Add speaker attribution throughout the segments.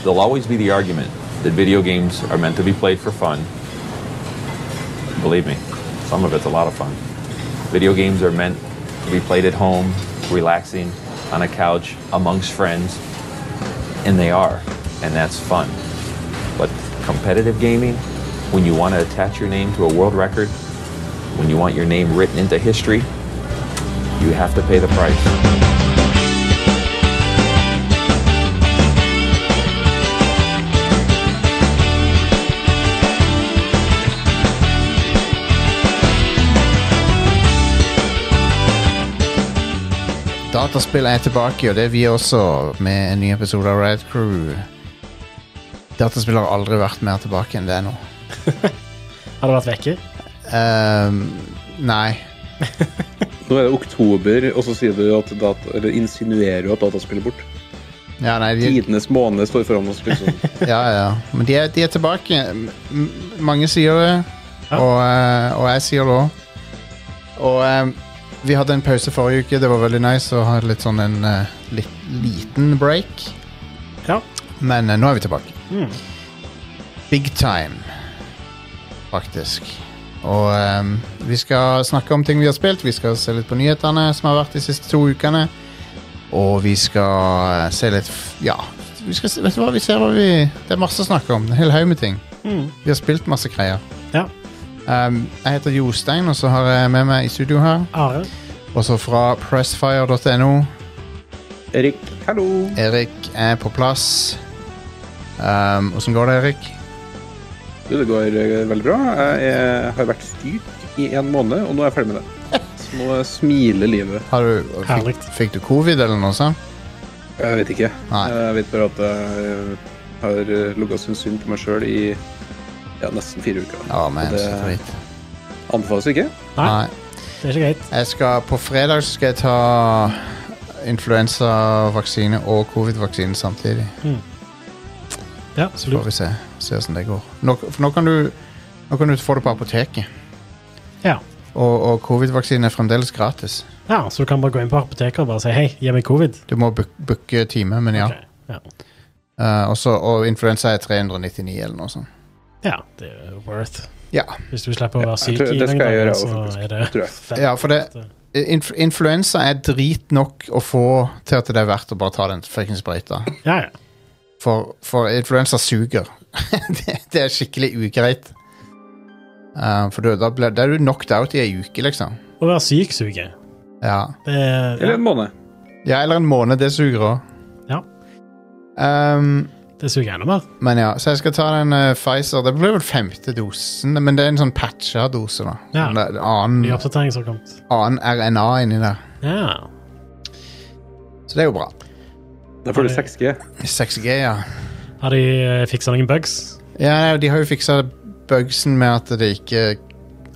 Speaker 1: there'll always be the argument that video games are meant to be played for fun. Believe me, some of it's a lot of fun. Video games are meant to be played at home, relaxing, on a couch, amongst friends, and they are, and that's fun. But competitive gaming, when you want to attach your name to a world record, when you want your name written into history, you have to pay the price.
Speaker 2: Dataspill er tilbake, og det er vi også, med en ny episode av Red Crew. Dataspill har aldri vært mer tilbake enn det er nå.
Speaker 3: Har det vært vekker?
Speaker 2: Ehm, nei.
Speaker 4: Nå er det oktober, og så sier du at data, eller insinuerer du at dataspill er bort.
Speaker 2: Ja, nei de,
Speaker 4: Tidenes måned står foran oss, liksom.
Speaker 2: ja, ja. Men de er, de er tilbake. M- m- Mange sier det,
Speaker 3: Ja.
Speaker 2: og, eh, og jeg sier det òg. Og eh, vi hadde en pause forrige uke. Det var veldig nice å ha litt sånn en eh, litt, liten break.
Speaker 3: Ja.
Speaker 2: Men eh, nå er vi tilbake.
Speaker 3: Mm.
Speaker 2: Big time, faktisk. Og ehm, vi skal snakke om ting vi har spilt. Vi skal se litt på nyhetene som har vært de siste to ukene. Og vi skal eh, se litt f- Ja, vi skal, se- vet du hva? Vi ser hva vi Det er masse å snakke om. En hel haug med ting.
Speaker 3: Mm.
Speaker 2: Vi har spilt masse greier.
Speaker 3: Ja.
Speaker 2: Ehm, jeg heter Jostein, og så har jeg med meg i studio her,
Speaker 3: Are?
Speaker 2: også fra pressfire.no,
Speaker 4: Erik, hallo!
Speaker 2: Erik er på plass. Ehm, Åssen går det, Erik?
Speaker 4: Du, det går eh, veldig bra. Jeg er, har vært styrt i en måned, og nå er jeg ferdig med det. Så nå smiler livet.
Speaker 2: Har du,
Speaker 3: Herlig.
Speaker 2: fikk, fikk du covid eller noe sånt?
Speaker 4: Jeg vet ikke.
Speaker 2: Nei.
Speaker 4: Jeg vet bare at jeg har ligget sin synd på meg sjøl i ja, nesten fire uker.
Speaker 2: Ja, men
Speaker 4: Det-
Speaker 2: så dritt.
Speaker 4: Anbefales ikke.
Speaker 3: Nei,
Speaker 2: Nei.
Speaker 3: det er ikke greit.
Speaker 2: Jeg skal, på fredag så skal jeg ta influensavaksine og covid-vaksine samtidig.
Speaker 3: Ja,
Speaker 2: Så får
Speaker 3: absolutt.
Speaker 2: vi se, se hvordan det går. Nå, for nå, kan du, nå kan du få det på apoteket.
Speaker 3: Ja.
Speaker 2: Og, og covid-vaksine er fremdeles gratis.
Speaker 3: ja, så du kan bare gå inn på apoteket og bare si hei, gi meg covid.
Speaker 2: Du må book- booke time, men ja.
Speaker 3: Ok, ja.
Speaker 2: Eh, også, og influensa er 399 eller noe sånt.
Speaker 3: Ja, det er worth.
Speaker 2: Ja,
Speaker 3: Hvis du slipper å være syk
Speaker 4: tror-
Speaker 3: i
Speaker 4: det
Speaker 3: noen
Speaker 4: skal jeg
Speaker 3: dager,
Speaker 4: gjøre
Speaker 3: så
Speaker 4: også,
Speaker 3: er det
Speaker 4: tror jeg.
Speaker 3: fett.
Speaker 2: ja for det Eh, inf Influensa er drit nok å få til at det er verdt å bare ta den fuckings sprøyta.
Speaker 3: Ja, ja.
Speaker 2: For, for influensa suger. det, det er skikkelig ugreit. Eh, for du, da, ble, da er du knocked out i ei uke, liksom.
Speaker 3: Å være syk suger.
Speaker 2: Ja.
Speaker 3: Det er,
Speaker 4: Eller
Speaker 3: ja,
Speaker 4: en måned.
Speaker 2: ja, eller en måned. Det suger òg.
Speaker 3: Ja. det suger enda mer.
Speaker 2: men ja, så jeg skal ta den eh, Pfizer. Det blir vel femte dosen, men det er en sånn patcha dose, da.
Speaker 3: Ja.
Speaker 2: Sånn, det er en annen,
Speaker 3: Ny oppdatering som har kommet.
Speaker 2: annen RNA inni der.
Speaker 3: Ja.
Speaker 2: Så det er jo bra.
Speaker 4: Da får du 6G.
Speaker 2: 6G, ja.
Speaker 3: Har de eh, fiksa noen bugs?
Speaker 2: Ja, De har jo fiksa bugsen med at det ikke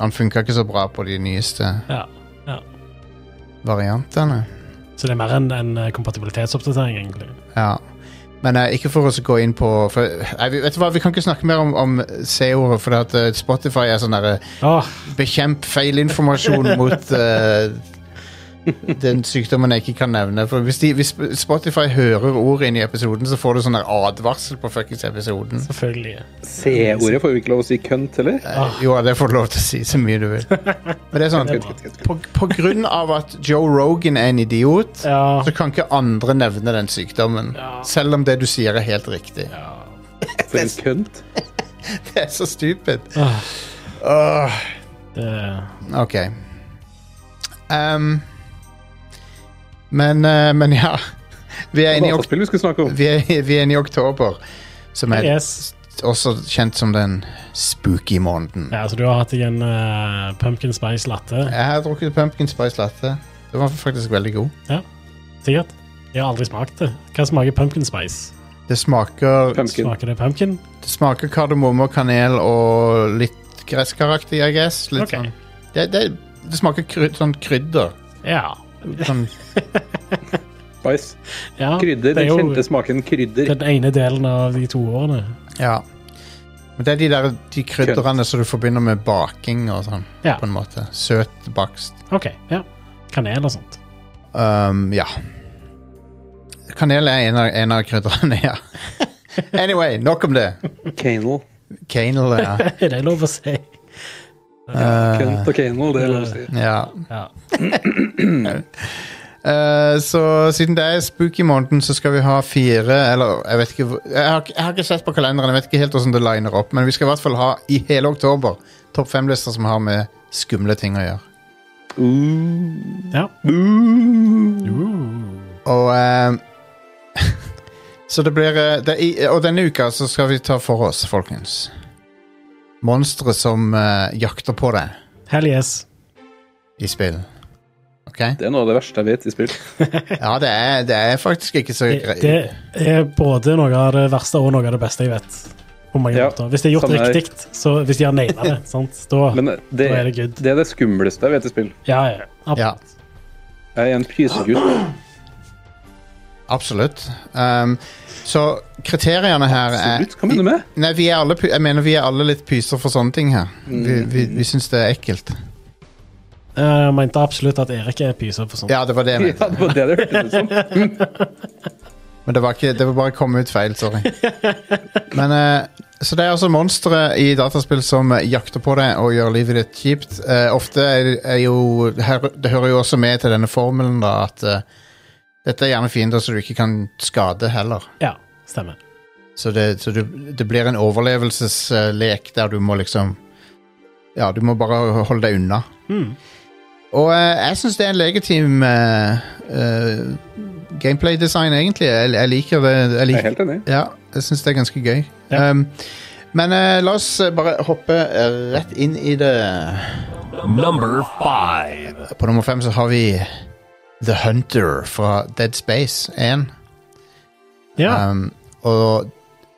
Speaker 2: Han funka ikke så bra på de nyeste
Speaker 3: Ja. ja.
Speaker 2: variantene.
Speaker 3: Så det er mer en, en eh, kompatibilitetsoppdatering, egentlig.
Speaker 2: Ja. Men eh, ikke for oss å gå inn på for, nei, vi- Vet du hva, Vi kan ikke snakke mer om, om C-ordet, for at eh, Spotify er sånn derre
Speaker 3: Åh,
Speaker 2: Bekjemp feilinformasjon mot eh, den sykdommen jeg ikke kan nevne. For hvis, de, hvis Spotify hører ordet inn i episoden, så får du sånn der advarsel på fuckings episoden.
Speaker 3: selvfølgelig.
Speaker 4: C-ordet får vi ikke lov å si kønt, eller?
Speaker 3: Ah.
Speaker 2: Eh, Jo, det får du lov til å si så mye du vil. Men det er sånn
Speaker 4: Kødd, kødd, kødd, kødd.
Speaker 2: på, på grunn av at Joe Rogan er en idiot,
Speaker 3: Ja.
Speaker 2: så kan ikke andre nevne den sykdommen.
Speaker 3: Ja.
Speaker 2: Selv om det du sier, er helt riktig.
Speaker 4: For en kønt.
Speaker 2: Det er så stupid.
Speaker 3: Åh,
Speaker 2: Åh,
Speaker 3: det,
Speaker 2: ok. Ehm, men, eh, men ja Vi er inne i, ok
Speaker 4: Dataspill vi skulle snakke om.
Speaker 2: vi er, vi er inne i oktober, som er
Speaker 3: yes.
Speaker 2: også kjent som den spooky måneden.
Speaker 3: Ja, så du har hatt deg en eh, pumpkin spice latte,
Speaker 2: Jeg har drukket pumpkin spice latte. Den var faktisk veldig god.
Speaker 3: sikkert? Jeg har aldri smakt det. Hva smaker pumpkin spice?
Speaker 2: Det smaker
Speaker 4: Pumpkin.
Speaker 3: Smaker det pumpkin?
Speaker 2: Det smaker kardemomme og kanel og litt gresskaraktig, I guess. Litt
Speaker 3: Ok.
Speaker 2: sånn. det, det, det smaker kryd, sånn krydder.
Speaker 3: Ja.
Speaker 2: Sånn,
Speaker 4: Spice.
Speaker 3: ja det
Speaker 4: Krydder.
Speaker 3: er
Speaker 4: Den
Speaker 3: jo
Speaker 4: kjente smaken krydder.
Speaker 3: den ene delen av de to årene.
Speaker 2: ja. Men det er de, der, de krydderne som du forbinder med baking og sånn.
Speaker 3: Ja.
Speaker 2: På en måte. Søt bakst.
Speaker 3: OK. ja. Kanel og sånt.
Speaker 2: Um, ja. Kanel er en av, en av krydderne, ja. Anyway, nok om det.
Speaker 4: Canal.
Speaker 2: Canal, ja.
Speaker 3: Er det lov å si?
Speaker 2: Eh.
Speaker 4: Kent og Canal, det er lov å si.
Speaker 2: ja.
Speaker 3: Ja.
Speaker 2: Eh, så siden det er spooky måneden, så skal vi ha fire Eller jeg vet ikke hvor- Jeg har, ikke- jeg har ikke sett på kalenderen, jeg vet ikke helt hvordan det liner opp. Men vi skal i hvert fall ha i hele oktober topp fem-lister som har med skumle ting å gjøre.
Speaker 3: ja.
Speaker 2: Og eh, Så det blir eh, det, er i, Og denne uka så skal vi ta for oss, folkens Monstre som eh, jakter på deg
Speaker 3: Hell yes.
Speaker 2: i spill. OK?
Speaker 4: Det er noe av det verste jeg vet i spill.
Speaker 2: Ja, det er, det er faktisk ikke så
Speaker 3: Det,
Speaker 2: greit.
Speaker 3: det er både noe av det verste og noe av det beste jeg vet. På mange
Speaker 4: Ja,
Speaker 3: måter. Hvis det er gjort
Speaker 4: samme her.
Speaker 3: riktig, så hvis de har naila det, sant, da
Speaker 4: Men det, det,
Speaker 3: Da er det good.
Speaker 4: er det skumleste jeg vet i spill.
Speaker 3: Ja, ja. Ab-
Speaker 2: Ja.
Speaker 4: Jeg er en pysegutt.
Speaker 2: Absolutt. Um, så kriteriene her er
Speaker 4: Absolutt. Hva mener du med?
Speaker 2: Nei, vi er alle, py- jeg mener vi er alle litt pyser for sånne ting her. Vi, vi, vi syns det er ekkelt.
Speaker 3: Eh, Jeg mente absolutt at Erik er pyse for sånt.
Speaker 2: Ja, det var det jeg
Speaker 4: Ja,
Speaker 2: mente.
Speaker 4: det var det det hørtes ut som.
Speaker 2: Men det var, ikke, det var bare kommet ut feil. Sorry. Men, eh, så det er altså monstre i dataspill som eh, jakter på deg og gjør livet ditt kjipt. Eh, ofte er, er jo her, Det hører jo også med til denne formelen da, at eh, dette er gjerne fiender som du ikke kan skade heller.
Speaker 3: Ja, stemmer.
Speaker 2: Så det, så det, det blir en overlevelseslek der du må liksom Ja, du må bare holde deg unna. Og eh, jeg syns det er en legitim eh, eh, gameplay-design, egentlig. Jeg, jeg liker det. Jeg
Speaker 4: Jeg er
Speaker 2: liker,
Speaker 4: helt enig.
Speaker 2: ja, jeg syns det er ganske gøy.
Speaker 3: Ja.
Speaker 2: Um, men eh, la oss eh, bare hoppe eh, rett inn i det.
Speaker 5: Number five.
Speaker 2: På nummer fem så har vi The Hunter fra Dead Space 1.
Speaker 3: Ja.
Speaker 2: Um, og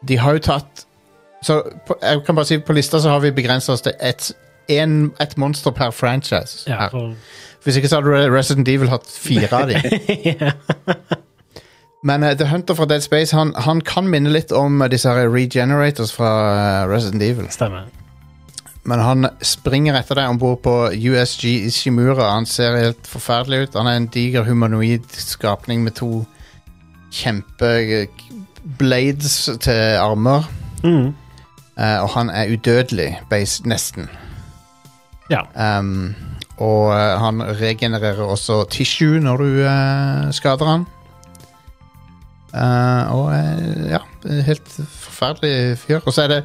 Speaker 2: de har jo tatt Så på, jeg kan bare si på lista så har vi begrensa oss til ett en- ett monster per franchise.
Speaker 3: ja
Speaker 2: her.
Speaker 3: for,
Speaker 2: Hvis ikke så hadde Resident Evil hatt fire av dem. Men eh, The Hunter fra Dead Space han, han kan minne litt om eh, disse her regenerators fra eh, Resident Evil.
Speaker 3: stemmer.
Speaker 2: Men han springer etter deg om bord på USG Ishimura. Han ser helt forferdelig ut. Han er en diger humanoid skapning med to kjempe eh, blades til armer.
Speaker 3: Mm.
Speaker 2: Eh, og han er udødelig, bas- nesten.
Speaker 3: Ja.
Speaker 2: Ehm, og eh, han regenererer også tissue når du eh, skader han. Eh, og eh, ja, helt forferdelig fyr. Og så er det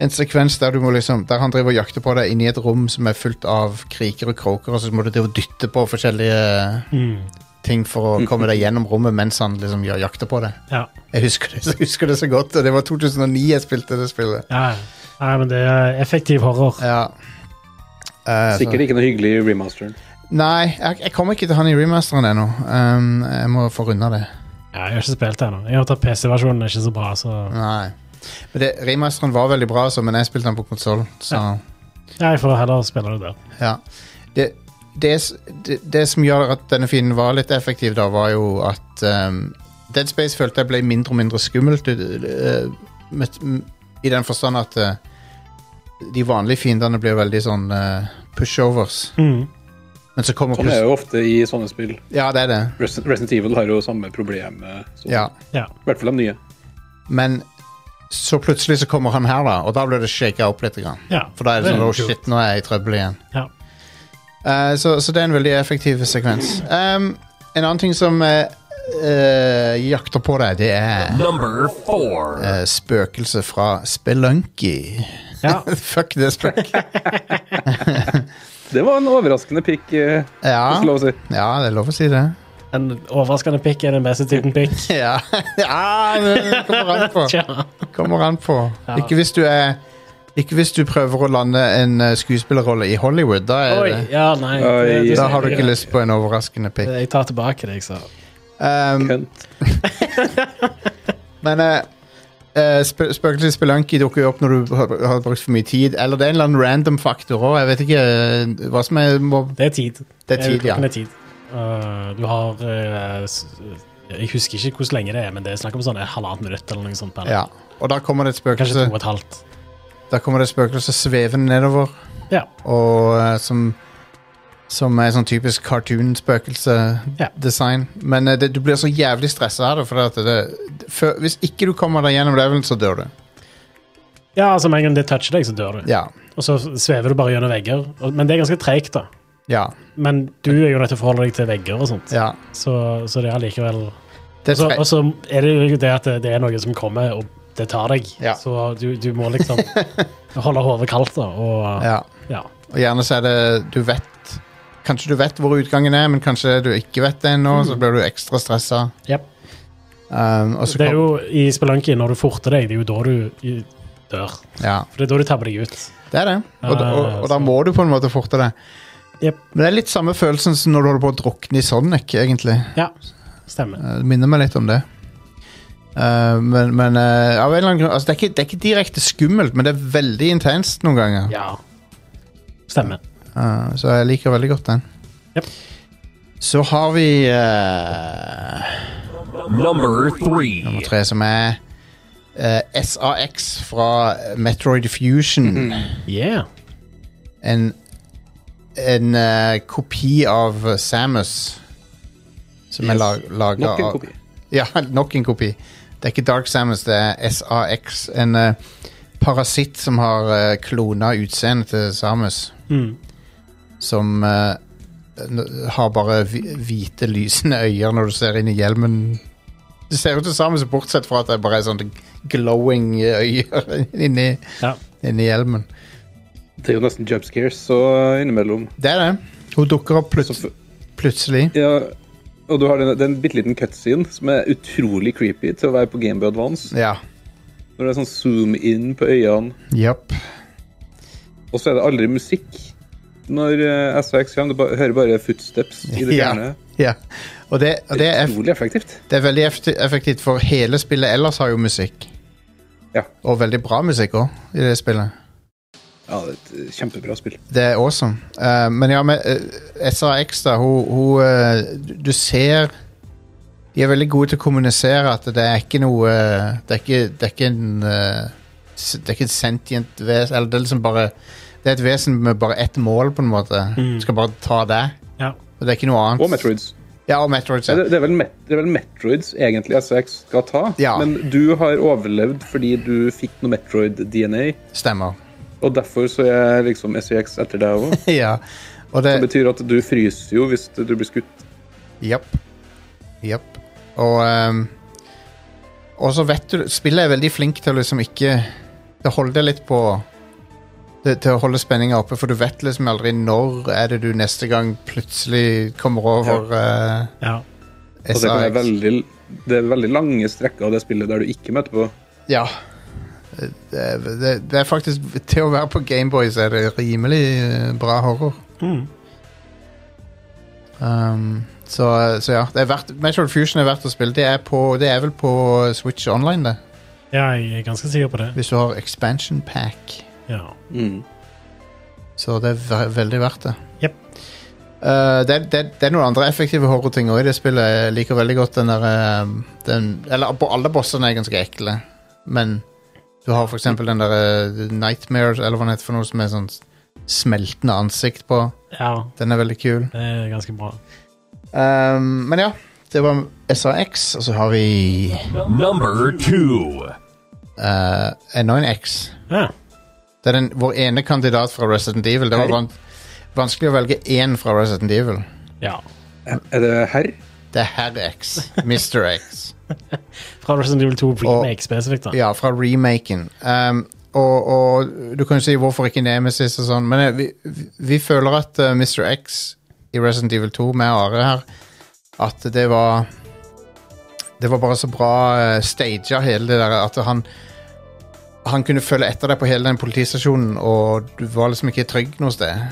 Speaker 2: en sekvens der, du må liksom, der han driver og jakter på deg inni et rom som er fullt av kriker og kroker, og så må du drive og dytte på forskjellige
Speaker 3: Mm.
Speaker 2: ting for å komme deg gjennom rommet mens han liksom gjør- jakter på deg.
Speaker 3: ja.
Speaker 2: Jeg husker det, jeg husker det så godt, og det var 2009 jeg spilte det spillet.
Speaker 3: Ja, ja. Nei, men det er effektiv horror.
Speaker 2: Ja. Eh, så-
Speaker 4: Sikkert ikke noe hyggelig i remasteren.
Speaker 2: Nei, jeg, jeg kommer ikke til han i remasteren ennå. Um, jeg må få runda det.
Speaker 3: Ja, jeg har ikke spilt det ennå. Jeg har tatt PC-versjonen, er ikke så bra, så
Speaker 2: Nei. Men det, remasteren var veldig bra, altså, men jeg spilte den på konsoll. Så
Speaker 3: Ja, jeg får heller spille det der.
Speaker 2: ja. Det, det, s- det, det som gjør at denne fienden var litt effektiv, da, var jo at um, Dead Space følte jeg ble mindre og mindre skummelt. uh, uh, Med, m- I den forstand at uh, de vanlige fiendene blir veldig sånn uh, pushovers.
Speaker 3: Mm.
Speaker 2: Men så kommer
Speaker 4: Sånn er
Speaker 2: plutselig
Speaker 4: det jo ofte i sånne spill.
Speaker 2: Ja, det er det.
Speaker 4: Resident Resident Evil har jo samme problem. eh, som-
Speaker 2: Ja.
Speaker 3: Ja.
Speaker 4: I hvert fall de nye.
Speaker 2: Men så plutselig så kommer han her, da, og da blir det shaka opp litt. Grann.
Speaker 3: ja.
Speaker 2: For da er det
Speaker 3: Det er
Speaker 2: sånn
Speaker 3: jo
Speaker 2: oh shit, nå er jeg i trøbbel igjen.
Speaker 3: Ja.
Speaker 2: Eh, så, så det er en veldig effektiv sekvens. Ehm, en annen ting som eh, eh, jakter på deg, det er
Speaker 5: Number four.
Speaker 2: uh, spøkelset fra Spelunky.
Speaker 3: ja.
Speaker 2: Fuck det spøk.
Speaker 4: Det var en overraskende pikk. eh,
Speaker 2: Ja.
Speaker 4: hvis lov å si.
Speaker 2: ja, det er lov å si det.
Speaker 3: En overraskende pikk er den beste typen pikk.
Speaker 2: Ja, ja det kommer an på.
Speaker 3: Ja.
Speaker 2: Kommer an på. Ikke hvis du er ikke hvis du prøver å lande en eh, skuespillerrolle i Hollywood. Da, er
Speaker 3: Oi,
Speaker 2: det,
Speaker 3: ja, nei.
Speaker 4: Oi,
Speaker 3: det- det-
Speaker 2: da har du ikke lyst på en overraskende pick.
Speaker 3: Jeg tar tilbake det jeg sa.
Speaker 2: Ehm,
Speaker 4: Kønt.
Speaker 2: Men eh, eh, sp spøkelset i Spelunky dukker jo opp når du har, har brukt for mye tid. Eller det er en eller annen random faktor òg. Jeg vet ikke eh, hva som er må,
Speaker 3: Det er tid.
Speaker 2: Det er tid, ja.
Speaker 3: Klokken er tid. Uh, du har uh, s- Jeg husker ikke hvor lenge det er, men det er snakk om sånn et halvannet minutt eller noe sånt. per-
Speaker 2: ja. Og da kommer det et
Speaker 3: Kanskje
Speaker 2: spøkelse
Speaker 3: to og et halvt.
Speaker 2: Da kommer det et spøkelse svevende nedover,
Speaker 3: Ja.
Speaker 2: og eh, som Som er sånn typisk
Speaker 3: Ja.
Speaker 2: cartoon-spøkelse-design. Men eh, det, du blir så jævlig stressa av det, for at det, det, før- hvis ikke du kommer deg gjennom levelen, så dør du.
Speaker 3: Ja, altså Med en gang det toucher deg, så dør du.
Speaker 2: Ja.
Speaker 3: Og så svever du bare gjennom vegger. Og- Men det er ganske treigt, da.
Speaker 2: Ja.
Speaker 3: Men du er jo nødt til å forholde deg til vegger og sånt.
Speaker 2: ja.
Speaker 3: Så, så det er allikevel
Speaker 2: Det
Speaker 3: Så-
Speaker 2: tre-
Speaker 3: Og så er det jo det at det- det er noe som kommer, og det tar deg.
Speaker 2: Ja.
Speaker 3: Så du, du må liksom holde hodet kaldt, da. Og
Speaker 2: ja.
Speaker 3: ja.
Speaker 2: Og gjerne så er det Du vet Kanskje du vet hvor utgangen er, men kanskje du ikke vet det ennå,
Speaker 3: Mm.
Speaker 2: så blir du ekstra stressa.
Speaker 3: Jep.
Speaker 2: Um, og så
Speaker 3: Det er
Speaker 2: kom-
Speaker 3: jo i Spelunky, når du forter deg, det er jo da du i- dør.
Speaker 2: ja,
Speaker 3: For det er da du tabber deg ut.
Speaker 2: det er det. Og, da- og, og da
Speaker 3: Ah, så-
Speaker 2: må du på en måte forte deg.
Speaker 3: Jep.
Speaker 2: Men det er litt samme følelsen som når du holder på å drukne i Sonic, egentlig.
Speaker 3: Ja, stemmer.
Speaker 2: Eh, Det minner meg litt om det. Eh, men men eh, av en eller annen grunn altså, det, er ikke, det er ikke direkte skummelt, men det er veldig intenst noen ganger.
Speaker 3: Ja. Stemmer.
Speaker 2: Eh, så jeg liker veldig godt den.
Speaker 3: Yep.
Speaker 2: Så har vi eh,
Speaker 5: Number three.
Speaker 2: nummer tre, som er eh, SAX fra Metroid Fusion.
Speaker 4: Mhm.
Speaker 3: Yeah.
Speaker 2: En, en eh, kopi av Samus. Som er
Speaker 4: Yes.
Speaker 2: lag, laga
Speaker 4: Nok en
Speaker 2: av-
Speaker 4: kopi.
Speaker 2: Ja, nok en kopi. Det er ikke Dark Samus, det er SAX. En eh, parasitt som har uh, klona utseendet til Samus.
Speaker 3: Mm.
Speaker 2: Som eh, n- har bare hvi- hvite, lysende øyne når du ser inn i hjelmen. Det ser ut som Samus, bortsett fra at det bare er sånne glowing øyne inni,
Speaker 3: Ja.
Speaker 2: inni hjelmen.
Speaker 4: Det er jo nesten jump scares så innimellom.
Speaker 2: Det er det. Hun dukker opp
Speaker 4: Så,
Speaker 2: plut
Speaker 4: f-
Speaker 2: plutselig.
Speaker 4: ja, og du har den, den bitte liten cutscene som er utrolig creepy til å være på Gameboy Advance.
Speaker 2: Ja.
Speaker 4: Når det er sånn zoom in på øynene,
Speaker 2: Jepp.
Speaker 4: og så er det aldri musikk. Når uh, SVX kommer, du ba, hører bare footsteps i det
Speaker 2: Ja.
Speaker 4: fjerne.
Speaker 2: Ja. Og det, og det er f
Speaker 4: Utrolig effektivt.
Speaker 2: Det er veldig effekti- effektivt, for hele spillet ellers har jo musikk.
Speaker 4: Ja.
Speaker 2: Og veldig bra musikk òg, i det spillet.
Speaker 4: Ja, det er et eh, kjempebra spill.
Speaker 2: Det er awesome. Eh, men ja, med eh, SAX, da, hun, hun eh, du- Du ser De er veldig gode til å kommunisere at det er ikke noe eh, Det er ikke, det er ikke en eh, s- Det er ikke et sentient vesen Eller det er liksom bare Det er et vesen med bare ett mål, på en måte. Du skal bare ta det.
Speaker 3: Ja.
Speaker 2: Og det er ikke noe annet.
Speaker 4: Og Metroids.
Speaker 2: Ja, og Metroid.
Speaker 4: Nei,
Speaker 2: Ja,
Speaker 4: det, det, er vel Met det er vel Metroids egentlig SVX skal ta,
Speaker 2: Ja.
Speaker 4: men du har overlevd fordi du fikk noe Metroid-DNA.
Speaker 2: Stemmer.
Speaker 4: Og derfor så er liksom SVX etter deg òg.
Speaker 2: ja. Og
Speaker 4: Det betyr at du fryser jo hvis du blir skutt.
Speaker 2: Japp. Japp. Og ehm, Og så vet du Spillet er veldig flink til å liksom ikke Det holder litt på det, Til å holde spenninga oppe, for du vet liksom aldri når er det du neste gang plutselig kommer over eh,
Speaker 3: ja.
Speaker 4: Og det, kan være
Speaker 2: SAX.
Speaker 4: veldig, det er veldig lange strekker av det spillet der du ikke møter på.
Speaker 2: Ja. Det, det, det er faktisk Til å være på Gameboy så er det rimelig eh, bra horror.
Speaker 3: Mm.
Speaker 2: Um, så, så ja. Det er verdt, Metroid Fusion er verdt å spille. Det er, på, det er vel på Switch Online, det.
Speaker 3: ja, jeg er ganske sikker på det.
Speaker 2: Hvis du har expansion pack.
Speaker 3: Ja.
Speaker 2: Så det er ve veldig verdt det.
Speaker 3: Jep.
Speaker 2: Eh, det, det, det er noen andre effektive horrorting òg i det spillet. Jeg liker veldig godt den der eh, den, Eller på alle bossene er ganske ekle, men du har for eksempel den der eh, Nightmare, eller hva den heter for noe som er sånn smeltende ansikt på.
Speaker 3: ja.
Speaker 2: Den er veldig kul.
Speaker 3: Det er ganske bra.
Speaker 2: Um, men ja, det var SAX, og så har vi
Speaker 5: Number two.
Speaker 2: eh, N9X.
Speaker 3: Ja.
Speaker 2: Det er den, vår ene kandidat fra Resident Evil. Det var
Speaker 4: Hei.
Speaker 2: van vanskelig å velge én fra Resident Evil.
Speaker 3: ja.
Speaker 4: Er det herr?
Speaker 2: Det er Herr X. Mr. X.
Speaker 3: Fra Resident Evil 2 remake spesifikt, da.
Speaker 2: Ja, fra remaken. Um, og, og du kan jo si hvorfor ikke Nemesis og sånn, men eh, vi, vi- vi føler at eh, Mr. X i Resident Evil 2 med Are her, at det var Det var bare så bra uh, staged hele det der at han han kunne følge etter deg på hele den politistasjonen, og du var liksom ikke trygg noe sted.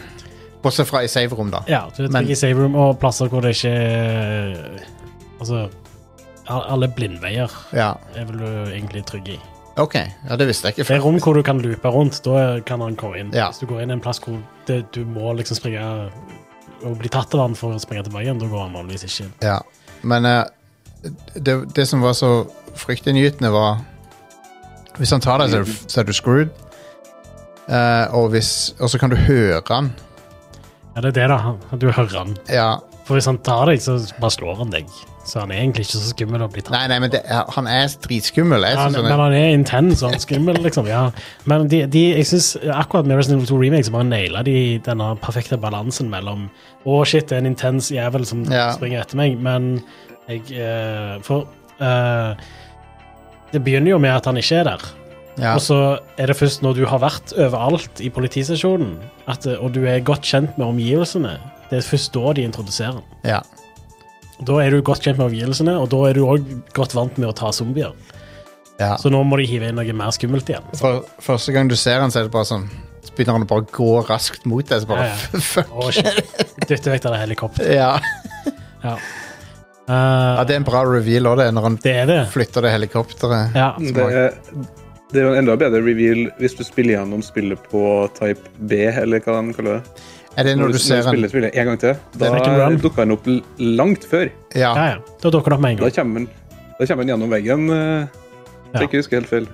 Speaker 2: Bortsett fra i save-rom, da.
Speaker 3: Ja, du
Speaker 2: Men-
Speaker 3: trenger save room og plasser hvor det ikke er- Altså a- Alle blindveier
Speaker 2: Ja,
Speaker 3: er vel du egentlig trygg i.
Speaker 2: OK. Ja, det visste jeg ikke.
Speaker 3: Det er rom hvor du kan loope rundt. Da kan han komme inn.
Speaker 2: Ja.
Speaker 3: Hvis du går inn i en plass hvor det, du må liksom springe og bli tatt av han for å springe tilbake igjen, da går han vanligvis ikke inn.
Speaker 2: Ja, men eh, det, det som var så fryktinngytende, var Hvis han tar deg, så er du- så er du screwed. Eh, og, hvis, og så kan du høre han.
Speaker 3: Ja, det er det, da. Du hører han.
Speaker 2: Ja.
Speaker 3: For hvis han tar deg, så bare slår han deg. Så han er egentlig ikke så skummel å bli tatt.
Speaker 2: Nei, nei, men det, han er dritskummel. Jeg
Speaker 3: Han,
Speaker 2: synes
Speaker 3: men
Speaker 2: han er,
Speaker 3: han er intens og han er skummel, liksom. Ja. Men de, de, jeg synes akkurat med Resident Evil 2 Remake så bare naila de denne perfekte balansen mellom Å, shit, det er en intens jævel som
Speaker 2: Ja.
Speaker 3: springer etter meg, men jeg eh, For eh, det begynner jo med at han ikke er der.
Speaker 2: ja.
Speaker 3: Og så er det først når du har vært overalt i politistasjonen, at, eh, og du er godt kjent med omgivelsene, det er først da de introduserer den.
Speaker 2: ja.
Speaker 3: Da er du godt kjent med omgivelsene, og da er du òg godt vant med å ta zombier.
Speaker 2: ja.
Speaker 3: Så nå må de hive inn noe mer skummelt igjen.
Speaker 2: For, første gang du ser han, så er det bare sånn Så begynner han å bare gå raskt mot deg. Så bare
Speaker 3: Ja, ja.
Speaker 2: fuck.
Speaker 3: Å, shit. Dytte vekk det helikopteret.
Speaker 2: Ja.
Speaker 3: Ja. Eh,
Speaker 2: ja, det er en bra reveal òg, det, når han
Speaker 3: det er det.
Speaker 2: flytter det helikopteret.
Speaker 3: Ja.
Speaker 4: Det er, det er jo en enda bedre reveal hvis du spiller gjennom spillet på type B, eller hva de kaller det.
Speaker 2: Er det når du ser han
Speaker 4: spiller spillet en gang til, da
Speaker 3: Take and run.
Speaker 4: dukker han opp l- langt før.
Speaker 2: Ja.
Speaker 3: Ja, ja. Da dukker det opp med en
Speaker 4: Da
Speaker 3: gang.
Speaker 4: kommer han, da kommer han gjennom veggen. eh,
Speaker 3: Ja.
Speaker 4: Hvis jeg ikke husker helt feil.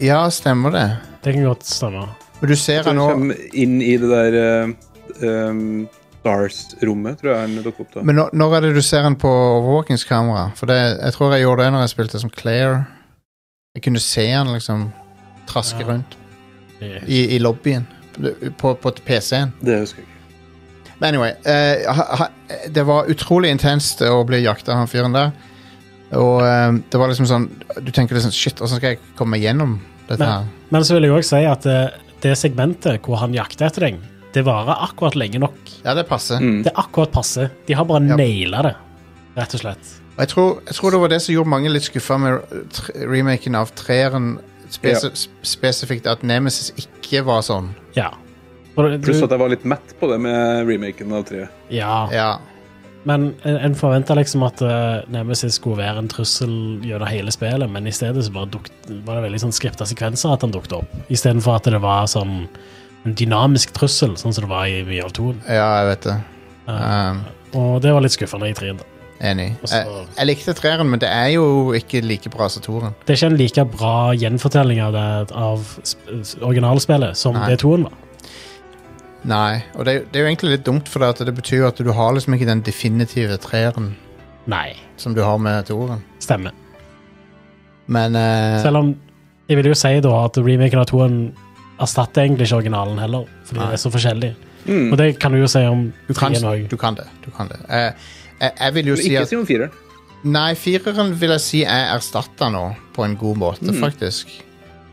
Speaker 2: ja, stemmer det.
Speaker 3: Det kan godt stemme.
Speaker 2: Og du ser
Speaker 4: Så
Speaker 2: han
Speaker 4: han
Speaker 3: liksom-
Speaker 2: òg
Speaker 4: kommer inn i det der eh, em, Stars-rommet, tror jeg han dukker opp da.
Speaker 2: Men når, når er det du ser han på overvåkingskamera? For det, jeg tror jeg gjorde det når jeg spilte som Claire. Jeg kunne se han liksom traske
Speaker 3: Ja.
Speaker 2: rundt
Speaker 3: Det-
Speaker 2: i, i lobbyen på, på PC-en.
Speaker 4: Det husker jeg ikke.
Speaker 2: Men anyway, eh, ha, ha, det var utrolig intenst å bli jakta av han fyren der. Og eh, det var liksom sånn Du tenker liksom Shit, hvordan skal jeg komme meg gjennom dette
Speaker 3: Men,
Speaker 2: her?
Speaker 3: men så vil jeg òg si at eh, det segmentet hvor han jakter etter deg, det varer akkurat lenge nok.
Speaker 2: Ja, det passer.
Speaker 4: Mm.
Speaker 3: Det er akkurat passe. De har bare
Speaker 2: Ja.
Speaker 3: naila det, rett og slett.
Speaker 2: Og jeg tror, jeg tror det var det som gjorde mange litt skuffa med eh, tr- remaken av treeren. Spes
Speaker 4: Ja.
Speaker 2: sp- Spesifikt at Nemesis ikke var sånn.
Speaker 3: Ja. For du-
Speaker 4: Pluss at jeg var litt mett på det med remaken av treet.
Speaker 3: ja.
Speaker 2: Ja.
Speaker 3: Men en, en forventa liksom at eh, Nemesis skulle være en trussel gjennom hele spillet, men i stedet så bare dukt, var det veldig sånn skripta sekvenser at han dukket opp. Istedenfor at det var sånn en dynamisk trussel, sånn som det var i mye av toen.
Speaker 2: Ja, jeg vet det. Um,
Speaker 3: Og det var litt skuffende i trien. da.
Speaker 2: enig.
Speaker 3: Og så-
Speaker 2: Jeg, jeg likte treeren, men det er jo ikke like bra som toeren.
Speaker 3: Det er ikke en like bra gjenfortelling av, det, av sp s- originalspillet som
Speaker 2: Nei.
Speaker 3: det toen var.
Speaker 2: Nei, og det, er jo- det er jo egentlig litt dumt, for det, at det betyr jo at du har liksom ikke den definitive treeren
Speaker 3: Nei.
Speaker 2: som du har med toeren.
Speaker 3: Stemmer.
Speaker 2: Men eh,
Speaker 3: Selv om jeg vil jo si da at remaken av toen erstatter egentlig ikke originalen heller, fordi
Speaker 2: Nei.
Speaker 3: det er så forskjellig.
Speaker 4: Mm.
Speaker 3: Og det kan du jo si om
Speaker 2: du, kan,
Speaker 3: trien òg.
Speaker 2: du kan det. Du kan det. Eh, jeg, jeg vil jo
Speaker 4: Men
Speaker 2: si
Speaker 4: ikke
Speaker 2: at
Speaker 4: si om fireren.
Speaker 2: Nei, fireren vil jeg si er erstatta nå, på en god måte,
Speaker 4: Mm.
Speaker 2: faktisk.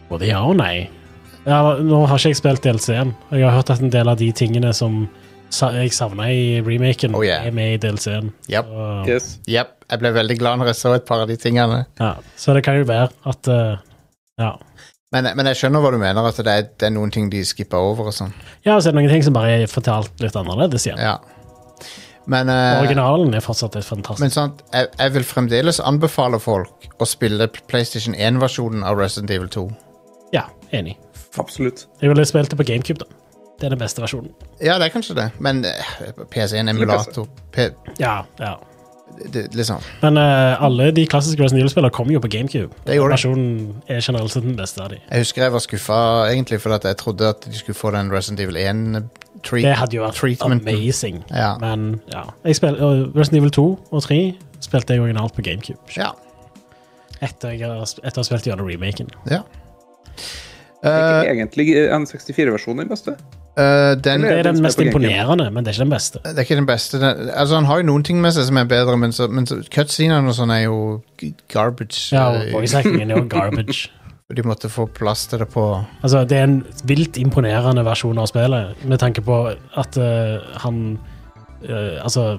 Speaker 3: Både ja og nei. Ja, nå har ikke jeg spilt DLC-en. og Jeg har hørt at en del av de tingene som sa jeg savna i remaken,
Speaker 2: Oh, yeah.
Speaker 3: er med i DLC-en.
Speaker 2: Yep.
Speaker 3: Så-
Speaker 4: Yes.
Speaker 2: Jepp. Jeg ble veldig glad når jeg så et par av de tingene.
Speaker 3: Ja, så det kan jo være at eh, ja.
Speaker 2: Men, men jeg skjønner hva du mener, at det er, det er noen ting de skipper over og sånn.
Speaker 3: ja, og så er det noen ting som bare er fortalt litt annerledes igjen.
Speaker 2: Ja. Men eh,
Speaker 3: Originalen er fortsatt et fantastisk
Speaker 2: Men sant, jeg, jeg vil fremdeles anbefale folk å spille PlayStation 1-versjonen av Resident Evil 2.
Speaker 3: Ja, enig.
Speaker 4: Absolutt.
Speaker 3: Jeg ville spilt det på GameCube, da. Det er den beste versjonen.
Speaker 2: Ja, det er kanskje det, men eh, PS1 emulator P,
Speaker 3: Ja, ja.
Speaker 2: det, Liksom.
Speaker 3: Men eh, alle de klassiske Resident Evil-spillene kom jo på GameCube.
Speaker 2: Det gjorde de.
Speaker 3: Versjonen er generelt sett den beste av de.
Speaker 2: Jeg husker jeg var skuffa, egentlig, fordi at jeg trodde at de skulle få den Resident Evil 1-treat.
Speaker 3: Det hadde jo vært
Speaker 2: Treatment.
Speaker 3: amazing.
Speaker 2: Ja.
Speaker 3: Men ja. Jeg spil, og Resident Evil 2 og 3 spilte jeg originalt på GameCube.
Speaker 2: Ja.
Speaker 3: Etter jeg har, etter jeg har spilt gjennom remaken.
Speaker 2: ja.
Speaker 4: Er
Speaker 2: Eh,
Speaker 4: ikke egentlig N64-versjonen den beste?
Speaker 2: eh, den,
Speaker 3: Det
Speaker 2: det
Speaker 4: Eller-
Speaker 3: er den
Speaker 4: den
Speaker 3: mest
Speaker 4: som er på GameCube.
Speaker 3: imponerende, men det er ikke den beste.
Speaker 2: er ikke den beste. Den, altså, han har jo noen ting med seg som er bedre, men, så, men så, cutscenene og sånn er jo g- garbage.
Speaker 3: Ja,
Speaker 2: eh,
Speaker 3: og voice actingen er jo garbage.
Speaker 2: de måtte få plass til det på
Speaker 3: Altså, det er en vilt imponerende versjon av spillet, med tanke på at eh, han eh, Altså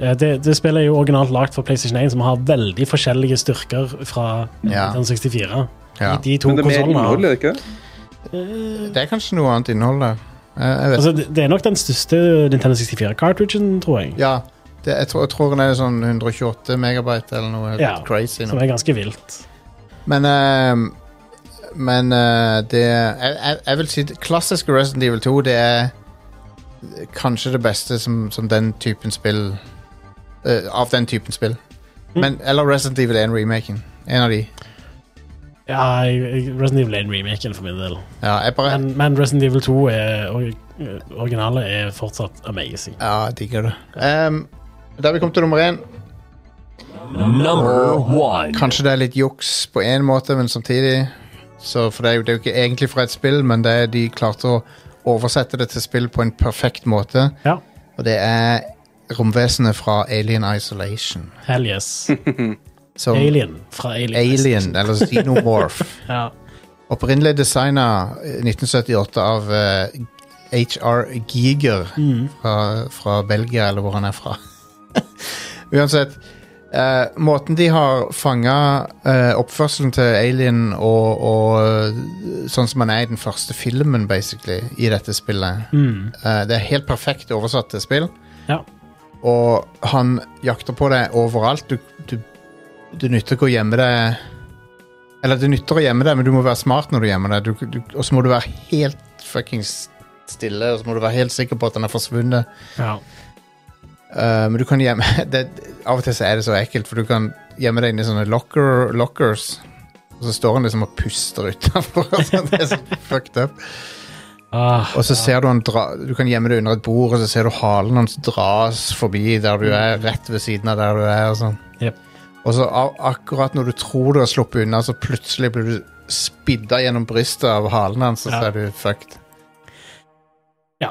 Speaker 3: eh, det, det spillet er jo originalt lagd for PlayStation 1, som har veldig forskjellige styrker fra
Speaker 2: Ja.
Speaker 3: den 64.
Speaker 2: ja.
Speaker 3: I de to
Speaker 4: Men det er mer
Speaker 3: konsollene Eh, har-
Speaker 4: innhold, er det ikke det?
Speaker 2: Det er kanskje noe annet innhold der. Eh, jeg vet
Speaker 3: Altså, det det er nok den største Nintendo 64-cartridgen, tror jeg.
Speaker 2: Ja, det, jeg, tror, jeg tror den er sånn 128 megabyte eller noe helt
Speaker 3: Ja,
Speaker 2: crazy.
Speaker 3: Som
Speaker 2: Nå.
Speaker 3: er ganske vilt.
Speaker 2: Men, ehm, men eh, det jeg, jeg, jeg vil si det klassiske Resident Evil 2 det er kanskje det beste som, som den typen spill eh, Av den typen spill. Men, eller Resident Evil 1 remaking. En av de.
Speaker 3: Ja, jeg- jeg- Resident Evil 1-remaken for min del.
Speaker 2: Ja, jeg bare
Speaker 3: Men, men Resident Evil 2 er, og originalet er fortsatt amazing.
Speaker 2: Ja, jeg digger det. Ehm, da er vi kommet til nummer én.
Speaker 5: Number one.
Speaker 2: Kanskje det er litt juks på én måte, men samtidig så, For det er, jo, det er jo ikke egentlig fra et spill, men det er de klarte å oversette det til spill på en perfekt måte.
Speaker 3: Ja.
Speaker 2: Og det er romvesenet fra Alien Isolation.
Speaker 3: Hell yes.
Speaker 2: Som
Speaker 3: Alien fra Alien.
Speaker 2: Alien, eller Xenomorph.
Speaker 3: Ja.
Speaker 2: Opprinnelig designa 1978 av eh, HR Giger fra, fra Belgia, eller hvor han er fra. Uansett. eh, måten de har fanga oppførselen til Alien og, og eh, sånn som han er i den første filmen, basically, i dette spillet
Speaker 3: Mm.
Speaker 2: Eh, Det er helt perfekt oversatt til spill,
Speaker 3: ja.
Speaker 2: og han jakter på deg overalt. Du, du, du nytter ikke å gjemme deg Eller det nytter å gjemme deg, men du må være smart når du gjemmer deg. Du, du, og så må du være helt fuckings stille, og så må du være helt sikker på at han er forsvunnet.
Speaker 3: ja.
Speaker 2: Eh, men du kan gjemme det, Av og til så er det så ekkelt, for du kan gjemme deg inni sånne locker, lockers. Og så står han liksom og puster utafor. det er så fucked up.
Speaker 3: Ah,
Speaker 2: Og så ser du han dra Du kan gjemme deg under et bord, og så ser du halen hans dras forbi der du er, rett ved siden av der du er. Og sånn
Speaker 3: jep.
Speaker 2: Og så a- akkurat når du tror du har sluppet unna, så plutselig blir du spidda gjennom brystet av halen hans, og så
Speaker 3: Ja.
Speaker 2: er du fucked.
Speaker 3: Ja.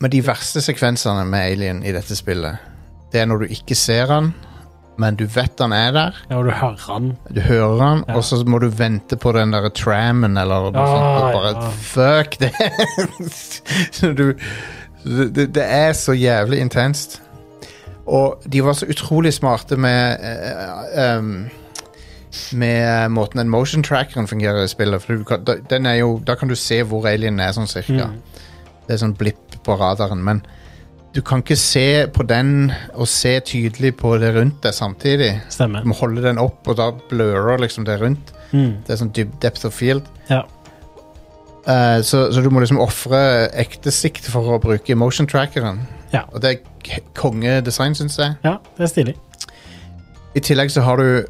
Speaker 2: Men de verste sekvensene med Alien i dette spillet, det er når du ikke ser han, men du vet han er der,
Speaker 3: ja, og du hører han.
Speaker 2: du hører han,
Speaker 3: Ja.
Speaker 2: og så må du vente på den derre trammen eller noe sånt, og bare
Speaker 3: Ah, ja.
Speaker 2: fuck det! Så du, det, det- det er så jævlig intenst. Og de var så utrolig smarte med eh, um, med måten den motion trackeren fungerer i spillet. For du kan, da, den er jo, da kan du se hvor alienen er, sånn cirka.
Speaker 3: Mm.
Speaker 2: Det er sånn blipp på radaren. Men du kan ikke se på den og se tydelig på det rundt deg samtidig.
Speaker 3: Stemmer.
Speaker 2: Du må holde den opp, og da blører liksom det rundt. Det er sånn dyp, depth of field.
Speaker 3: Mm. Ja.
Speaker 2: Eh, så, så du må liksom ofre ekte sikt for å bruke motion trackeren.
Speaker 3: Ja.
Speaker 2: Og det er k- kongedesign, syns jeg.
Speaker 3: ja, det er stilig.
Speaker 2: I tillegg så har du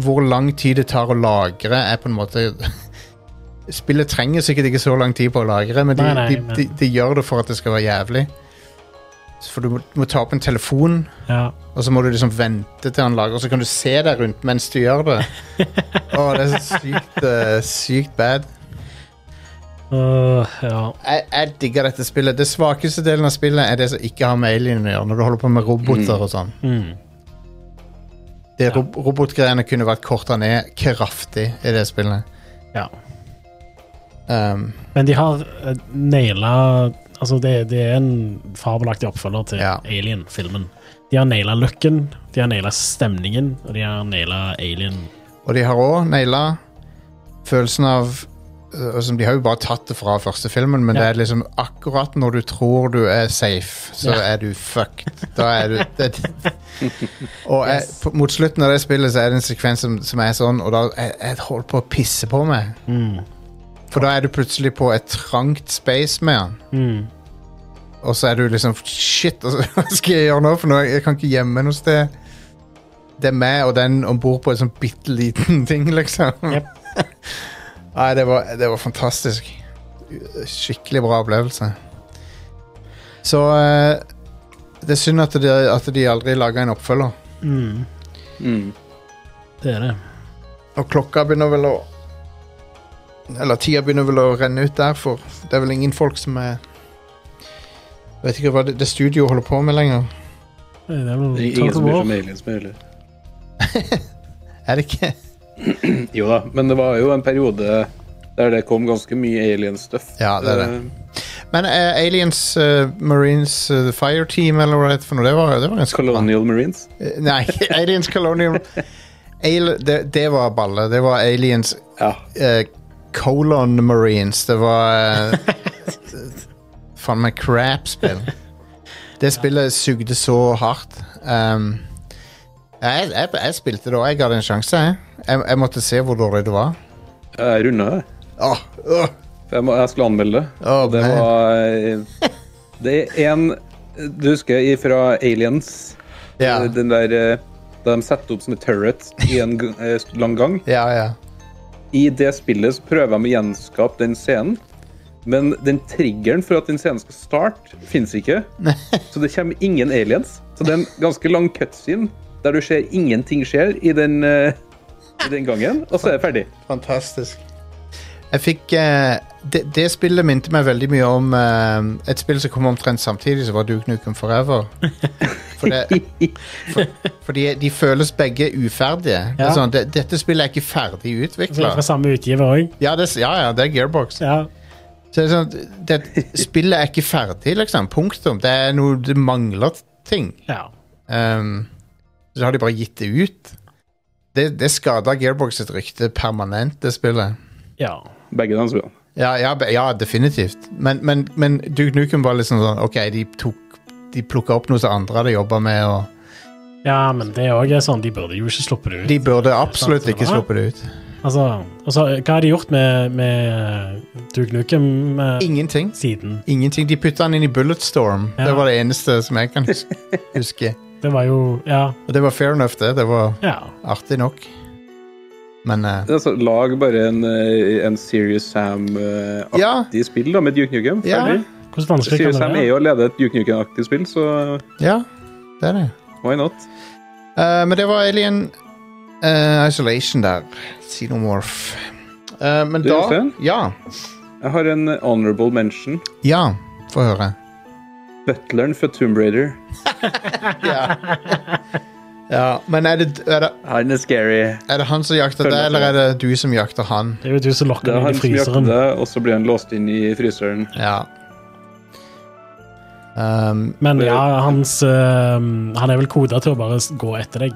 Speaker 2: hvor lang tid det tar å lagre, er på en måte Spillet trenger sikkert ikke så lang tid på å lagre, men de,
Speaker 3: Nei, nei,
Speaker 2: de,
Speaker 3: men-
Speaker 2: de, de gjør det for at det skal være jævlig. Så For du må, du må ta opp en telefon,
Speaker 3: Ja.
Speaker 2: og så må du liksom vente til han lager, og så kan du se deg rundt mens du gjør det. Å, det er så sykt, eh, sykt bad.
Speaker 3: Øh, ja.
Speaker 2: jeg, jeg digger dette spillet. Det svakeste delen av spillet er det som ikke har med alien å gjøre, når du holder på med roboter og sånn.
Speaker 3: Mm.
Speaker 2: Det rob Robotgreiene kunne vært korta ned kraftig i det spillet.
Speaker 3: ja.
Speaker 2: Um,
Speaker 3: Men de har eh, naila Altså, det, det er en fabelaktig oppfølger til
Speaker 2: Ja.
Speaker 3: Alien-filmen. De har naila looken, de har naila stemningen, og de har naila alien.
Speaker 2: og de har òg naila følelsen av øh, som De har jo bare tatt det fra første filmen, men
Speaker 3: Ja.
Speaker 2: det er liksom akkurat når du tror du er safe, så
Speaker 3: Ja.
Speaker 2: er du fucked. Da er du det, Og jeg, på, mot slutten av det spillet så er det en sekvens som, som er sånn, og da jeg, jeg holdt på å pisse på meg.
Speaker 3: Mm.
Speaker 2: For da er du plutselig på et trangt space med han.
Speaker 3: Mm.
Speaker 2: Og så er du liksom Shit, altså, hva skal jeg gjøre nå? For nå, jeg kan ikke gjemme noe sted. Det er meg og den om bord på en sånn bitte liten ting, liksom.
Speaker 3: Jep.
Speaker 2: Nei, det var, det var fantastisk. Skikkelig bra opplevelse. Så eh, det er synd at de, at de aldri laga en oppfølger.
Speaker 3: Mm.
Speaker 4: Mm.
Speaker 3: Det er det.
Speaker 2: Og klokka begynner vel å Eller tida begynner vel å renne ut der, for det er vel ingen folk som er Jeg vet ikke hva det, det studioet holder på med lenger.
Speaker 3: Det er vel
Speaker 4: Det er Ingen
Speaker 3: Total
Speaker 4: som bryr
Speaker 3: War.
Speaker 4: seg om aliens mer, eller?
Speaker 2: Er det ikke?
Speaker 4: Jo da, men det var jo en periode der det kom ganske mye alien-stuff.
Speaker 2: Ja, det er det.
Speaker 4: Eh,
Speaker 2: Men eh, Aliens eh, Marines eh, Fire Team, eller hva det heter for noe, det var, det var ganske bra.
Speaker 4: Colonial Marines.
Speaker 2: Eh, Nei, Aliens Colonial Ale, det, det var balle. Det var Aliens
Speaker 4: Ja.
Speaker 2: eh, Colon Marines. Det var eh, Faen meg crap-spill. Det spillet sugde så hardt. Um, jeg, jeg, jeg spilte det òg. Jeg ga det en sjanse. Jeg. Jeg, jeg måtte se hvor dårlig det var.
Speaker 4: Jeg runda det.
Speaker 2: Åh, åh.
Speaker 4: For jeg, må, jeg skulle anmelde det.
Speaker 2: Åh,
Speaker 4: Og det
Speaker 2: man.
Speaker 4: var eh, Det er en Du husker fra Aliens?
Speaker 2: Ja.
Speaker 4: Eh, Den der eh, da de setter opp som et turret i en g- eh, lang gang.
Speaker 2: ja, ja.
Speaker 4: I det spillet så prøver jeg å gjenskape den scenen, men den triggeren for at den scenen skal starte, fins ikke. Så det kommer ingen aliens. Så det er en ganske lang cutscene der du ser ingenting skjer i den, eh, i den gangen, og så er det ferdig.
Speaker 2: Fantastisk. Jeg fikk eh, det, det spillet minte meg veldig mye om eh, et spill som kom omtrent samtidig, som var Duke Nukem Forever. For, det, for, for de, de føles begge uferdige. Det
Speaker 3: Ja.
Speaker 2: er sånn, det, dette spillet er ikke ferdig
Speaker 3: Så det er fra
Speaker 2: utvikla.
Speaker 3: samme utgiver òg.
Speaker 2: Ja, det, ja, ja, det er Gearbox.
Speaker 3: Ja.
Speaker 2: Så det er sånn, det, spillet er ikke ferdig, liksom. Punktum. Det er noe Det mangler ting.
Speaker 3: ja.
Speaker 2: Ehm, så har de bare gitt det ut. Det, det skada Gearbox sitt rykte permanent, det spillet.
Speaker 3: ja.
Speaker 4: Begge de spillene.
Speaker 2: Ja, ja, be- ja definitivt. Men, men, men Duke Nukem var liksom sånn OK, de, tok- de plukka opp noe som andre hadde jobba med, og
Speaker 3: Ja, men det òg er sånn, de burde jo ikke sluppet det ut.
Speaker 2: de burde absolutt ikke sluppet det ut.
Speaker 3: Altså, altså, hva har de gjort med, med Duke Nukem eh,
Speaker 2: Ingenting.
Speaker 3: siden?
Speaker 2: Ingenting. De putta den inn i Bulletstorm.
Speaker 3: Ja.
Speaker 2: Det var det eneste som jeg kan hus- huske.
Speaker 3: Det var jo Ja.
Speaker 2: Og det var fair enough, det. Det var
Speaker 3: ja.
Speaker 2: artig nok. Men eh,
Speaker 4: Altså, lag bare en, eh, en Serious Sam-aktig
Speaker 2: Ja.
Speaker 4: spill da, med Duke Nukem.
Speaker 2: Ja.
Speaker 4: Ferdig.
Speaker 3: Hvordan vanskelig kan
Speaker 4: Serious Sam
Speaker 3: det
Speaker 4: er
Speaker 3: være?
Speaker 4: jo allerede et Duke Nukem-aktig spill, så
Speaker 2: ja, det er det.
Speaker 4: why not?
Speaker 2: Eh, men det var Alien eh, Isolation der. Xenomorph. Eh, men
Speaker 4: Du,
Speaker 2: da
Speaker 4: Jostein?
Speaker 2: Ja.
Speaker 4: Jeg har en honorable mention.
Speaker 2: Ja, få høre.
Speaker 4: Butleren fra Tomb Raider.
Speaker 2: Ja. ja. Men er det, er, det,
Speaker 4: Han er scary.
Speaker 2: er det han som jakter
Speaker 4: Følger
Speaker 2: deg, eller er det du som jakter han?
Speaker 3: Det er jo du som
Speaker 4: Det
Speaker 3: lokker
Speaker 4: er
Speaker 3: meg
Speaker 4: han
Speaker 3: inn i
Speaker 4: som jakter
Speaker 3: fryseren.
Speaker 4: deg, og så blir han låst inn i fryseren.
Speaker 2: Ja. Um,
Speaker 3: Men
Speaker 4: Det-
Speaker 3: ja, hans eh, Han er vel koda til å bare s- gå etter deg.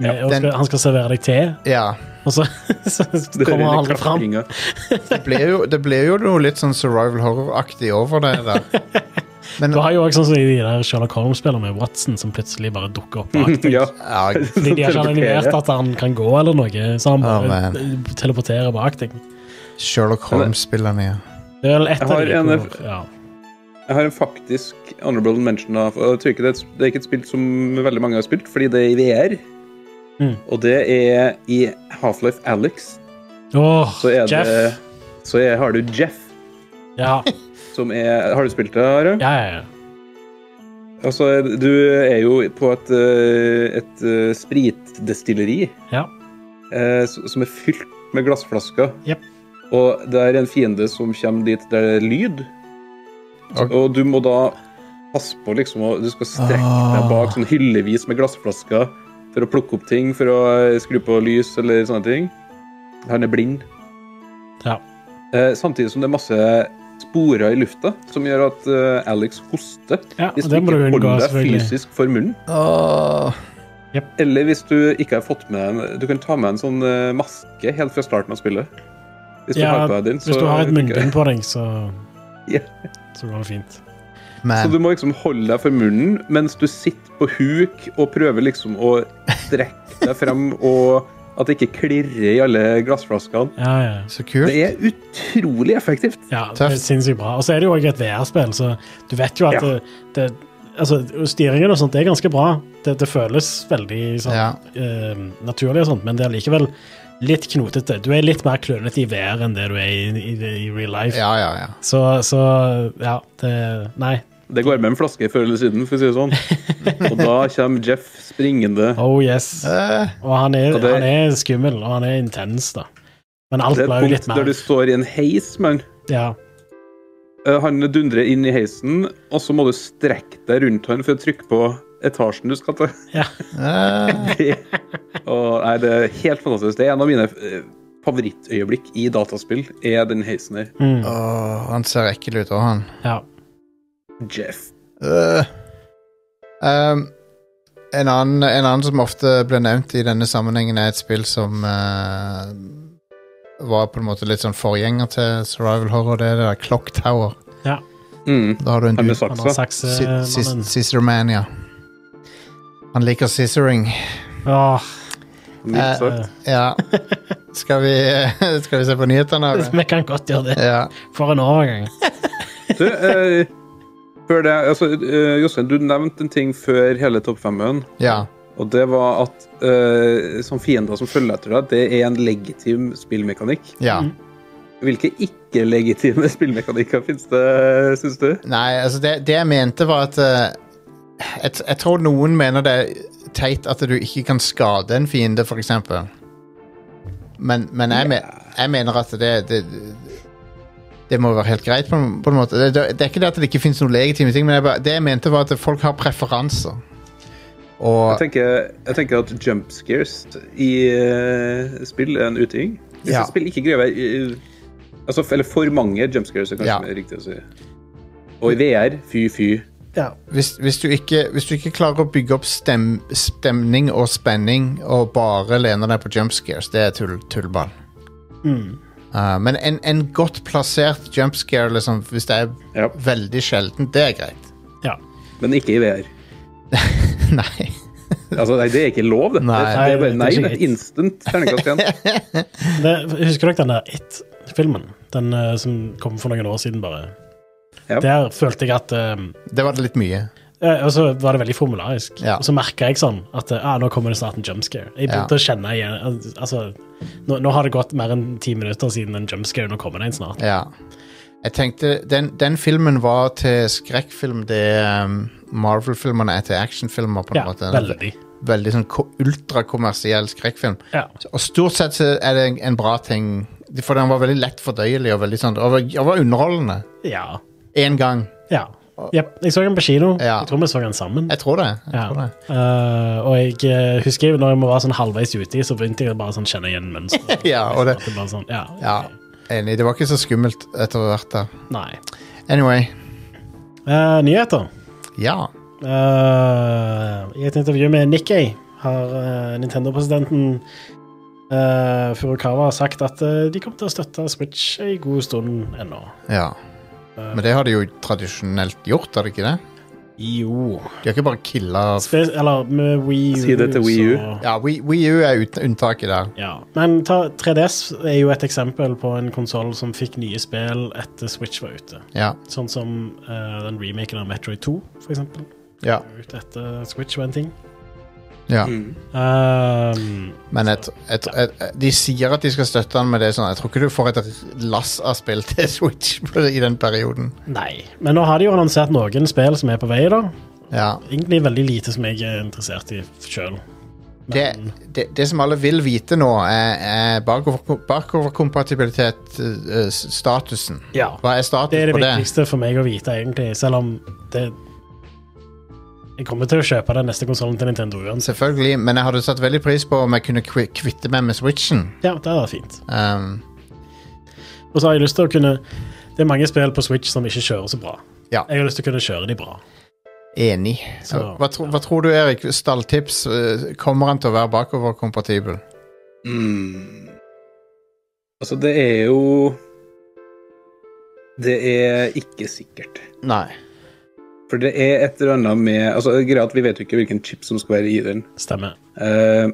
Speaker 4: Ja,
Speaker 3: Eh, og
Speaker 2: den-
Speaker 3: skal, han skal servere deg te,
Speaker 2: ja.
Speaker 3: og så, så
Speaker 4: Det
Speaker 3: kommer han
Speaker 4: er
Speaker 3: aldri fram.
Speaker 4: klakkinga.
Speaker 2: Det ble jo, det ble jo noe litt sånn survival horror-aktig over det der. Men
Speaker 3: Du har jo også sånn som i de der Sherlock Holmes-spillene med Watson, som plutselig bare dukker opp bak deg.
Speaker 4: Ja.
Speaker 2: ja,
Speaker 3: Fordi de har ikke animert at han kan gå eller noe, så han
Speaker 2: Å,
Speaker 3: bare
Speaker 2: man.
Speaker 3: eh, teleporterer bak deg.
Speaker 2: Sherlock Holmes-spillerne, ja.
Speaker 3: Det er vel ett
Speaker 4: Jeg
Speaker 3: av
Speaker 4: har
Speaker 3: de
Speaker 4: en-
Speaker 3: hvor- ja.
Speaker 4: Jeg har en faktisk honorable mention. Da. Og jeg tror ikke det, er et- det er ikke et spill som veldig mange har spilt, fordi det er i VR.
Speaker 3: Mm.
Speaker 4: Og det er i Half-Life Alex.
Speaker 3: Åh,
Speaker 4: Så er
Speaker 3: Jeff.
Speaker 4: det Så er, har du Jeff,
Speaker 3: Ja,
Speaker 4: som er Har du spilt det, Are?
Speaker 3: ja, ja, ja.
Speaker 4: Altså, du er jo på et, eh, et eh, spritdestilleri.
Speaker 3: ja.
Speaker 4: eh, s- som er fylt med glassflasker.
Speaker 3: Jep.
Speaker 4: Og det er en fiende som kommer dit der det er lyd.
Speaker 2: Ok.
Speaker 4: Og du må da passe på liksom å- Du skal strekke
Speaker 3: Ah.
Speaker 4: deg bak sånn hyllevis med glassflasker for å plukke opp ting, for å eh, skru på lys eller sånne ting. Han er blind.
Speaker 3: ja.
Speaker 4: Eh, samtidig som det er masse sporer i lufta som gjør at eh, Alex hoster
Speaker 3: Ja,
Speaker 4: hvis
Speaker 3: og
Speaker 4: du
Speaker 3: det må du
Speaker 4: ikke
Speaker 3: unngå,
Speaker 4: holder deg
Speaker 3: selvfølgelig.
Speaker 4: fysisk for munnen.
Speaker 2: Åh.
Speaker 4: Eller hvis du ikke har fått med en Du kan ta med en sånn eh, maske helt fra starten av spillet. Hvis du
Speaker 3: Ja,
Speaker 4: har på deg din,
Speaker 3: Hvis du har et munnbind på deg, så,
Speaker 4: Ja.
Speaker 3: så går det fint.
Speaker 4: Så du
Speaker 2: Man.
Speaker 4: må liksom holde deg for munnen mens du sitter på huk og prøver liksom å strekke deg frem og at det ikke klirrer i alle glassflaskene.
Speaker 3: Ja, ja.
Speaker 2: Så
Speaker 4: Det
Speaker 2: kult.
Speaker 4: er utrolig effektivt.
Speaker 3: ja det er
Speaker 2: Tøft.
Speaker 3: sinnssykt bra. Og så er det jo også et VR-spill, så du vet jo at
Speaker 4: Ja.
Speaker 3: det, det Altså, styringen og sånt er ganske bra. Det, det føles veldig sånn,
Speaker 2: Ja.
Speaker 3: eh, naturlig og sånt, men det er likevel litt knotete. Du er litt mer klønete i VR enn det du er i, i, i real life.
Speaker 2: Ja, ja, ja.
Speaker 3: Så, så ja, det Nei.
Speaker 4: Det går med en flaske før eller siden, for å si det sånn. Og da kommer Jeff springende.
Speaker 3: Oh yes.
Speaker 2: Eh,
Speaker 3: Og han er,
Speaker 4: Og det-
Speaker 3: han er skummel, og han er intens, da. Men alt
Speaker 4: Det er
Speaker 3: blir jo
Speaker 4: et
Speaker 3: litt
Speaker 4: punkt
Speaker 3: mer
Speaker 4: der du står i en heis, men
Speaker 3: ja.
Speaker 4: Eh, Han dundrer inn i heisen, og så må du strekke deg rundt han for å trykke på etasjen du skal til.
Speaker 2: eh,
Speaker 4: Og, nei, det er helt fantastisk. Det er en av mine eh, favorittøyeblikk i dataspill, er den heisen her.
Speaker 3: Mm,
Speaker 2: åh, han ser ekkel ut, og han.
Speaker 3: ja.
Speaker 4: Jeff.
Speaker 2: Øh. Ehm, en, annen, en annen som ofte ble nevnt i denne sammenhengen, er et spill som eh, var på en måte litt sånn forgjenger til survival horror. Det er det der Clock Tower.
Speaker 4: Mm.
Speaker 2: Da har du en
Speaker 4: Han
Speaker 2: dude
Speaker 4: med
Speaker 3: Han har
Speaker 4: saksa.
Speaker 2: Si- sis-
Speaker 3: saksemannen.
Speaker 2: Scissorman, ja. Han liker scissoring.
Speaker 3: Åh,
Speaker 4: mildt sagt.
Speaker 3: eh,
Speaker 2: Ja. Skal vi, skal vi se på nyhetene? eller?
Speaker 3: vi kan godt gjøre det.
Speaker 2: Ja.
Speaker 3: For en overgang.
Speaker 4: Du, eh, før det, altså, eh, Jostein, du nevnte en ting før hele topp fem-en.
Speaker 2: ja.
Speaker 4: Og det var at eh, som fiender som følger etter deg, det er en legitim spillmekanikk.
Speaker 2: Ja.
Speaker 4: Hvilke ikke-legitime spillmekanikker finnes det, syns du?
Speaker 2: Nei, altså det, det jeg mente var at eh, jeg, jeg tror noen mener det er teit at du ikke kan skade en fiende, for eksempel. Men, men jeg, me, jeg mener at det, det Det må være helt greit, på, en- på en måte. Det, det, det er ikke det at det ikke finnes noen legitime ting, men jeg, bare- det jeg mente, var at folk har preferanser.
Speaker 4: Jeg
Speaker 2: Og
Speaker 4: tenker, jeg tenker at jump scares i eh, spill er en uting. Hvis
Speaker 2: Ja.
Speaker 4: et spill ikke krever eh, altså, Eller for mange jump scares, er kanskje
Speaker 2: Ja.
Speaker 4: mer riktig å si. Og i VR, fy, fy.
Speaker 2: hvis, hvis, du ikke, hvis du ikke klarer å bygge opp stem, stemning og spenning og bare lener deg på jump scares, det er tull, tullball.
Speaker 3: Mm.
Speaker 2: Uh, men en, en godt plassert jump scare, liksom, hvis det er
Speaker 4: Ja.
Speaker 2: veldig sjelden, det er greit.
Speaker 3: Ja.
Speaker 4: Men ikke i VR.
Speaker 2: Nei.
Speaker 4: Altså, nei, det er ikke lov, det.
Speaker 2: Nei.
Speaker 4: det, det er bare, nei, det
Speaker 3: Nei, det er
Speaker 4: er instant terningkast igjen.
Speaker 3: Det, husker dere den der It-filmen? Den eh, som kom for noen år siden, bare.
Speaker 4: Ja.
Speaker 3: Der følte jeg at eh,
Speaker 2: Det var litt mye.
Speaker 3: eh, Og så var det veldig formularisk.
Speaker 2: Ja.
Speaker 3: Og så merka jeg sånn at eh, ah, nå kommer det snart en jumpscare. Jeg
Speaker 2: Ja.
Speaker 3: begynte å kjenne igjen al- Altså, nå, nå har det gått mer enn ti minutter siden en jumpscare. Nå kommer det en snart.
Speaker 2: Ja. Jeg tenkte, Den, den filmen var til skrekkfilm, det um, Marvel-filmene er til actionfilmer, på en
Speaker 3: Ja,
Speaker 2: måte.
Speaker 3: veldig.
Speaker 2: Veldig sånn ko- ultrakommersiell skrekkfilm.
Speaker 3: Ja.
Speaker 2: Og stort sett så er det en, en bra ting, for den var veldig lett fordøyelig og veldig sånn, og var, og var underholdende.
Speaker 3: ja.
Speaker 2: Én gang.
Speaker 3: ja. Jep, jeg så den på kino.
Speaker 2: Ja.
Speaker 3: Jeg tror vi så den sammen.
Speaker 2: Jeg tror det. Jeg
Speaker 3: Ja.
Speaker 2: tror det.
Speaker 3: Eh, og jeg eh, husker jo når jeg var sånn halvveis uti, så begynte jeg bare sånn kjenne igjen mønsteret.
Speaker 2: Ja, og det,
Speaker 3: At det bare sånn, ja,
Speaker 2: ja,
Speaker 3: ok.
Speaker 2: enig. Det var ikke så skummelt etter hvert. da.
Speaker 3: Nei.
Speaker 2: Anyway.
Speaker 3: Eh, nyheter.
Speaker 2: Ja.
Speaker 3: Eh, I et intervju med Nikkei har eh, Nintendo-presidenten eh, Furukawa sagt at eh, de kommer til å støtte Switch en god stund ennå. Eh,
Speaker 2: ja. Men det har de jo tradisjonelt gjort, har de ikke det? Altså-
Speaker 3: Jo
Speaker 2: De har ikke bare killa
Speaker 3: Spe Eller med Wii U.
Speaker 4: Si det til Wii U.
Speaker 3: så-
Speaker 2: Ja, Wii Wii U er ut, unntaket der.
Speaker 3: Ja, men ta, 3DS er jo et eksempel på en konsoll som fikk nye spill etter Switch var ute.
Speaker 2: Ja.
Speaker 3: Sånn som eh, den remaken av Metroid 2, for eksempel.
Speaker 2: ja,
Speaker 3: Ute etter Switch var en ting.
Speaker 2: ja.
Speaker 4: Mm.
Speaker 3: Ehm,
Speaker 2: Men jeg tr- jeg tr- jeg- jeg- de sier at de skal støtte han med det sånn. Jeg tror ikke du får et lass av spill til Switch i den perioden.
Speaker 3: nei. Men nå har de jo annonsert noen spill som er på vei, da.
Speaker 2: Ja.
Speaker 3: Egentlig veldig lite som jeg er interessert i sjøl.
Speaker 2: det, det, det som alle vil vite nå, er, er bakover- bakoverkompatibilitet-statusen.
Speaker 3: Ja.
Speaker 2: Hva er status
Speaker 3: Det er det
Speaker 2: på det?
Speaker 3: viktigste for meg å vite, egentlig. Selv om det Jeg kommer til å kjøpe den neste konsollen til Nintendo uansett.
Speaker 2: Selvfølgelig, men jeg hadde satt veldig pris på om jeg kunne kvi- kvitte meg med Switchen.
Speaker 3: Ja, det er fint.
Speaker 2: Um,
Speaker 3: Og så har jeg lyst til å kunne Det er mange spill på Switch som ikke kjører så bra.
Speaker 2: Ja.
Speaker 3: Jeg har lyst til å kunne kjøre de bra.
Speaker 2: enig.
Speaker 3: Så-
Speaker 2: hva, tro, hva tror du, Erik? Stalltips? eh, Kommer han til å være bakoverkompatibel?
Speaker 4: Mm. Altså, det er jo Det er ikke sikkert.
Speaker 2: Nei.
Speaker 4: For det er et eller annet med altså, greia at Vi vet jo ikke hvilken chip som skal være i den.
Speaker 3: Stemmer.
Speaker 4: Eh,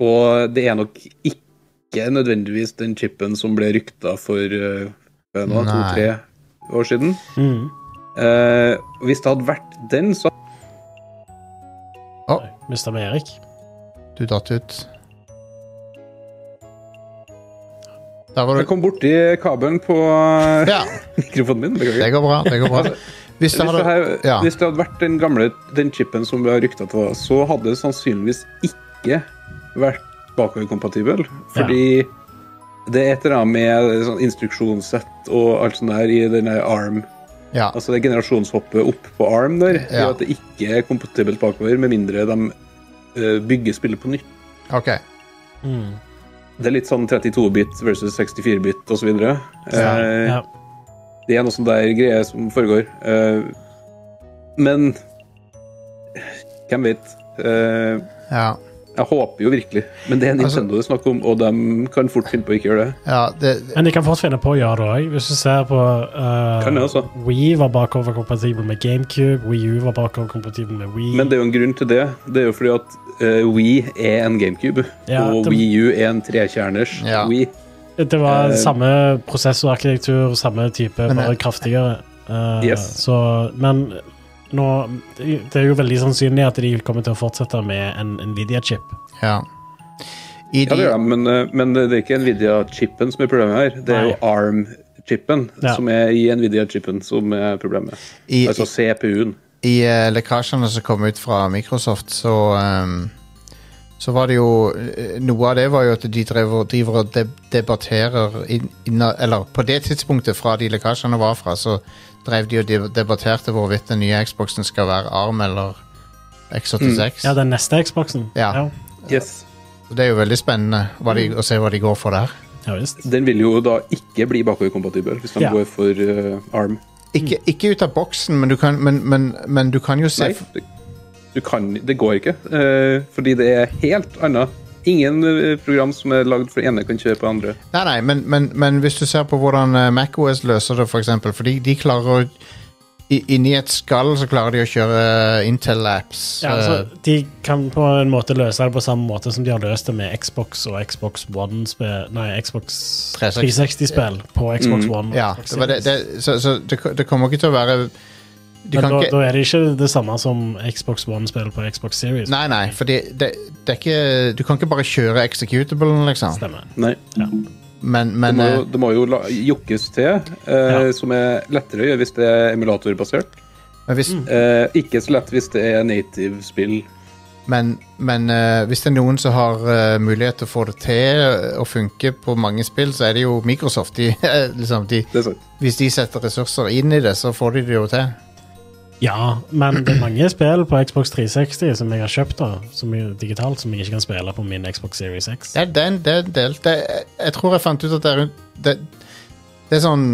Speaker 4: og det er nok ikke nødvendigvis den chipen som ble rykta for eh, hva er det nå,
Speaker 2: Nei.
Speaker 4: to-tre år siden.
Speaker 3: Mm.
Speaker 4: Eh, hvis det hadde vært den, så
Speaker 3: Mista vi Erik?
Speaker 2: Du datt ut. Der var
Speaker 4: Jeg
Speaker 2: du
Speaker 4: kom borti kabelen på eh,
Speaker 2: Ja,
Speaker 4: mikrofonen min. Beklager.
Speaker 2: det går bra. Det går bra. Hvis det
Speaker 4: Hvis det,
Speaker 2: hadde
Speaker 4: her,
Speaker 2: ja.
Speaker 4: hvis det hadde vært den gamle den chipen som vi har rykta til, så hadde det sannsynligvis ikke vært bakoverkompatibel. Fordi det er et eller annet med sånn instruksjonssett og alt sånt der i den der arm.
Speaker 2: Ja.
Speaker 4: Altså det generasjonshoppet opp på arm der,
Speaker 2: Ja.
Speaker 4: gjør at det ikke er kompatibelt bakover, med mindre de eh, bygger spillet på nytt.
Speaker 2: OK.
Speaker 3: Mm.
Speaker 4: Det er litt sånn 32-bit versus 64-bit osv. Eh.
Speaker 3: Ja.
Speaker 4: Det er noe sånn der greie som foregår. Eh, men hvem vet? Eh,
Speaker 2: Ja.
Speaker 4: jeg håper jo virkelig, men det er
Speaker 2: Altså-
Speaker 4: Nintendo det er snakk om, og de kan fort finne på å ikke gjøre det.
Speaker 2: ja det,
Speaker 3: Men de kan fort finne på å gjøre det òg. Hvis du ser på eh,
Speaker 4: Kan det også.
Speaker 3: Wii var bakoverkompatibel med GameCube, Wii U var bakoverkompatibel med Wii.
Speaker 4: Men det er jo en grunn til det. Det er jo fordi at eh, Wii er en GameCube,
Speaker 3: Ja,
Speaker 4: og
Speaker 3: det-
Speaker 4: Wii U er en trekjerners
Speaker 2: Ja.
Speaker 4: Wii.
Speaker 3: det var
Speaker 4: eh,
Speaker 3: samme prosessorarkitektur, samme type,
Speaker 2: Men eh,
Speaker 3: bare
Speaker 2: jeg-
Speaker 3: kraftigere. Eh,
Speaker 4: Yes.
Speaker 3: Så, men nå, det er jo veldig sannsynlig at de kommer til å fortsette med en Nvidia-chip.
Speaker 2: Ja. I
Speaker 4: Ja,
Speaker 2: de,
Speaker 4: det gjør de, men, eh, men det er ikke Nvidia-chipen som er problemet her. Det er jo ARM-chipen
Speaker 3: Ja.
Speaker 4: som er i Nvidia-chipen som er problemet.
Speaker 2: I-
Speaker 4: altså CPU-en.
Speaker 2: i eh, lekkasjene som kom ut fra Microsoft, så ehm, så var det jo eh, Noe av det var jo at de driver, driver og deb- debatterer inn, inna- Eller på det tidspunktet fra de lekkasjene var fra, så drev de og deb- debatterte hvorvidt den nye Xboxen skal være ARM eller X86.
Speaker 3: Mm. Ja, den neste Xboxen.
Speaker 2: Ja.
Speaker 4: Yes.
Speaker 2: Så det er jo veldig spennende hva de, å se hva de går for der.
Speaker 3: ja. ja visst.
Speaker 4: Den vil jo da ikke bli bakoverkompatibel hvis de
Speaker 3: Ja.
Speaker 4: går for eh, ARM.
Speaker 2: Ikke, ikke ut av boksen, men du kan, men, men, men du kan jo se
Speaker 4: Nei, det, du kan, det går ikke. eh, fordi det er helt annet. Ingen eh, program som er lagd for det ene, kan kjøre på det andre.
Speaker 2: Nei, nei, men, men, men hvis du ser på hvordan eh, macOS løser det, for eksempel, for de, de klarer å i- Inni et skall så klarer de å kjøre eh, Intel-apps.
Speaker 3: Ja, altså, de kan på en måte løse det på samme måte som de har løst det med Xbox og Xbox One-spill Nei, Xbox
Speaker 2: 360.
Speaker 3: 360-spill på Xbox
Speaker 2: eh,
Speaker 3: One. og
Speaker 2: ja,
Speaker 3: Xbox
Speaker 2: det var det,
Speaker 3: Series.
Speaker 2: det, så, så det, det kommer ikke til å være de
Speaker 3: Men
Speaker 2: kan
Speaker 3: da,
Speaker 2: ikke,
Speaker 3: da er det ikke det samme som Xbox One-spill på Xbox Series.
Speaker 2: Nei, nei, for det, det, det er ikke Du kan ikke bare kjøre executable, liksom.
Speaker 3: Stemmer.
Speaker 4: Nei.
Speaker 2: Men,
Speaker 4: Det
Speaker 2: men
Speaker 4: må jo,
Speaker 2: eh,
Speaker 4: det må jo la- jokkes til, eh,
Speaker 3: Ja.
Speaker 4: som er lettere å gjøre hvis det er emulatorbasert.
Speaker 2: men hvis,
Speaker 3: Mm.
Speaker 4: Eh, ikke så lett hvis det er native-spill.
Speaker 2: Men, men eh, hvis det er noen som har eh, mulighet til å få det til eh, å funke på mange spill, så er det jo Microsoft. De, eh, liksom, de,
Speaker 4: Det er sant.
Speaker 2: hvis de setter ressurser inn i det, så får de det jo til.
Speaker 3: Ja, men det er mange spill på Xbox 360 som jeg har kjøpt da, som er digitalt, som jeg ikke kan spille på min Xbox Series X.
Speaker 2: Det er den, det er en del. Det, er- jeg tror jeg fant ut at det er rundt det, det er sånn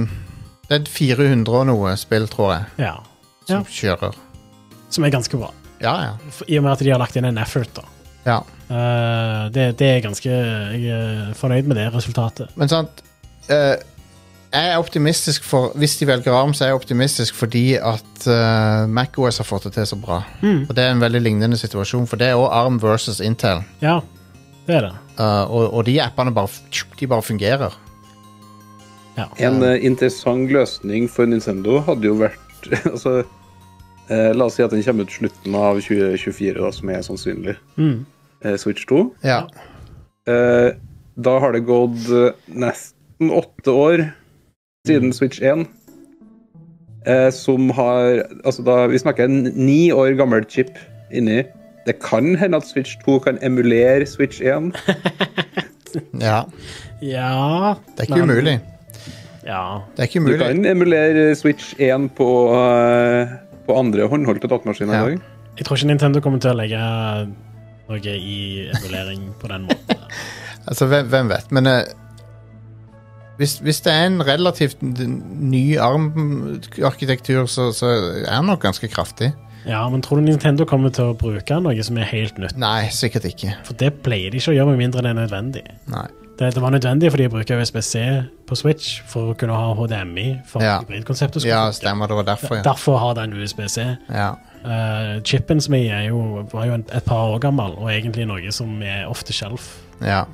Speaker 2: Det er 400 og noe spill, tror jeg,
Speaker 3: Ja.
Speaker 2: som
Speaker 3: Ja.
Speaker 2: kjører.
Speaker 3: Som er ganske bra.
Speaker 2: Ja, ja.
Speaker 3: F- I og med at de har lagt inn en effort, da.
Speaker 2: ja.
Speaker 3: Eh, det, det er ganske Jeg er fornøyd med det resultatet.
Speaker 2: Men sant eh, Jeg er optimistisk for Hvis de velger ARM, så er jeg optimistisk fordi at eh, MacOS har fått det til så bra. Og det er en veldig lignende situasjon, for det er òg ARM versus Intel.
Speaker 3: Ja, det er det.
Speaker 2: Eh, og, og de appene bare, f- de bare fungerer.
Speaker 3: Ja.
Speaker 4: En eh, interessant løsning for Nintendo hadde jo vært altså, eh, La oss si at den kommer ut slutten av 2024, da, som er sannsynlig. Eh, Switch 2.
Speaker 2: Ja.
Speaker 4: Eh, da har det gått eh, nesten åtte år siden Switch 1. Eh, som har Altså, da, vi snakker en ni år gammel chip inni. Det kan hende at Switch 2 kan emulere Switch 1.
Speaker 2: ja.
Speaker 3: ja
Speaker 2: Det er ikke umulig.
Speaker 3: Ja.
Speaker 2: Det er ikke
Speaker 4: Du
Speaker 2: umulig.
Speaker 4: kan emulere Switch 1 på, eh, på andre håndholdte datamaskiner
Speaker 2: Ja.
Speaker 4: i dag.
Speaker 3: Jeg tror ikke Nintendo kommer til å legge noe i emulering på den måten.
Speaker 2: Altså, hvem, hvem vet? Men eh, hvis, hvis det er en relativt n- ny ARM-arkitektur, så, så er den nok ganske kraftig.
Speaker 3: Ja, men tror du Nintendo kommer til å bruke noe som er helt nytt?
Speaker 2: Nei, sikkert ikke.
Speaker 3: For det pleier de ikke å gjøre med mindre det er nødvendig.
Speaker 2: Nei.
Speaker 3: Det, det var nødvendig fordi de bruker USBC på Switch for å kunne ha HDMI for
Speaker 2: Ja.
Speaker 3: hybridkonseptet. skulle
Speaker 2: Ja,
Speaker 3: funke.
Speaker 2: stemmer. Det var derfor, ja.
Speaker 3: Derfor har den USBC.
Speaker 2: ja.
Speaker 3: Eh, chipen som jeg er jo, var jo en, et par år gammel, og egentlig noe som er ofte shelf.
Speaker 2: ja.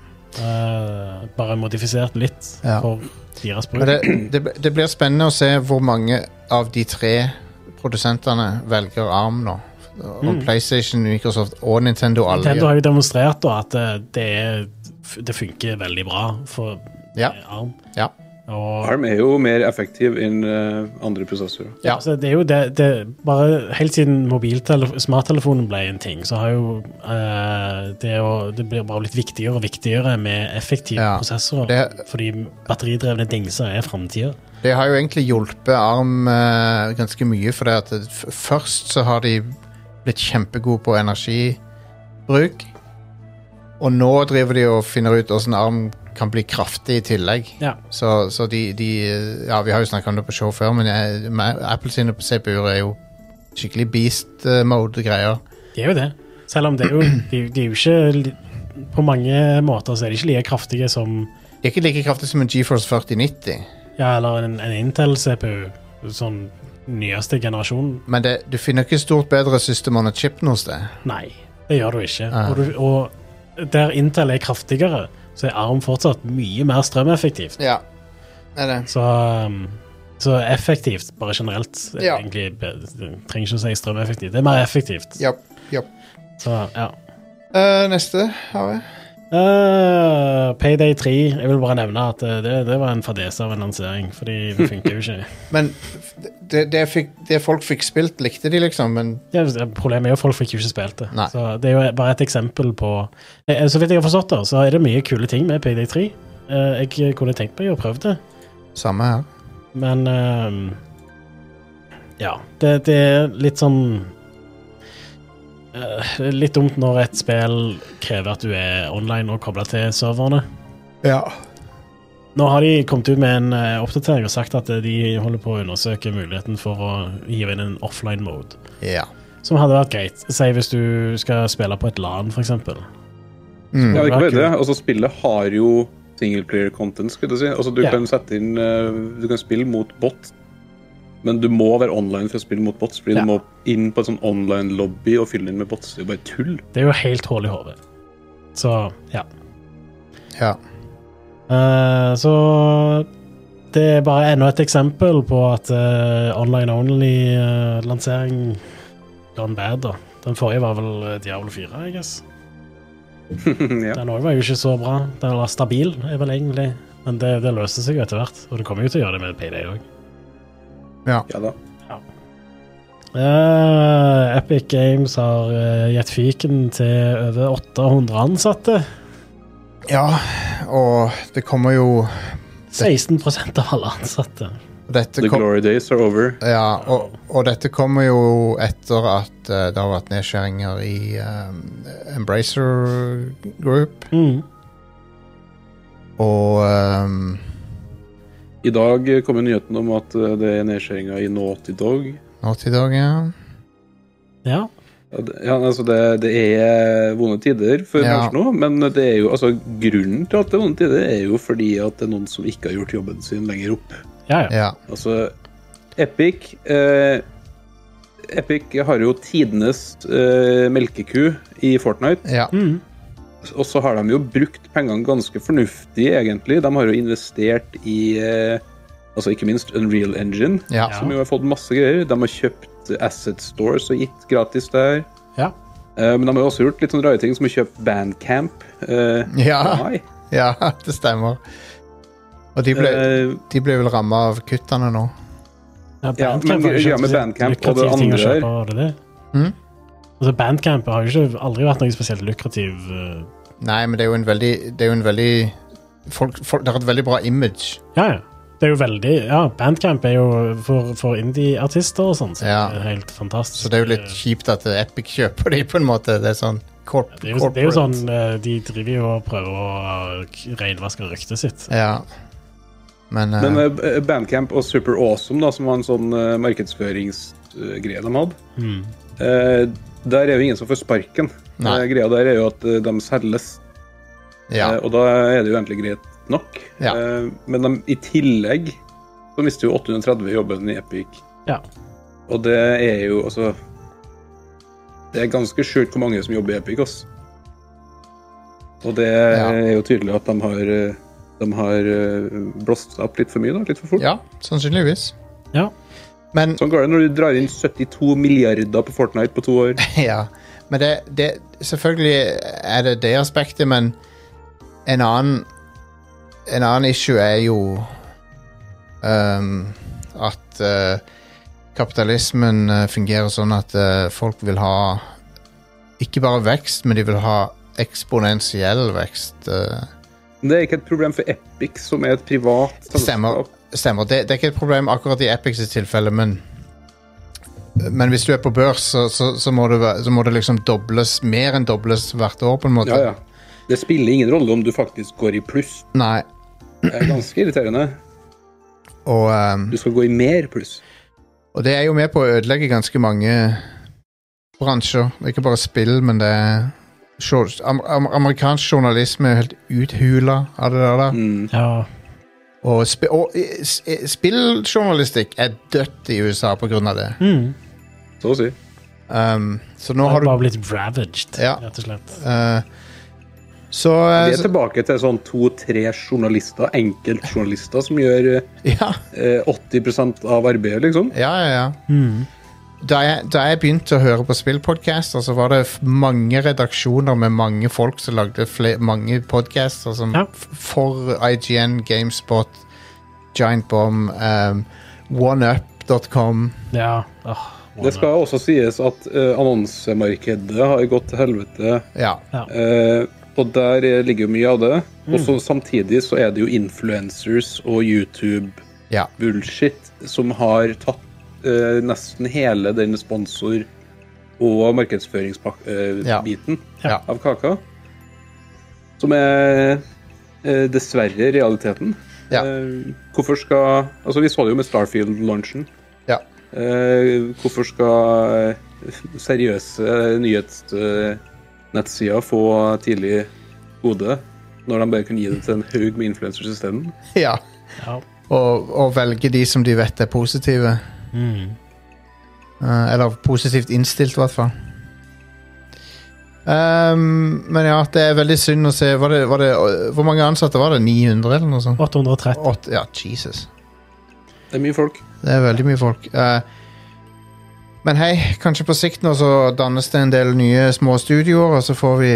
Speaker 3: Eh, bare modifisert litt
Speaker 2: Ja.
Speaker 3: for deres bruk.
Speaker 2: Men det, det, det blir spennende å se hvor mange av de tre produsentene velger ARM nå. Om PlayStation, Microsoft og Mm. Nintendo alle
Speaker 3: Nintendo
Speaker 2: gjør
Speaker 3: har jo demonstrert da, at eh, det, er, det funker veldig bra for
Speaker 2: Ja.
Speaker 3: eh, ARM.
Speaker 2: Ja.
Speaker 3: Og,
Speaker 4: ARM er jo mer effektiv enn eh, andre prosessorer.
Speaker 2: Ja.
Speaker 3: altså, det er jo det, det Bare helt siden mobiltelef- smarttelefonen ble en ting, så har jo eh, det, å, det blir bare blitt viktigere og viktigere med effektive
Speaker 2: Ja.
Speaker 3: prosessorer.
Speaker 2: Det-
Speaker 3: fordi batteridrevne dingser er framtida.
Speaker 2: Det har jo egentlig hjulpet ARM eh, ganske mye, for det at det- f- først så har de blitt kjempegode på energibruk, og nå driver de og finner ut hvordan ARM kan bli kraftig i tillegg.
Speaker 3: Ja.
Speaker 2: Så, så de, de eh, Ja, vi har jo snakket om det på show før, men jeg, med Apple sine CPU-er er jo skikkelig beast eh, mode-greier.
Speaker 3: De er jo det. Selv om det er jo, de, de er jo ikke li- På mange måter så er de ikke like kraftige som
Speaker 2: De er ikke like kraftige som en GeForce 4090,
Speaker 3: Ja, eller en, en Intel-CPU. Sånn nyeste generasjon.
Speaker 2: men det, du finner ikke stort bedre system on a chip noe sted.
Speaker 3: Nei, det gjør du ikke. Og, du, og der Intel er kraftigere, så er ARM fortsatt mye mer strømeffektivt.
Speaker 2: Ja, det er det.
Speaker 3: Så um, Så effektivt, bare generelt, er
Speaker 2: Ja.
Speaker 3: egentlig be- trenger ikke å si strømeffektivt. Det er mer effektivt.
Speaker 2: Japp, japp.
Speaker 3: Så, ja.
Speaker 2: Eh, neste har jeg.
Speaker 3: Eh, Payday 3. Jeg vil bare nevne at eh, det, det var en fadese av en lansering, fordi det funker jo ikke.
Speaker 2: Men f- det, det, fikk, det folk fikk spilt, likte de, liksom, men
Speaker 3: Ja, problemet er jo at folk fikk jo ikke spilt det.
Speaker 2: Nei.
Speaker 3: Så Det er jo bare et eksempel på Eh, Så vidt jeg har forstått det, så er det mye kule ting med PD3. Eh, Jeg kunne tenkt meg å prøve det,
Speaker 2: samme her.
Speaker 3: men eh, Ja. Det, det er litt sånn eh, Litt dumt når et spill krever at du er online og kobla til serverne.
Speaker 2: Ja.
Speaker 3: Nå har de kommet ut med en eh, oppdatering og sagt at eh, de holder på å undersøke muligheten for å hive inn en offline mode.
Speaker 2: Ja.
Speaker 3: Som hadde vært greit. Si hvis du skal spille på et LAN, for eksempel.
Speaker 2: Mm.
Speaker 4: Ja,
Speaker 3: det
Speaker 4: ikke
Speaker 3: er
Speaker 4: bare det.
Speaker 3: kult.
Speaker 4: Altså, spillet har jo singleplayer content, skulle jeg si. Altså, du
Speaker 3: Ja.
Speaker 4: kan sette inn eh, Du kan spille mot bot, men du må være online for å spille mot bots, fordi
Speaker 3: Ja.
Speaker 4: du må inn på en sånn online lobby og fylle inn med bots. Det er jo bare tull.
Speaker 3: Det er jo helt hull i hodet. Så ja.
Speaker 2: ja.
Speaker 3: Eh, så det er bare enda et eksempel på at eh, online only-lansering gone bad, da. Den forrige var vel eh, Diablo 4, I guess.
Speaker 4: ja.
Speaker 3: Den òg var jo ikke så bra. Den var stabil, er vel egentlig. Men det, det løste seg jo etter hvert, og det kommer jo til å gjøre det med Payday òg.
Speaker 4: ja da.
Speaker 3: Eh, Epic Games har eh, gitt fyken til over 800 ansatte.
Speaker 2: ja. Og det kommer jo
Speaker 3: 16 av alle ansatte.
Speaker 2: Dette
Speaker 4: The
Speaker 2: kom,
Speaker 4: glory days are over.
Speaker 2: Ja, og, og dette kommer jo etter at eh, det har vært nedskjæringer i eh, Embracer Group.
Speaker 3: Mm.
Speaker 2: Og ehm,
Speaker 4: I dag kom jo nyheten om at eh, det er nedskjæringer i Naughty Dog.
Speaker 2: Naughty Dog, ja.
Speaker 3: Ja.
Speaker 4: Ja, det- Ja, altså det, det er vonde tider for
Speaker 2: Ja.
Speaker 4: bransjen nå, men det er jo, altså, grunnen til at det er vonde tider, er jo fordi at det er noen som ikke har gjort jobben sin lenger opp.
Speaker 3: Ja, ja.
Speaker 2: ja.
Speaker 4: Altså, Epic eh, Epic har jo tidenes eh, melkeku i Fortnite,
Speaker 2: Ja.
Speaker 3: Mm.
Speaker 4: og så har de jo brukt pengene ganske fornuftig, egentlig. De har jo investert i eh, altså ikke minst Unreal Engine,
Speaker 2: ja.
Speaker 3: Ja.
Speaker 4: som jo har fått masse greier. De har kjøpt Asset Stores og gitt gratis der.
Speaker 3: ja.
Speaker 4: Eh, Men de har jo også gjort litt sånne rare ting, som å kjøpe Bandcamp. eh,
Speaker 2: Ja.
Speaker 4: Nei.
Speaker 2: ja, det stemmer. Og de ble,
Speaker 4: Eh,
Speaker 2: de ble vel ramma av kuttene nå.
Speaker 4: Ja,
Speaker 3: Bandcamp
Speaker 4: men
Speaker 3: har jo
Speaker 4: greia
Speaker 3: ikke
Speaker 4: med
Speaker 3: spesielt
Speaker 4: Bandcamp og det
Speaker 3: lukrativ ting å
Speaker 4: andre
Speaker 3: kjøpe, var det det?
Speaker 2: Mm.
Speaker 3: Altså, Bandcamp har jo ikke, aldri vært noe spesielt lukrativ eh,
Speaker 2: Nei, men det er jo en veldig, det er jo en veldig folk, folk, Det har et veldig bra image.
Speaker 3: Ja, ja. Det er jo veldig Ja, Bandcamp er jo for, for indie-artister og sånn, så
Speaker 2: Ja.
Speaker 3: det er helt fantastisk. Eh,
Speaker 2: Så det er jo litt kjipt at Epic kjøper de på en måte. Det er sånn corp
Speaker 3: Det er jo, det er jo sånn
Speaker 2: corporate.
Speaker 3: eh, De driver jo og prøver å k- renvaske ryktet sitt.
Speaker 2: Ja. Men, eh,
Speaker 4: men eh, Bandcamp og Super Awesome, da, som var en sånn eh, markedsføringsgreie de hadde,
Speaker 3: Mm.
Speaker 4: eh, der er jo ingen som får sparken.
Speaker 2: Nei.
Speaker 4: Eh, Greia der er jo at eh, de selges,
Speaker 2: ja.
Speaker 4: eh, og da er det jo egentlig greit nok.
Speaker 2: Ja.
Speaker 4: Eh, Men de, i tillegg så mister jo 830 jobben i Epic,
Speaker 3: Ja.
Speaker 4: og det er jo altså Det er ganske sjukt hvor mange som jobber i Epic, ass. Og det er jo tydelig at de har eh, de har eh, blåst seg opp litt for mye, da. Litt for fort.
Speaker 2: ja, sannsynligvis.
Speaker 3: Ja.
Speaker 2: Men
Speaker 4: Sånn går det når du drar inn 72 milliarder på Fortnite på to år.
Speaker 2: Ja, men det, det Selvfølgelig er det det aspektet, men en annen En annen issue er jo ehm, at eh, kapitalismen eh, fungerer sånn at eh, folk vil ha ikke bare vekst, men de vil ha eksponentiell vekst. eh.
Speaker 4: Men Det er ikke et problem for Epic, som er et privat
Speaker 2: Stemmer. Stemmer. Det, det er ikke et problem akkurat i Epic sitt tilfelle, men men hvis du er på børs, så, så, så, må, det, væ- så må det liksom dobles, mer enn dobles hvert år, på en måte.
Speaker 4: Ja, ja. Det spiller ingen rolle om du faktisk går i pluss.
Speaker 2: Nei,
Speaker 4: Det er ganske irriterende.
Speaker 2: og, ehm,
Speaker 4: Du skal gå i mer pluss.
Speaker 2: og det er jo med på å ødelegge ganske mange bransjer. Ikke bare spill, men det er jour- am, am, Amerikansk journalisme er helt uthula av det der. da.
Speaker 4: Mm.
Speaker 3: ja.
Speaker 2: Og, spi, og eh, s- eh, spilljournalistikk er dødt i USA på grunn av det.
Speaker 3: Mm.
Speaker 4: Så å si.
Speaker 2: Ehm, så nå
Speaker 3: Jeg
Speaker 2: har
Speaker 3: har
Speaker 2: du
Speaker 3: bare blitt ravaged,
Speaker 2: Ja.
Speaker 3: rett og slett.
Speaker 2: Eh, Så,
Speaker 4: Vi
Speaker 2: eh,
Speaker 4: er tilbake til sånn to-tre journalister, enkeltjournalister, som gjør eh,
Speaker 2: så ja.
Speaker 4: eh, 80 av arbeidet, liksom.
Speaker 2: Ja, ja, ja. Da, jeg, da jeg begynte å høre på spillpodcaster, så var det f- mange redaksjoner med mange folk som lagde fle mange podcaster som
Speaker 3: Ja.
Speaker 2: f- for IGN, Gamespot, Giant Bomb, um, OneUp.com
Speaker 3: Ja. åh,
Speaker 4: Det skal også sies at eh, annonsemarkedet har gått til helvete.
Speaker 2: Ja.
Speaker 3: ja.
Speaker 4: Eh, og der eh, ligger jo mye av det.
Speaker 2: Mm.
Speaker 4: Og så samtidig så er det jo influencers og YouTube-bullshit
Speaker 2: ja.
Speaker 4: som har tatt eh, nesten hele den sponsor- og markedsføringsbiten
Speaker 2: Ja. Ja.
Speaker 4: av kaka. Som er eh, dessverre realiteten.
Speaker 2: Ja.
Speaker 4: Eh, hvorfor skal Altså, vi så det jo med Starfield-launchen.
Speaker 2: ja.
Speaker 4: Eh, hvorfor skal eh, seriøse nyhetsnettsider få tidlig gode, når de bare kan gi det til en haug med influencers isteden?
Speaker 2: ja.
Speaker 3: ja.
Speaker 2: Og, og velge de som de vet er positive.
Speaker 3: Mm.
Speaker 2: Eh, eller positivt innstilt, i hvert fall. Ehm, men ja, det er veldig synd å se. Var det, var det, eh, hvor mange ansatte var det? 900, eller noe sånt?
Speaker 3: 830.
Speaker 2: Åtte, ja, Jesus.
Speaker 4: Det er mye folk.
Speaker 2: Det er veldig mye folk. Eh, men hei, kanskje på sikt nå så dannes det en del nye små studioer, og så får vi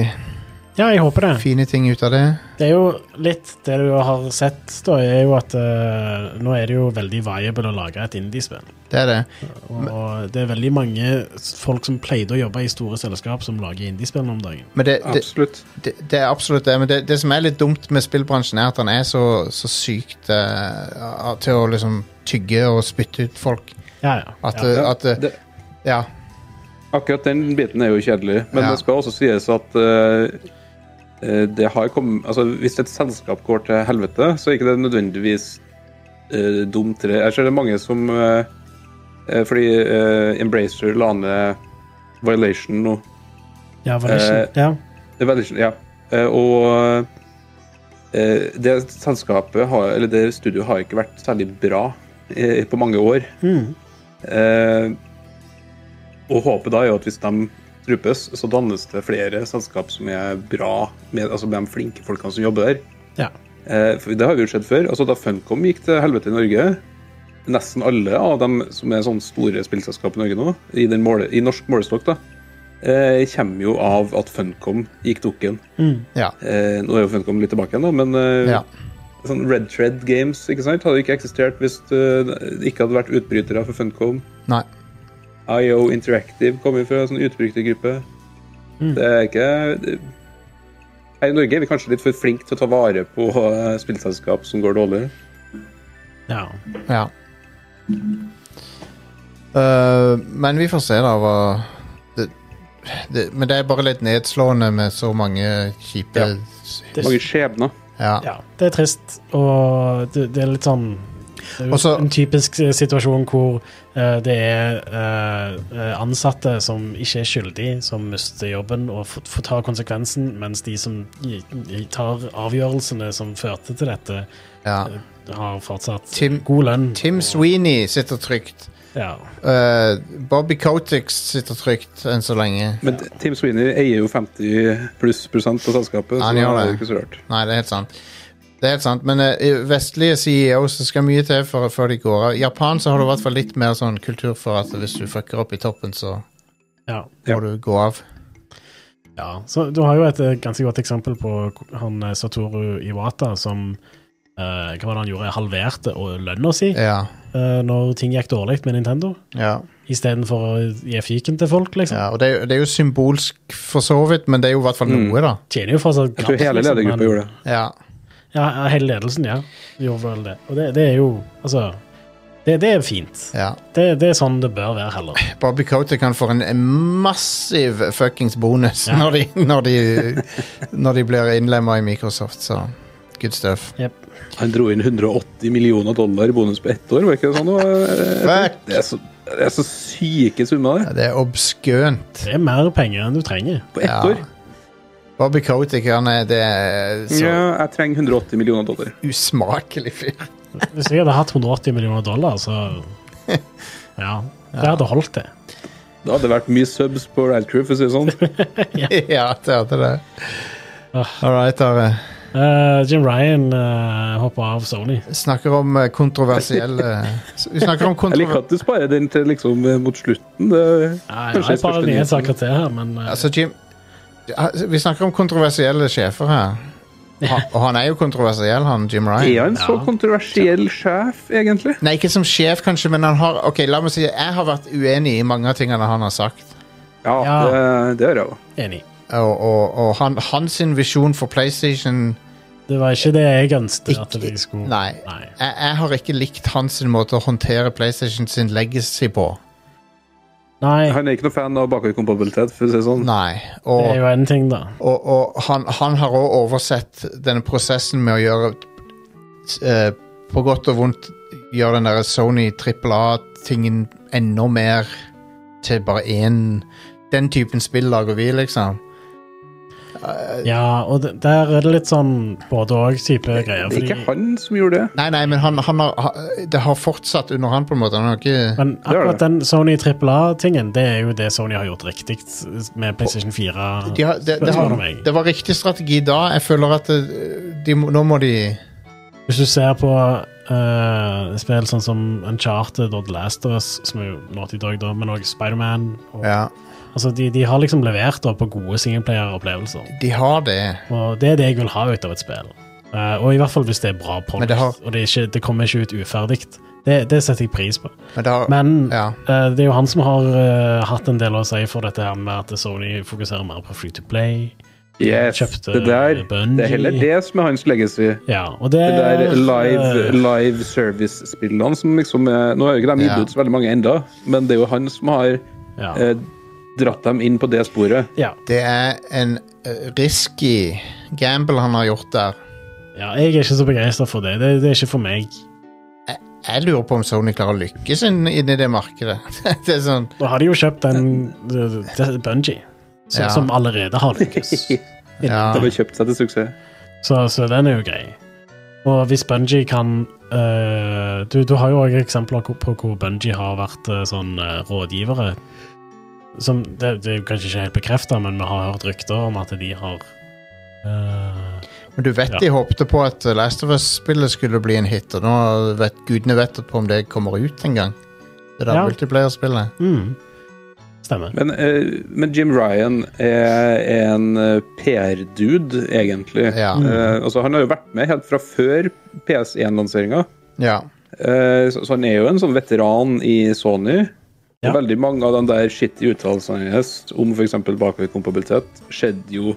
Speaker 3: Ja, jeg håper det.
Speaker 2: fine ting ut av det.
Speaker 3: Det er jo litt det du har sett, da, er jo at eh, nå er det jo veldig viable å lage et indiespill.
Speaker 2: Det er det.
Speaker 3: Og det er veldig mange s- folk som pleide å jobbe i store selskap, som lager indiespill nå om dagen.
Speaker 2: Men det, det,
Speaker 4: Absolutt.
Speaker 2: det, det er absolutt det, men det, det som er litt dumt med spillbransjen, er at han er så, så sykt eh, til å liksom tygge og spytte ut folk.
Speaker 3: Ja, ja.
Speaker 2: At,
Speaker 3: ja.
Speaker 2: eh, at eh,
Speaker 4: Det,
Speaker 2: Ja.
Speaker 4: akkurat den biten er jo kjedelig, men
Speaker 2: Ja.
Speaker 4: det skal også sies at eh, eh, det har kommet, altså Hvis et selskap går til helvete, så er ikke det nødvendigvis eh, dumt. til det. Jeg ser det er mange som eh, eh, Fordi eh, Embracer la ned Violation nå.
Speaker 3: ja, var det
Speaker 4: eh,
Speaker 3: ikke? Ja.
Speaker 4: Det er veldig, ja. Eh, Og eh, det selskapet, har, eller det studioet, har ikke vært særlig bra eh, på mange år. Eh, Og håpet da er jo at hvis de strupes, så dannes det flere selskap som er bra, med, altså med de flinke folkene som jobber der.
Speaker 3: ja.
Speaker 4: Eh, for Det har jo skjedd før. altså Da Funcom gikk til helvete i Norge, nesten alle av dem som er sånne store spillselskap i Norge nå, i, den måle, i norsk målestokk, da, eh, kommer jo av at Funcom gikk dukken.
Speaker 2: Ja.
Speaker 4: Eh, nå er jo Funcom litt tilbake igjen, da, men eh,
Speaker 2: ja.
Speaker 4: sånn Red Thread Games ikke sant, hadde ikke eksistert hvis eh, det ikke hadde vært utbrytere for Funcom.
Speaker 2: Nei.
Speaker 4: IO Interactive kommer jo fra en sånn utbrytergruppe. Det er ikke det, Her i Norge er vi kanskje litt for flinke til å ta vare på eh, spillselskap som går dårlig.
Speaker 3: ja.
Speaker 2: Ja. Eh, men vi får se, da, hva det, det, Men det er bare litt nedslående med så mange kjipe
Speaker 4: Ja. Mange skjebner.
Speaker 2: Ja.
Speaker 3: ja. Det er trist, og det, det er litt sånn det er jo
Speaker 2: Også-
Speaker 3: en typisk eh, situasjon hvor eh, det er eh, eh, ansatte som ikke er skyldig, som mister jobben og får, får ta konsekvensen, mens de som i- i- tar avgjørelsene som førte til dette, eh,
Speaker 2: ja.
Speaker 3: har fortsatt
Speaker 2: Tim-
Speaker 3: god lønn.
Speaker 2: Tim Sweeney sitter trygt.
Speaker 3: Ja.
Speaker 2: Eh, Bobby Kotick sitter trygt enn så lenge.
Speaker 4: Men Tim Sweeney eier jo 50 pluss prosent av selskapet,
Speaker 2: Han
Speaker 4: så
Speaker 2: gjør
Speaker 4: det er
Speaker 2: det.
Speaker 4: jo ikke så rart.
Speaker 2: Nei, det er helt sant. Det er helt sant, Men eh, i vestlige CEO så skal mye til for, før de går av. I Japan så har du i hvert fall litt mer sånn kultur for at hvis du fucker opp i toppen, så
Speaker 3: ja.
Speaker 2: må du gå av.
Speaker 3: Ja, så du har jo et eh, ganske godt eksempel på k- han eh, Satoru Iwata som eh, Hva var det han gjorde? Halverte og lønna si
Speaker 2: Ja.
Speaker 3: eh, når ting gikk dårlig med Nintendo.
Speaker 2: ja.
Speaker 3: Istedenfor å gi fiken til folk, liksom.
Speaker 2: Ja, og det er, jo- det er jo symbolsk for så vidt, men det er jo i hvert fall
Speaker 4: Mm.
Speaker 2: noe, da.
Speaker 3: Tjener jo fortsatt
Speaker 4: Jeg tror hele ledergruppa gjorde det.
Speaker 2: Ja,
Speaker 3: Ja, ja, hele ledelsen, ja. Gjorde vel det. Og det, det er jo Altså, det, det er fint.
Speaker 2: ja.
Speaker 3: Det, det er sånn det bør være, heller.
Speaker 2: Bobby Kotick kan få en en massiv fuckings bonus
Speaker 3: Ja.
Speaker 2: når, de, når, de, når de blir innlemma i Microsoft, så good stuff.
Speaker 3: Jep.
Speaker 4: Han dro inn 180 millioner dollar i bonus på ett år, var ikke det sånn? Det var-
Speaker 2: Fuck!
Speaker 4: Det er så, det er så syke summer, det.
Speaker 2: Det er obskønt.
Speaker 3: Det er mer penger enn du trenger.
Speaker 4: På ett
Speaker 2: Ja.
Speaker 4: år.
Speaker 2: Bobby Kotick, han er det er så
Speaker 4: Ja, jeg trenger 180 millioner dollar.
Speaker 2: usmakelig fyr.
Speaker 3: Hvis jeg hadde hatt 180 millioner dollar, så Ja. Det hadde holdt, det.
Speaker 4: Da hadde det vært mye subs på Ride Crew, for å si det sånn.
Speaker 2: ja, det hadde det.
Speaker 4: Ah.
Speaker 2: All right, Are.
Speaker 3: Eh, Jim Ryan eh, hopper av Sony.
Speaker 2: Snakker om eh, kontroversielle Vi snakker om
Speaker 4: Jeg liker
Speaker 2: kontrover...
Speaker 4: at du sparer den til liksom eh, mot slutten. Det,
Speaker 3: Nei,
Speaker 4: Kanskje
Speaker 3: det er et par
Speaker 4: første
Speaker 3: nyhetssaker til her, men eh,
Speaker 2: Altså, Jim Ja, Vi snakker om kontroversielle sjefer her. Og han- Og han er jo kontroversiell, han Jim
Speaker 4: er
Speaker 2: Ryan.
Speaker 4: han så
Speaker 3: Ja.
Speaker 4: kontroversiell sjef, egentlig?
Speaker 2: Nei, ikke som sjef, kanskje, men han har Ok, la meg si jeg har vært uenig i mange av tingene han har sagt.
Speaker 4: Ja,
Speaker 3: Ja.
Speaker 4: det, det er jeg jo.
Speaker 3: enig.
Speaker 2: Og, og, og han, hans visjon for PlayStation
Speaker 3: Det var ikke det jeg ønsket at
Speaker 2: Ikke-
Speaker 3: jeg skulle
Speaker 2: Nei. Jeg, jeg har ikke likt hans måte å håndtere PlayStation sin legacy på.
Speaker 3: Nei,
Speaker 4: Han er ikke noe fan av bakoverkompatibilitet, for å si det sånn.
Speaker 2: Nei.
Speaker 3: det er
Speaker 2: Og,
Speaker 3: jo en ting, da.
Speaker 2: og, og han, han har òg oversett denne prosessen med å gjøre eh, På godt og vondt gjøre den der Sony trippel A-tingen enda mer til bare én Den typen spill lager vi, liksom. Eh,
Speaker 3: Ja, og det- der er det litt sånn både òg-type greier.
Speaker 4: Det er
Speaker 3: Fordi,
Speaker 4: ikke han som gjorde det.
Speaker 2: Nei, nei, men han, han har, ha- det har fortsatt under han, på en måte. Han har ikke
Speaker 3: men
Speaker 4: er
Speaker 3: akkurat
Speaker 4: det.
Speaker 3: den Sony AAA-tingen, det er jo det Sony har gjort riktig med PlayStation 4.
Speaker 2: de har, det, det,
Speaker 3: Spørsmål om
Speaker 2: har,
Speaker 3: meg.
Speaker 2: det var riktig strategi da. Jeg føler at det, de, må- nå må de
Speaker 3: Hvis du ser på eh, spill sånn som Uncharted og The Last of Us, som er jo Naughty Dog, da, men òg Spiderman og-
Speaker 2: Ja,
Speaker 3: altså, de, de har liksom levert da, på gode singleplayer-opplevelser.
Speaker 2: de har det.
Speaker 3: Og det er det jeg vil ha ut av et spill. Eh, og i hvert fall hvis det er bra
Speaker 2: Men
Speaker 3: produkt,
Speaker 2: det har-
Speaker 3: og det, er ikke, det kommer ikke ut uferdig. Det, det setter jeg pris på.
Speaker 2: Men det har
Speaker 3: Men
Speaker 2: Ja.
Speaker 3: eh, det er jo han som har eh, hatt en del å si for dette her med at Sony fokuserer mer på free to play.
Speaker 4: Yes,
Speaker 3: Kjøpte
Speaker 4: det der.
Speaker 3: Bungie.
Speaker 4: Det er heller det som er hans legacy.
Speaker 3: Ja, og det,
Speaker 4: Det der
Speaker 3: eh,
Speaker 4: live, live service-spillene som liksom er, Nå har jo ikke de gitt
Speaker 2: Ja.
Speaker 4: ut så veldig mange enda, men det er jo han som har
Speaker 3: ja.
Speaker 4: eh, dratt dem inn på det sporet.
Speaker 3: ja.
Speaker 2: Det er en eh, risky gamble han har gjort der.
Speaker 3: ja, jeg er ikke så begeistra for det. det. Det er ikke for meg.
Speaker 2: Jeg, jeg lurer på om Sony klarer å lykkes inn, inn i det markedet. det er sånn
Speaker 3: Da har de jo kjøpt den Bungee, som,
Speaker 2: Ja.
Speaker 3: som allerede har lykkes.
Speaker 2: Ja.
Speaker 4: Det har kjøpt seg til suksess.
Speaker 3: Så, så den er jo grei. Og hvis Bungee kan eh, du, du har jo òg eksempler ko- på hvor Bungee har vært eh, sånn eh, rådgivere som det, det er jo kanskje ikke helt bekrefta, men vi har hørt rykter om at de har eh,
Speaker 2: Men du vet
Speaker 3: Ja.
Speaker 2: de håpte på at Last of Us-spillet skulle bli en hit, og nå vet gudene vet på om det kommer ut en gang. Det der
Speaker 3: Ja.
Speaker 2: multiplayer-spillet.
Speaker 3: mm, Stemmer.
Speaker 4: Men, eh, men Jim Ryan er en eh, PR-dude, egentlig.
Speaker 2: Ja.
Speaker 4: Eh, altså, han har jo vært med helt fra før PS1-lanseringa.
Speaker 2: ja.
Speaker 4: Eh, Så så han er jo en sånn veteran i Sony.
Speaker 3: Ja.
Speaker 4: Og veldig mange av de der skittige uttalelsene hennes om f.eks. bakoverkompabilitet skjedde jo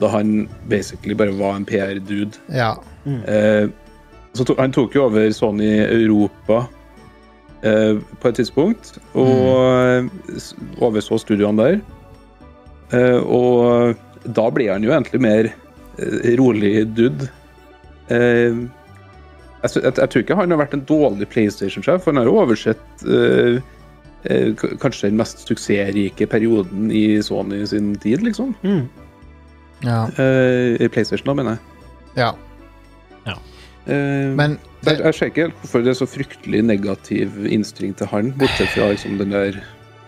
Speaker 4: da han basically bare var en PR-dude.
Speaker 2: ja.
Speaker 4: Eh, så to, han tok jo over Sony Europa eh, på et tidspunkt, og eh, s- overså studioene der. Eh, og da ble han jo egentlig mer eh, rolig dude. Eh, jeg, sy- jeg, jeg tror ikke han har vært en dårlig PlayStation-sjef, for han har jo oversett eh, eh, k- kanskje den mest suksessrike perioden i Sony sin tid, liksom.
Speaker 3: Mm.
Speaker 2: ja.
Speaker 4: Eh, I PlayStation, da, mener jeg.
Speaker 2: ja.
Speaker 4: Eh,
Speaker 2: Men
Speaker 4: Jeg,
Speaker 2: det,
Speaker 4: jeg ser ikke helt hvorfor det er så fryktelig negativ innstilling til han, bortsett fra liksom den der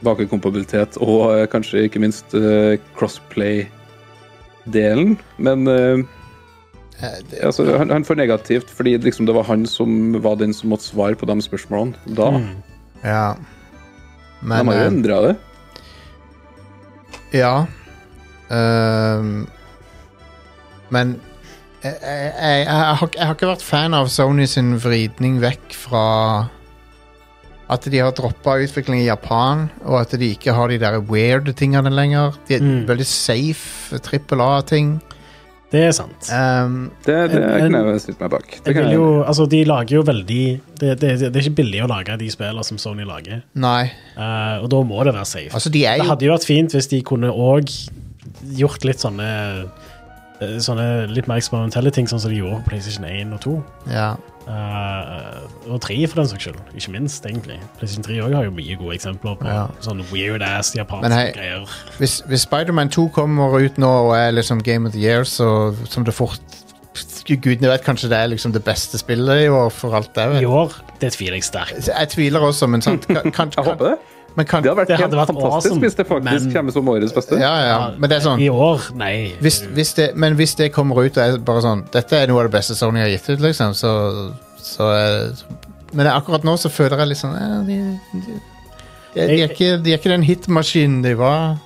Speaker 4: bakekompabilitet og eh, kanskje ikke minst eh, crossplay-delen. Men eh,
Speaker 2: eh, det,
Speaker 4: altså, han, han får negativt fordi liksom det var han som var den som måtte svare på de spørsmålene da.
Speaker 3: Mm.
Speaker 2: Ja.
Speaker 4: de
Speaker 2: Men
Speaker 4: har jo
Speaker 2: eh,
Speaker 4: endra det.
Speaker 2: Ja. Ehm, men jeg, jeg, jeg, jeg, har, ikke- jeg har ikke vært fan av Sony sin vridning vekk fra at de har droppa utvikling i Japan, og at de ikke har de der weird tingene lenger. De er
Speaker 3: Mm.
Speaker 2: veldig safe trippel A-ting.
Speaker 3: Det er sant.
Speaker 2: Ehm,
Speaker 4: Det, det
Speaker 3: en-
Speaker 4: kan jeg stilt meg bak. Det
Speaker 3: Jeg
Speaker 4: kan
Speaker 3: vil
Speaker 4: jeg.
Speaker 3: jo, altså, de lager jo veldig det, det, det er ikke billig å lage de spillene som Sony lager,
Speaker 2: nei.
Speaker 3: Eh, og da må det være safe.
Speaker 2: Altså, de er
Speaker 3: Det
Speaker 2: jo
Speaker 3: hadde jo vært fint hvis de kunne òg gjort litt sånne eh, Sånne litt mer eksperimentelle ting, sånn som de gjorde på PlayStation 1 og 2.
Speaker 2: ja,
Speaker 3: eh, og 3, for den saks skyld. Ikke minst, egentlig. PlayStation 3 også har jo mye gode eksempler på
Speaker 2: Ja.
Speaker 3: sånne weird ass japanske
Speaker 2: Men hei-
Speaker 3: greier.
Speaker 2: Hvis, hvis Spiderman 2 kommer ut nå og er liksom Game of the Year, så som det fort Gudene vet kanskje det er liksom det beste spillet i år, for alt jeg vet.
Speaker 3: I år, det tviler jeg sterkt.
Speaker 2: Jeg tviler også, men sant kan, kan,
Speaker 4: jeg håper det.
Speaker 2: Men kan,
Speaker 4: Det hadde vært
Speaker 3: Det hadde
Speaker 4: helt
Speaker 3: vært
Speaker 4: fantastisk
Speaker 3: awesome,
Speaker 4: hvis det faktisk
Speaker 3: men-
Speaker 4: kommer som årets beste.
Speaker 2: ja, ja, men det er sånn
Speaker 3: I år? Nei.
Speaker 2: hvis, hvis det, Men hvis det kommer ut og er bare sånn Dette er noe av det beste Sony har gitt ut, liksom, så, så eh, Men akkurat nå så føler jeg litt sånn eh, de, de, de, de, er ikke, de er ikke den hitmaskinen de var.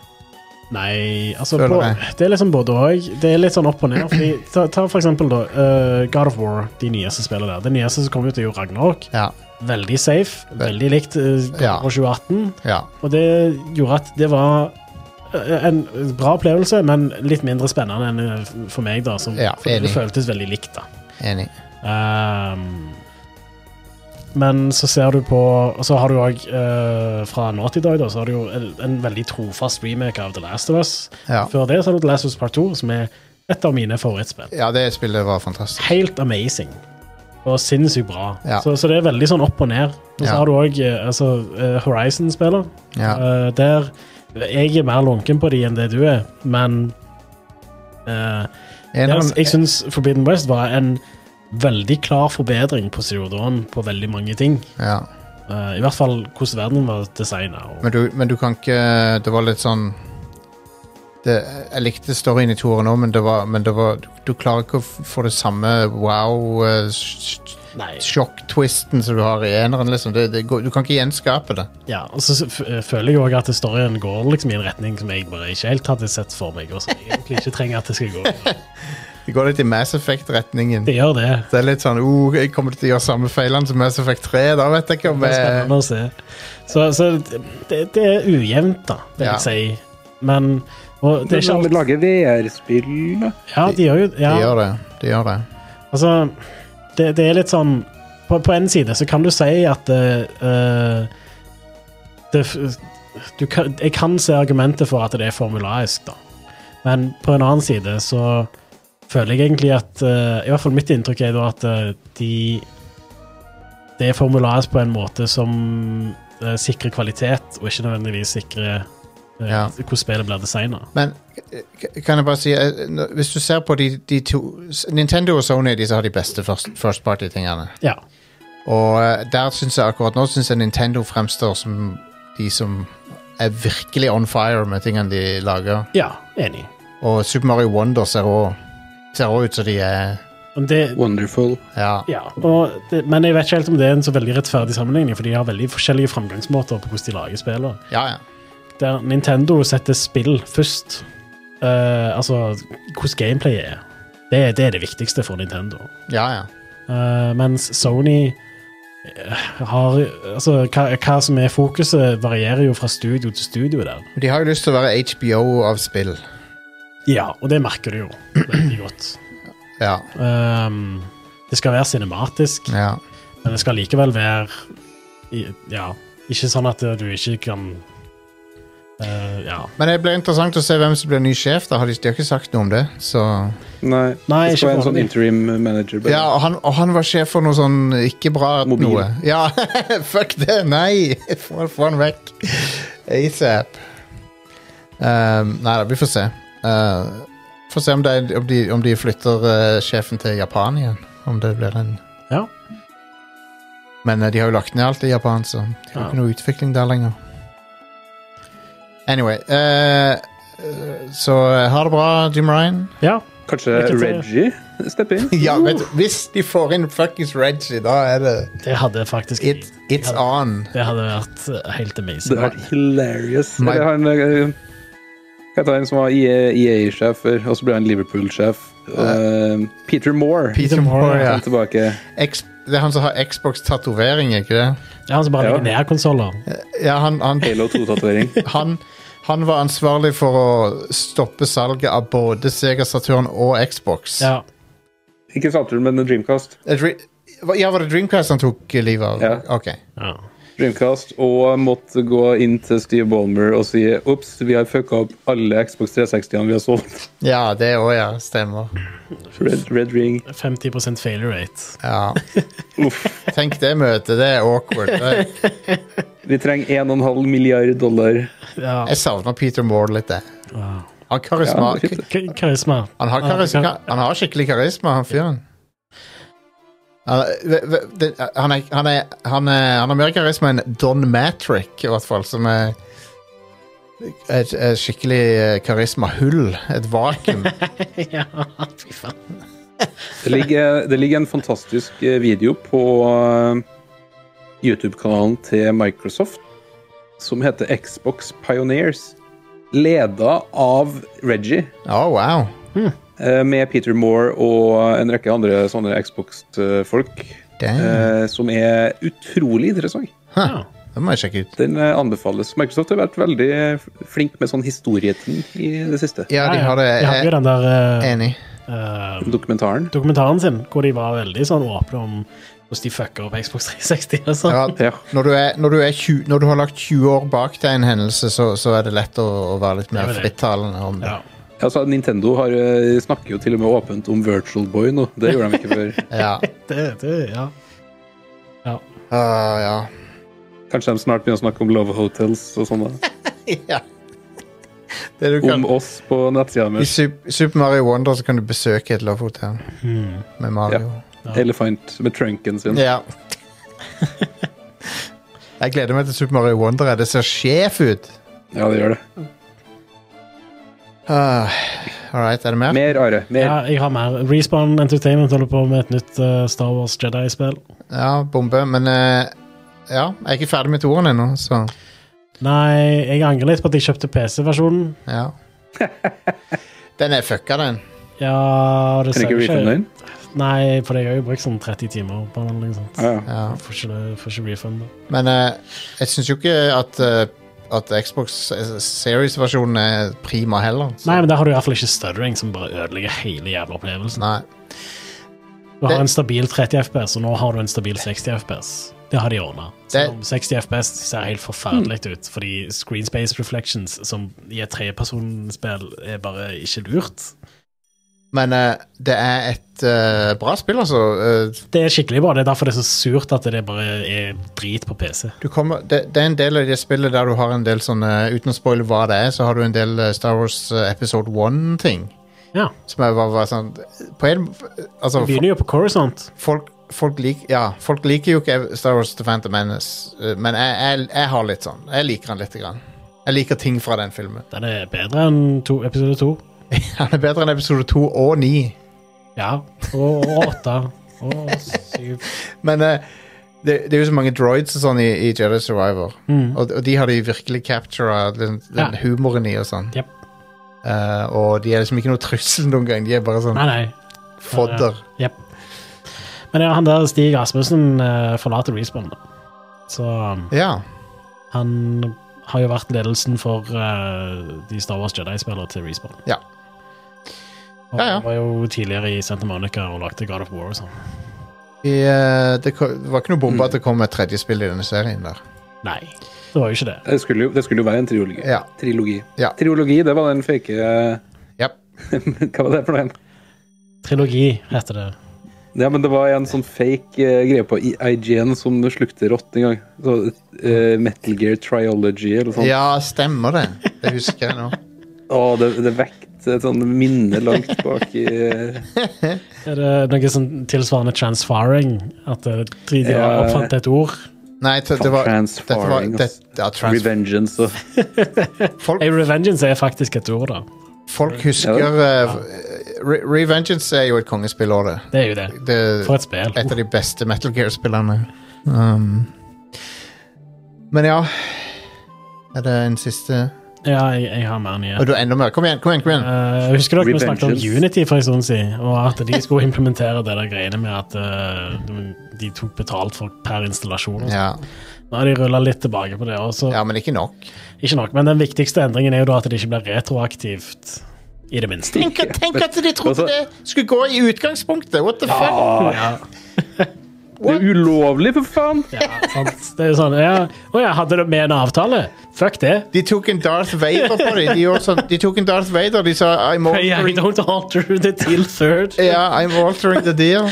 Speaker 3: Nei, altså
Speaker 2: Føler
Speaker 3: på,
Speaker 2: jeg.
Speaker 3: Det er liksom både og. Det er litt sånn opp og ned. Fordi, ta, ta for eksempel da, eh, God of War, de nyeste spillene der. Det nyeste som kom ut, er jo Ragnarok.
Speaker 2: Ja.
Speaker 3: Veldig safe. Veldig likt uh,
Speaker 2: Ja.
Speaker 3: 2018.
Speaker 2: ja.
Speaker 3: Og det gjorde at det var eh, en bra opplevelse, men litt mindre spennende enn eh, for meg, da. Som,
Speaker 2: Ja,
Speaker 3: fordi
Speaker 2: enig.
Speaker 3: det føltes veldig likt, da.
Speaker 2: Enig.
Speaker 3: Ehm, men så ser du på Og så har du òg uh, fra nå til i dag, da, så har du jo en, en veldig trofast remake av The Last of Us.
Speaker 2: Ja.
Speaker 3: Før det så har du The Last of Us Part 2, som er et av mine favorittspill.
Speaker 2: ja, det spillet var fantastisk.
Speaker 3: Helt amazing. Og sinnssykt bra.
Speaker 2: Ja.
Speaker 3: Så, så det er veldig sånn opp og ned. Og så
Speaker 2: Ja.
Speaker 3: har du òg altså, eh, Horizon-spiller.
Speaker 2: Ja.
Speaker 3: Eh, der Jeg er mer lunken på de enn det du er, men
Speaker 2: En
Speaker 3: eh,
Speaker 2: av
Speaker 3: jeg, jeg
Speaker 2: dem-
Speaker 3: syns Forbidden West var en veldig klar forbedring på Zero-Dawn på veldig mange ting.
Speaker 2: ja.
Speaker 3: Eh, I hvert fall hvordan verden var designa. Og...
Speaker 2: Men du, men du kan ikke Det var litt sånn det, Jeg likte storyen i to år nå, men det var, men det var du, du klarer ikke å f- få det samme eh, wow-sjokk-twisten
Speaker 3: Nei.
Speaker 2: som du har i eneren. Liksom. Det, det, går- du kan ikke gjenskape det.
Speaker 3: Ja, og så f eh, føler jeg òg at storyen går liksom i en retning som jeg bare ikke helt hadde sett for meg, og som jeg egentlig ikke trenger at det skal gå.
Speaker 2: Det går litt i Mass Effect-retningen.
Speaker 3: Det gjør det.
Speaker 2: Det er litt sånn oh, jeg Kommer du til å gjøre samme feilene som Mass Effect 3? Da vet jeg ikke om
Speaker 3: Det er
Speaker 2: jeg
Speaker 3: spennende å se. Så, så det, det er ujevnt, da, vil
Speaker 2: Ja.
Speaker 3: jeg si. Men og det er ikke
Speaker 4: Vi
Speaker 3: alt
Speaker 4: lager VR-spill
Speaker 3: Ja, de gjør jo
Speaker 2: De
Speaker 3: ja,
Speaker 2: gjør det. De gjør det.
Speaker 3: Altså, det, det er litt sånn På, på en side så kan du si at eh, det, f- du kan, Jeg kan se argumentet for at det er formulaisk, da. Men på en annen side så føler jeg egentlig at eh, I hvert fall mitt inntrykk er da at eh, de Det er formulaisk på en måte som eh, sikrer kvalitet, og ikke nødvendigvis sikrer eh,
Speaker 2: Ja.
Speaker 3: hvordan spillet blir designa.
Speaker 2: Men eh, k- kan jeg bare si eh, nå- Hvis du ser på de, de to Nintendo og Sony er de som har de beste first, first party-tingene.
Speaker 3: Ja.
Speaker 2: Og eh, der synes jeg akkurat nå synes jeg Nintendo fremstår som de som er virkelig on fire med tingene de lager.
Speaker 3: ja, enig.
Speaker 2: Og Super Mario Wonder ser også, ser også ut som de er
Speaker 3: Men det,
Speaker 4: Wonderful.
Speaker 2: Ja.
Speaker 3: Ja, og det, men jeg vet ikke helt om det er en så veldig rettferdig sammenligning, for de har veldig forskjellige framgangsmåter på hvordan de lager spillene.
Speaker 2: ja, ja.
Speaker 3: Der Nintendo setter spill først, eh, altså hvordan gameplayet er, det, det er det viktigste for Nintendo.
Speaker 2: ja, ja.
Speaker 3: Eh, mens Sony eh, har Altså, hva, hva som er fokuset, varierer jo fra studio til studio der.
Speaker 2: Men De har jo lyst til å være HBO av spill.
Speaker 3: Ja, og det merker du jo veldig godt.
Speaker 2: Ja.
Speaker 3: Ehm, det skal være cinematisk.
Speaker 2: ja.
Speaker 3: Men det skal likevel være i- Ja, ikke sånn at du ikke kan eh, Ja.
Speaker 2: Men det blir interessant å se hvem som blir ny sjef. da har de, de har ikke sagt noe om det. Så.
Speaker 4: Nei,
Speaker 3: Nei, ikke
Speaker 4: det skal være en sånn
Speaker 3: forhåpentlig.
Speaker 4: interim manager. bare.
Speaker 2: Ja, og han, og han var sjef for noe sånn ikke bra
Speaker 4: Mobil.
Speaker 2: noe. Ja, fuck det! Nei! Få få han vekk. ASAP. Um, nei da, vi får se. Uh, får se om, det, er- om, de, om de flytter eh, sjefen til Japan igjen. Om det blir en
Speaker 3: ja.
Speaker 2: Men eh, de har jo lagt ned alt i Japan, så det er jo
Speaker 3: Ja.
Speaker 2: ikke noe utvikling der lenger. Anyway eh, eh, Så eh, ha det bra, Jim Ryan.
Speaker 3: ja.
Speaker 4: Kanskje
Speaker 3: Jeg kan se-
Speaker 4: Reggie stepper inn?
Speaker 2: ja, vet du, hvis de får inn fuckings Reggie, da er det
Speaker 3: Det hadde faktisk
Speaker 2: it, It's on.
Speaker 3: Det hadde vært eh, helt
Speaker 4: Det
Speaker 3: amazing.
Speaker 4: hadde vært hilarious.
Speaker 2: My-
Speaker 4: Eller han eh, Hva heter han som var E EA-sjef, og så ble han Liverpool-sjef? Eh, Peter Moore.
Speaker 2: Peter Moore,
Speaker 3: Moore,
Speaker 2: ja.
Speaker 4: Han tilbake.
Speaker 2: X, det er han som har Xbox-tatovering, ikke det?
Speaker 3: Det er han som altså, bare
Speaker 4: Ja.
Speaker 3: legger ned konsoller.
Speaker 2: Ja, han, han,
Speaker 4: Halo 2-tatovering.
Speaker 2: han, han var ansvarlig for å stoppe salget av både Sega Saturn og Xbox.
Speaker 3: Ja.
Speaker 4: Ikke Saturn, men Dreamcast.
Speaker 2: Eh, Dre- Ja, var det Dreamcast han tok eh, livet av?
Speaker 4: Ja.
Speaker 2: Ok.
Speaker 3: ja.
Speaker 4: Dreamcast og måtte gå inn til Steve Ballmer og si Ops, vi har fucka opp alle Xbox 360-ene vi har solgt.
Speaker 2: Ja, det òg, ja. Stemmer.
Speaker 4: Red, Red Ring.
Speaker 3: 50 failure rate.
Speaker 2: Ja.
Speaker 4: Uff.
Speaker 2: Tenk det møtet, det er awkward. Det-
Speaker 4: Vi trenger 1,5 milliard dollar.
Speaker 3: Ja.
Speaker 2: Jeg savner Peter Moore litt, jeg.
Speaker 3: Ja.
Speaker 2: Han, karisma,
Speaker 4: Ja, det er fint.
Speaker 3: K- Karisma.
Speaker 2: han, har karisma, han har skikkelig karisma, han fyren. Han, v- v- det- han, er, han, er, han, er, han har mer karisma enn Don Matrick, i hvert fall, som er et, et skikkelig eh, karismahull. Et vakuum.
Speaker 3: ja, fy faen.
Speaker 4: Det ligger, det ligger en fantastisk eh, video på eh, YouTube-kanalen til Microsoft som heter Xbox Pioneers, leda av Reggie,
Speaker 2: Å, Oh, wow.
Speaker 4: eh, med Peter Moore og en rekke andre sånne Xbox-folk,
Speaker 2: Damn.
Speaker 4: eh, som er utrolig interessant.
Speaker 3: Ja.
Speaker 2: Det må jeg sjekke ut.
Speaker 4: Den eh, anbefales. Microsoft har vært veldig flink med sånn historieting i det siste.
Speaker 2: Ja, de har det.
Speaker 3: De hadde jo
Speaker 2: Jeg
Speaker 3: den der eh,
Speaker 2: er enig.
Speaker 3: eh,
Speaker 4: Dokumentaren.
Speaker 3: dokumentaren sin, hvor de var veldig sånn åpne om hvordan de fucker opp Xbox 360. og sånn.
Speaker 2: Ja,
Speaker 4: Ja.
Speaker 2: når, du er, når, du er 20, når du har lagt 20 år bak deg en hendelse, så, så er det lett å, å være litt mer
Speaker 3: Det er det.
Speaker 2: frittalende om det.
Speaker 3: Ja.
Speaker 4: Altså, Nintendo har, eh, snakker jo til og med åpent om Virtual Boy nå. Det gjorde de ikke før.
Speaker 2: Ja.
Speaker 3: Det, det, ja. ja.
Speaker 2: Ah, ja.
Speaker 4: Kanskje de snart begynner å snakke om Love Hotels og sånne.
Speaker 2: ja. Det du kan
Speaker 4: Om oss på nettsida
Speaker 2: I
Speaker 4: deres.
Speaker 2: Sup- Super Mario Wonder så kan du besøke et lovehotell
Speaker 3: Hmm.
Speaker 2: med Mario.
Speaker 4: Elefant med trunken sin.
Speaker 2: Ja. Jeg gleder meg til Super Mario Wonder. Det ser sjef ut!
Speaker 4: Ja, det gjør det.
Speaker 2: Ah, All right, er det mer?
Speaker 4: Mer, Are. Mer.
Speaker 3: ja, jeg har mer. Respawn Entertainment holder på med et nytt eh, Star Wars Jedi-spill.
Speaker 2: Ja, bombe. Men eh, ja, jeg er ikke ferdig med toeren ennå, så
Speaker 3: Nei, jeg angrer litt på at jeg kjøpte PC-versjonen.
Speaker 2: ja. Den er fucka, den.
Speaker 3: Ja, det
Speaker 4: Kan
Speaker 3: ser
Speaker 4: ikke
Speaker 3: jo
Speaker 4: refunde den?
Speaker 3: Nei, for jeg har jo brukt sånn 30 timer på den. Liksom.
Speaker 4: Ja, ja.
Speaker 2: Ja.
Speaker 3: Får ikke, det- får ikke refund.
Speaker 2: Men eh, jeg syns jo ikke at, eh, at Xbox eh, Series-versjonen er prima heller. så-
Speaker 3: Nei, men der har du i hvert fall ikke stuttering, som bare ødelegger hele jævla opplevelsen.
Speaker 2: Nei.
Speaker 3: Du har
Speaker 2: Det-
Speaker 3: en stabil 30 FPS, og nå har du en stabil 60 FPS. Det har de ordna.
Speaker 2: Det-
Speaker 3: 60 FPS ser helt forferdelig ut, fordi Screen Space Reflections, som i et tredjepersonspill, er bare ikke lurt.
Speaker 2: Men eh, det er et eh, bra spill, altså. Eh,
Speaker 3: Det er skikkelig bra. Det er derfor det er så surt at det bare er drit på PC.
Speaker 2: du kommer, det, det er en del av det spillet der du har en del sånne Uten å spoile hva det er, så har du en del eh, Star Wars eh, Episode 1-ting.
Speaker 3: Ja.
Speaker 2: Som er bare, bare sånn På en Altså,
Speaker 3: Vi begynner jo på Coruscant.
Speaker 2: folk, folk, lik, ja, folk liker jo ikke Star Wars The Phantom Menace, eh, men jeg, jeg, jeg har litt sånn. Jeg liker han lite grann. Jeg liker ting fra den filmen.
Speaker 3: Den er bedre enn to, episode to.
Speaker 2: Han er bedre enn episode 2 og 9.
Speaker 3: Ja. Og og åtte. Og syv.
Speaker 2: Men eh, det, det er jo så mange droids og sånn i, i Jedi Survivor.
Speaker 3: Mm.
Speaker 2: Og, og de har de virkelig captura den, den
Speaker 3: Ja.
Speaker 2: humoren i og sånn.
Speaker 3: Jep.
Speaker 2: Eh, og de er liksom ikke noe trussel noen gang. De er bare sånn
Speaker 3: Nei, nei.
Speaker 2: fodder.
Speaker 3: Jep. Men ja, han der Stig Rasmussen eh, forlater Respawn. da. Så um,
Speaker 2: Ja.
Speaker 3: han har jo vært ledelsen for eh, de Star Wars Jedi-spillene til Respawn.
Speaker 2: Ja.
Speaker 3: Og
Speaker 2: Ja, ja.
Speaker 3: Han var jo tidligere i Santa Monica og lagde God of War og sånn.
Speaker 2: De, eh, det, ko- det var ikke noe bombe at det kom et tredje spill i denne serien der.
Speaker 3: Nei, det var jo ikke det.
Speaker 4: Det skulle, jo, det skulle jo være en triologi.
Speaker 2: Ja.
Speaker 4: Trilogi.
Speaker 2: Ja.
Speaker 4: Triologi, det var den fake eh,
Speaker 2: Japp.
Speaker 4: Hva var det for noe? igjen?
Speaker 3: Trilogi heter det.
Speaker 4: Ja, men det var en sånn fake eh, greie på I- IGN som slukte rått en gang. Så, eh, Metal Gear Triology eller sånt.
Speaker 2: Ja, stemmer det. Det husker jeg nå.
Speaker 4: Å, det, det vekte et sånt minne langt bak i eh,
Speaker 3: Er det noe sånn tilsvarende transfaring? At eh, tre de
Speaker 4: Ja.
Speaker 3: oppfant et ord?
Speaker 2: Nei, det, det var, dette var
Speaker 4: Transfaring,
Speaker 2: det,
Speaker 4: ass.
Speaker 2: ja, trans,
Speaker 4: Revengeance og
Speaker 2: folk,
Speaker 3: Hey, Revengeance er faktisk et ord, da.
Speaker 2: folk husker eh, Re Revengeance er jo et kongespill òg, det.
Speaker 3: Det er jo det.
Speaker 2: det
Speaker 3: For et spill.
Speaker 2: et av de beste Metal Gear-spillerne. Um, men ja Er det en siste
Speaker 3: Ja, jeg, jeg har mer nyheter.
Speaker 2: Og du har enda mer. Kom igjen! kom igjen, kom igjen
Speaker 3: Eh, husker dere vi snakket om
Speaker 4: Revengeance.
Speaker 3: Unity for en stund siden, og at de skulle implementere det der greiene med at eh, de tok betalt for per installasjon. og sånt.
Speaker 2: Ja,
Speaker 3: Nå har de rulla litt tilbake på det. Også.
Speaker 2: ja men ikke nok.
Speaker 3: Ikke nok, men den viktigste endringen er jo da at det ikke blir retroaktivt, i det minste.
Speaker 2: Tenk, tenk at de trodde
Speaker 4: Altså-
Speaker 2: det skulle gå i utgangspunktet! What the fuck?
Speaker 3: Ja,
Speaker 4: Det er ulovlig, for faen!
Speaker 3: ja, sant. Det er jo sånn ja. Å ja, hadde det med en avtale? Fuck det.
Speaker 2: De tok en Darth Vader på dem. De, gjorde sånn, de tok en Darth Vader. De sa I'm
Speaker 3: Yeah, I
Speaker 2: altering,
Speaker 3: don't alter the deal third.
Speaker 2: ja, I'm altering the deal.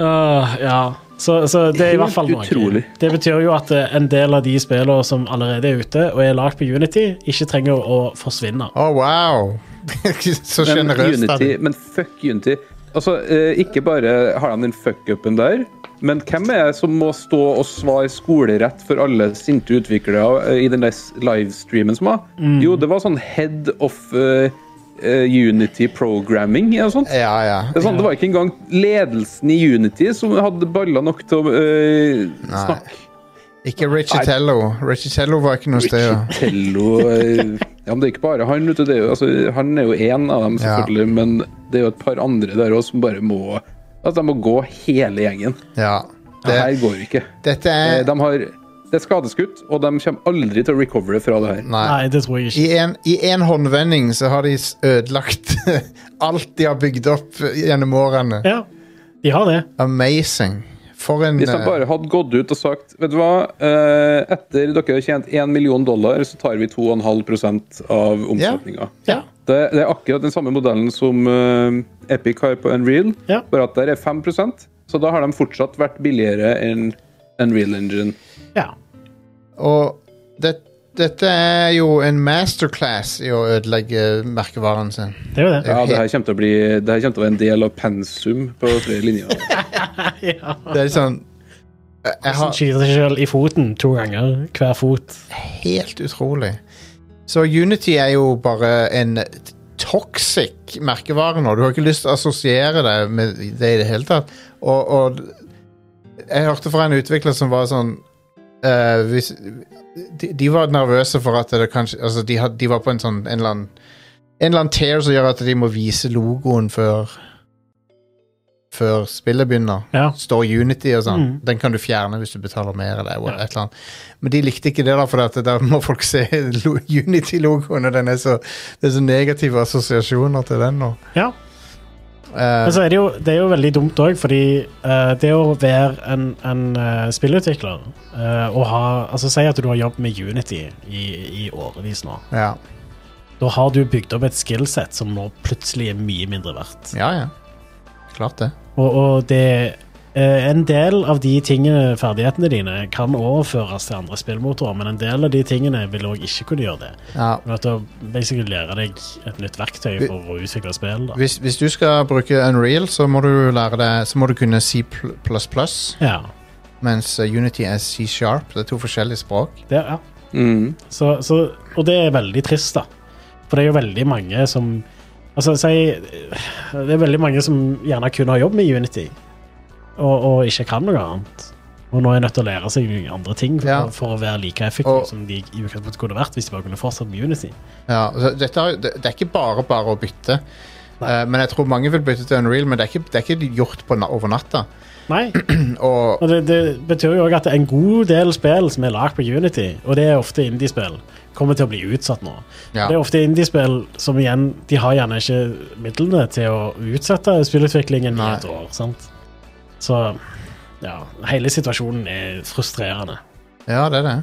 Speaker 3: Åh, Ah, ja. Så, så det er i hvert fall noe.
Speaker 4: Helt utrolig.
Speaker 3: Det betyr jo at eh, en del av de spillene som allerede er ute og er lagd på Unity, ikke trenger å forsvinne.
Speaker 2: Å, Oh, wow! Så
Speaker 4: Men,
Speaker 2: sjenerøst av
Speaker 4: Unity,
Speaker 2: dem.
Speaker 4: men fuck Unity. Altså, eh, ikke bare har han den fuck-upen der, men hvem er det som må stå og svare skolerett for alle sinte utviklere eh, i den der s- livestreamen som var? Jo, det var sånn head of eh, eh, Unity programming eller sånt.
Speaker 2: Ja, Eh, ja.
Speaker 4: Det, er sånn, det var ikke engang ledelsen i Unity som hadde baller nok til å eh, snakke.
Speaker 2: Ikke Richitello. Richitello var ikke noe sted. å-
Speaker 4: Cello eh, Ja, men det er ikke bare han, vet du. Det er jo, altså, han er jo én av dem,
Speaker 2: Ja.
Speaker 4: selvfølgelig, men det er jo et par andre der òg som bare må At de må gå hele gjengen.
Speaker 2: Ja.
Speaker 4: Det
Speaker 2: Det,
Speaker 4: her går jo ikke.
Speaker 2: dette
Speaker 4: Eh,
Speaker 2: er
Speaker 4: De har Det er skadeskutt, og de kommer aldri til å recovere fra det her.
Speaker 2: Nei.
Speaker 3: Nei, det tror jeg ikke.
Speaker 2: I en, I en håndvending så har de s- ødelagt alt de har bygd opp gjennom årene.
Speaker 3: Ja, de har det.
Speaker 2: Amazing. For en
Speaker 4: Hvis de
Speaker 2: eh,
Speaker 4: bare hadde gått ut og sagt Vet du hva, eh, etter dere har tjent 1 million dollar, så tar vi 2,5 av omsetninga.
Speaker 3: Ja.
Speaker 4: Det, det er akkurat den samme modellen som eh, Epic har på Unreal,
Speaker 3: Ja.
Speaker 4: bare at der er 5 så da har de fortsatt vært billigere enn Unreal Engine.
Speaker 3: ja.
Speaker 2: Og det, dette er jo en masterclass i å ødelegge merkevaren sin.
Speaker 3: Det er jo det.
Speaker 4: Ja, det her kommer til å bli Det her kommer til å være en del av pensum på flere linjer.
Speaker 3: Ja.
Speaker 2: Det er sånn Jeg jeg
Speaker 3: Som
Speaker 2: har
Speaker 3: skyter seg selv i foten to ganger. Hver fot.
Speaker 2: Helt utrolig. Så Unity er jo bare en toxic merkevare nå. Du har ikke lyst til å assosiere deg med det i det hele tatt. Og, og jeg hørte fra en utvikler som var sånn eh, hvis, de, de var nervøse for at det kanskje altså de, had, de var på en sånn en eller annen en eller annen tear som gjør at de må vise logoen før før spillet begynner
Speaker 3: Ja.
Speaker 2: står Unity og sånn. Den kan du fjerne hvis du betaler mer. eller et eller annet. Men de likte ikke det, da, for at der må folk se lo- Unity-logoen. og den er så, Det er så negative assosiasjoner til den nå.
Speaker 3: Ja. Altså-
Speaker 2: Eh,
Speaker 3: Men så er det jo, det er jo veldig dumt òg, fordi eh, det å være en, en eh, spillutvikler eh, og ha Altså, si at du har jobbet med Unity i, i årevis nå.
Speaker 2: ja.
Speaker 3: Da har du bygd opp et skillset som nå plutselig er mye mindre verdt.
Speaker 2: ja, ja. Klart det.
Speaker 3: Og, og det eh, En del av de tingene, ferdighetene dine, kan overføres til andre spillmotorer, men en del av de tingene vil òg ikke kunne gjøre det.
Speaker 2: Ja.
Speaker 3: Men at du basically lærer deg et nytt verktøy for å utvikle spill. Da.
Speaker 2: Hvis, hvis du skal bruke Unreal, så må du lære deg, så må du kunne C++,
Speaker 3: Ja.
Speaker 2: mens eh, Unity er C sharp. Det er to forskjellige språk.
Speaker 3: Det, ja.
Speaker 4: Mm.
Speaker 3: Så, så, og det er veldig trist, da. For det er jo veldig mange som Altså, si Det er veldig mange som gjerne kun har jobb med Unity, og, og ikke kan noe annet. Og nå er nødt til å lære seg andre ting for,
Speaker 2: Ja.
Speaker 3: for å være like effektiv
Speaker 2: Og-
Speaker 3: som de i utgangspunktet kunne vært hvis de bare kunne fortsatt med Unity.
Speaker 2: Ja, så dette, har- det, det er ikke bare bare å bytte. Eh, men jeg tror mange vil bytte til Unreal, men det er ikke, det er ikke gjort på, na- over natta.
Speaker 3: Nei,
Speaker 2: Og
Speaker 3: og det, det betyr jo òg at en god del spill som er lagd på Unity, og det er ofte indiespill, kommer til å bli utsatt nå.
Speaker 2: Ja.
Speaker 3: Det er ofte indiespill som igjen De har gjerne ikke midlene til å utsette spillutviklingen i
Speaker 2: Nei.
Speaker 3: et år. sant? Så ja, hele situasjonen er frustrerende.
Speaker 2: Ja, det er det.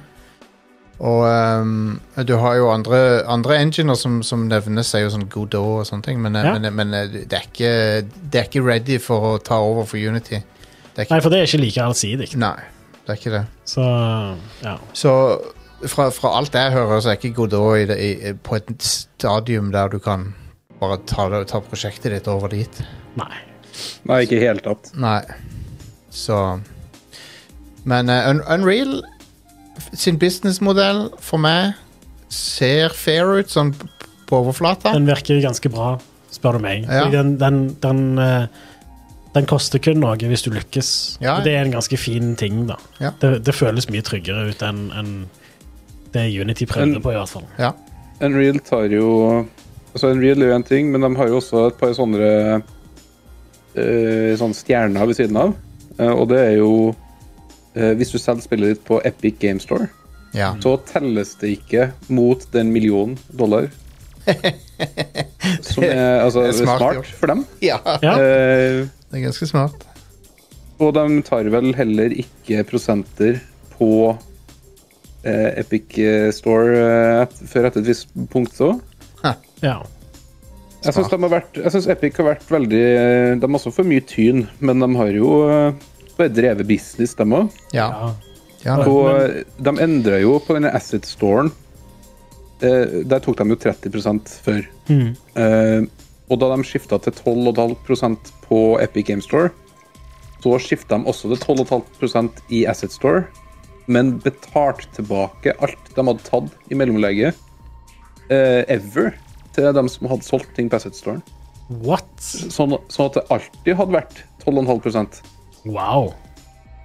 Speaker 2: Og ehm, du har jo andre, andre enginer som, som nevnes, er jo sånn Godot og sånne ting, men, eh,
Speaker 3: Ja.
Speaker 2: men, men eh, det, er ikke, det er ikke ready for å ta over for Unity. Det er
Speaker 3: Nei,
Speaker 2: ikke,
Speaker 3: for det er ikke like allsidig.
Speaker 2: nei. det er ikke det.
Speaker 3: Så ja.
Speaker 2: Så fra, fra alt jeg hører, så er ikke Godot i det, i, på et stadium der du kan bare ta, det- ta prosjektet ditt over dit.
Speaker 3: Nei.
Speaker 4: Nei, ikke i det hele tatt.
Speaker 2: Nei. Så Men eh, Un Unreal sin businessmodell for meg ser fair ut sånn p- på overflata.
Speaker 3: Den virker ganske bra, spør du meg.
Speaker 2: Ja.
Speaker 3: Fordi Den, den, den, eh, den koster kun noe hvis du lykkes.
Speaker 2: Ja.
Speaker 3: Og Det er en ganske fin ting, da.
Speaker 2: Ja.
Speaker 3: Det, det føles mye tryggere ut enn enn det Unity prøvde
Speaker 4: Men-
Speaker 3: på, i hvert fall.
Speaker 2: Ja.
Speaker 4: Unreal tar jo Altså Unreal er jo en ting, men de har jo også et par sånne eh, Sånne stjerner ved siden av. Eh, og det er jo eh, Hvis du selger spillet ditt på Epic Game Store,
Speaker 2: ja.
Speaker 4: så telles det ikke mot den millionen dollar. Som er, altså,
Speaker 2: Det er smart
Speaker 4: smart,
Speaker 2: gjort.
Speaker 4: for dem.
Speaker 2: ja.
Speaker 3: Ja.
Speaker 4: Eh,
Speaker 2: Det er ganske smart.
Speaker 4: og de tar vel heller ikke prosenter på eh, Epic Store eh, et- før etter et visst punkt. så.
Speaker 3: Ja.
Speaker 4: Jeg syns, de har vært, jeg synes Epic har vært veldig eh, De har også for mye tyn, men de har jo eh, bare drevet business, de òg.
Speaker 2: Ja.
Speaker 3: ja.
Speaker 2: ja da.
Speaker 4: Og eh, de endra jo på denne Asset Storen. Eh, der tok de jo 30 før. Eh, Og da de skifta til 12,5 på Epic Game Store, så skifta de også til 12,5 i Asset Store, men betalte tilbake alt de hadde tatt i mellomlegget eh, ever til dem som hadde solgt ting på Asset Storen.
Speaker 3: What?
Speaker 4: Sånn, sånn at det alltid hadde vært 12,5
Speaker 3: Wow.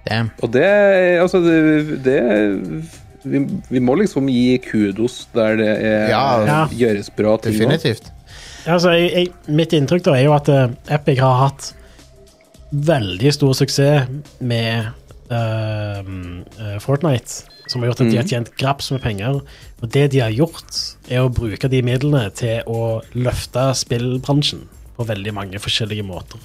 Speaker 2: Damn.
Speaker 4: Og det Altså, det, det vi, vi må liksom gi kudos der det er,
Speaker 2: Ja,
Speaker 3: Ja.
Speaker 4: gjøres bra ting. nå.
Speaker 2: Definitivt.
Speaker 3: Altså, jeg, jeg, mitt inntrykk da er jo at eh, Epic har hatt veldig stor suksess med eh, eh, Fortnite, som har gjort at de har tjent graps med penger. Og det de har gjort, er å bruke de midlene til å løfte spillbransjen på veldig mange forskjellige måter.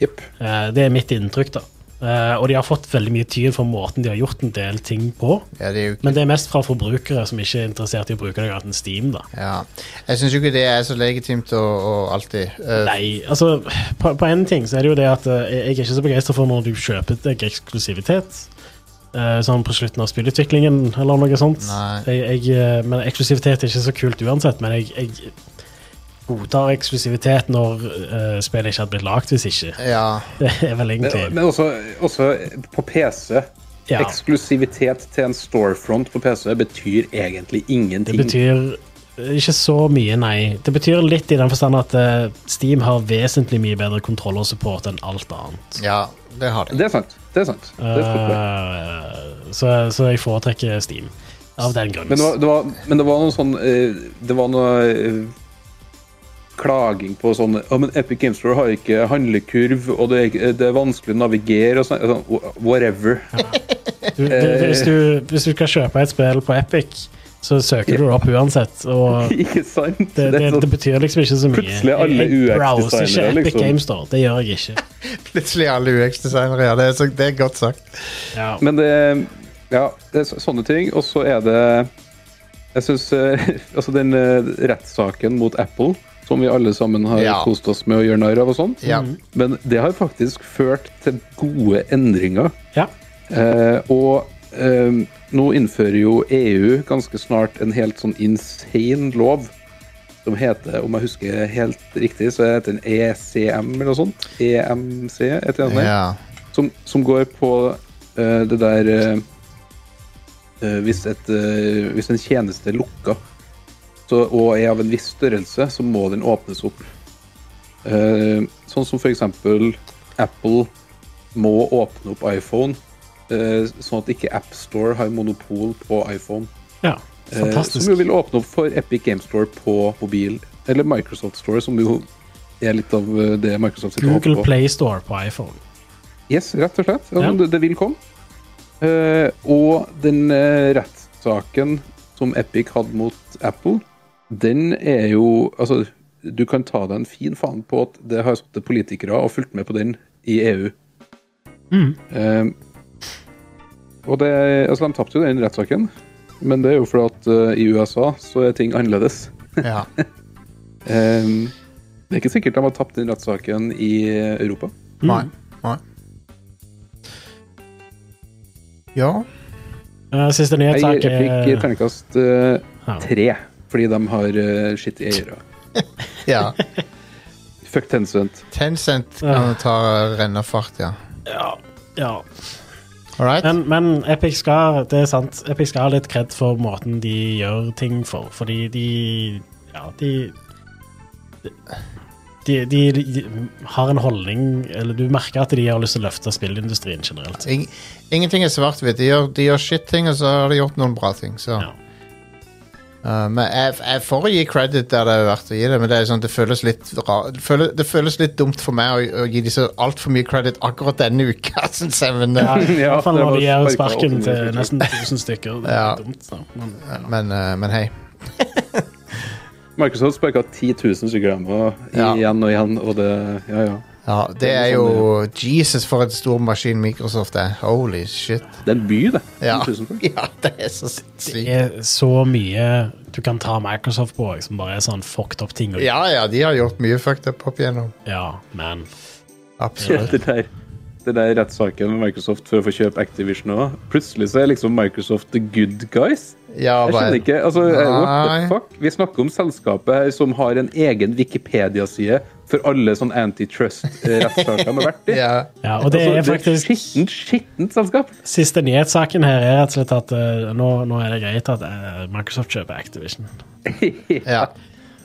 Speaker 4: Jepp.
Speaker 3: Eh, det er mitt inntrykk, da. Eh, og de har fått veldig mye tyn for måten de har gjort en del ting på.
Speaker 2: Ja, det er jo
Speaker 3: Men det er mest fra forbrukere som ikke er interessert i å bruke noe annet enn Steam. da.
Speaker 2: ja. Jeg syns jo ikke det er så legitimt og, og alltid. Eh,
Speaker 3: Nei, altså på, på en ting så er det jo det at eh, jeg er ikke så begeistra for når du kjøper deg eksklusivitet. eh, sånn på slutten av spillutviklingen eller noe sånt.
Speaker 2: Nei.
Speaker 3: Jeg, jeg, eh, men eksklusivitet er ikke så kult uansett, men jeg, jeg godtar eksklusivitet når eh, spillet ikke hadde blitt lagd hvis ikke.
Speaker 2: ja.
Speaker 3: Det er vel egentlig
Speaker 4: Eh, Men, men også, også på PC.
Speaker 3: Ja.
Speaker 4: Eksklusivitet til en storefront på PC betyr egentlig
Speaker 3: Det
Speaker 4: ingenting.
Speaker 3: betyr ikke så mye, nei. Det betyr litt i den forstand at eh, Steam har vesentlig mye bedre kontroll og support enn alt annet.
Speaker 2: ja, det har de.
Speaker 4: Det er sant. Det er sant. Det er et godt poeng.
Speaker 3: Eh, så, så jeg foretrekker Steam. Av den grunn.
Speaker 4: men, det var, det var, men det var noe sånn eh, Det var noe eh, klaging på sånn Ja, men Epic Games Store har ikke handlekurv, og det er, ikke- det er vanskelig å navigere og sånn. sånn. Whatever.
Speaker 3: Du, du,
Speaker 4: eh,
Speaker 3: hvis, du, hvis du skal kjøpe et spill på Epic, så søker du det opp uansett. Og det,
Speaker 4: ikke sant?
Speaker 3: det,
Speaker 4: Det er
Speaker 3: det
Speaker 4: sånn-
Speaker 3: betyr liksom ikke så mye.
Speaker 4: Plutselig er alle
Speaker 3: Jeg- jeg browser
Speaker 4: UX-designere,
Speaker 3: ikke Epic
Speaker 4: liksom.
Speaker 3: Games Store. Det gjør jeg ikke.
Speaker 2: Plutselig alle UX-designere, ja. Det er, så, det er godt sagt.
Speaker 3: Ja.
Speaker 4: Men det Ja, det er så- sånne ting. Og så er det Jeg syns Altså, den eh, rettssaken mot Apple, som vi alle sammen har
Speaker 2: Ja.
Speaker 4: kost oss med å gjøre narr av og sånn,
Speaker 2: Ja.
Speaker 4: men det har faktisk ført til gode endringer.
Speaker 3: ja.
Speaker 4: Eh, og eh, nå innfører jo EU ganske snart en helt sånn insane lov. Som heter, om jeg husker helt riktig, så heter den ECM eller noe sånt. EMC, et eller annet.
Speaker 2: ja.
Speaker 4: Som, som går på eh, det der eh, eh, hvis, et, eh, hvis en tjeneste er lukka så, og er av en viss størrelse, så må den åpnes opp. Eh, sånn som f.eks. Apple må åpne opp iPhone, eh, sånn at ikke AppStore har monopol på iPhone.
Speaker 3: ja.
Speaker 4: Eh, Som jo
Speaker 3: Fantastisk.
Speaker 4: vil åpne opp for Epic Game Store på mobil. Eller Microsoft Store, som jo er litt av eh, det Microsoft sitter og håper
Speaker 3: Google
Speaker 4: på.
Speaker 3: Play Store på iPhone.
Speaker 4: Yes, rett og slett. Ja,
Speaker 3: Ja.
Speaker 4: Det, det vil komme. Eh, og den eh, rettssaken som Epic hadde mot Apple, den er jo Altså, du kan ta deg en fin faen på at det har sittet politikere og fulgt med på den i EU. Eh, og det Altså, de tapte jo den rettssaken, men det er jo fordi at eh, i USA så er ting annerledes.
Speaker 2: ja.
Speaker 4: Eh, det er ikke sikkert de har tapt den rettssaken i Europa.
Speaker 3: Mm.
Speaker 2: Nei. Nei. Ja.
Speaker 3: Eh, Siste
Speaker 4: Jeg
Speaker 3: nyhetssak
Speaker 4: gir Epic
Speaker 3: er
Speaker 4: terningkast eh,
Speaker 3: Ja.
Speaker 4: tre, fordi de har uh, skitt i eiere.
Speaker 2: ja.
Speaker 4: Fuck Tencent.
Speaker 2: Tencent kan ta rennefart, ja.
Speaker 3: ja, ja.
Speaker 2: All right?
Speaker 3: Men, men Epic skal Det er sant. Epic skal ha litt kred for måten de gjør ting for, fordi de Ja, de de, de, de har en holdning Eller du merker at de har lyst til å løfte spillindustrien generelt.
Speaker 2: Ing ingenting er svart-hvitt. De gjør, de gjør shit-ting, og så har de gjort noen bra ting. Så.
Speaker 3: Ja.
Speaker 2: Uh, men jeg, jeg får gi credit der det er verdt å gi det, men det, er sånn, det, føles, litt ra det, føles, det føles litt dumt for meg å, å gi dem så altfor mye credit akkurat denne uka. Synes jeg, men,
Speaker 3: Ja,
Speaker 2: uh,
Speaker 3: I
Speaker 4: Ja,
Speaker 3: hvert fall
Speaker 4: det
Speaker 3: når
Speaker 4: var
Speaker 3: de gir
Speaker 4: sparket
Speaker 3: sparken
Speaker 4: åpent,
Speaker 3: til
Speaker 4: rett og slett.
Speaker 3: nesten 1000 stykker. Det er
Speaker 2: Ja.
Speaker 3: dumt, da. Men,
Speaker 2: men, uh, men hei.
Speaker 4: Microsoft sparka 10 000 sykkelhjemmer
Speaker 2: Ja.
Speaker 4: igjen og igjen, og det Ja, ja.
Speaker 2: Ja, det er
Speaker 4: er
Speaker 2: jo Jesus, for en stor maskin Microsoft er. Holy shit.
Speaker 4: Det er en by, det.
Speaker 2: Ja,
Speaker 4: 10 000 folk.
Speaker 2: ja det er så
Speaker 3: det
Speaker 2: sinnssykt.
Speaker 3: er så mye du kan ta Microsoft på, som bare er sånn fucked up ting. og-
Speaker 2: Ja, ja, de har gjort mye fucked up opp igjennom.
Speaker 3: ja men
Speaker 2: Absolutt.
Speaker 4: Det der. den der rettssaken med Microsoft for å få kjøpe Activision òg. Plutselig så er liksom Microsoft the good guys.
Speaker 2: Ja,
Speaker 4: Jeg
Speaker 2: bare-
Speaker 4: skjønner ikke. altså, eh, what the
Speaker 2: Nei.
Speaker 4: fuck? Vi snakker om selskapet her som har en egen Wikipedia-side for alle sånn antitrust-rettssaker de har vært i.
Speaker 2: Ja.
Speaker 3: Ja, og det
Speaker 4: Altså,
Speaker 3: er faktisk
Speaker 4: et skittent, skittent selskap.
Speaker 3: Siste nyhetssaken her er rett og slett at eh, nå, nå er det greit at eh, Microsoft kjøper Activision.
Speaker 2: ja.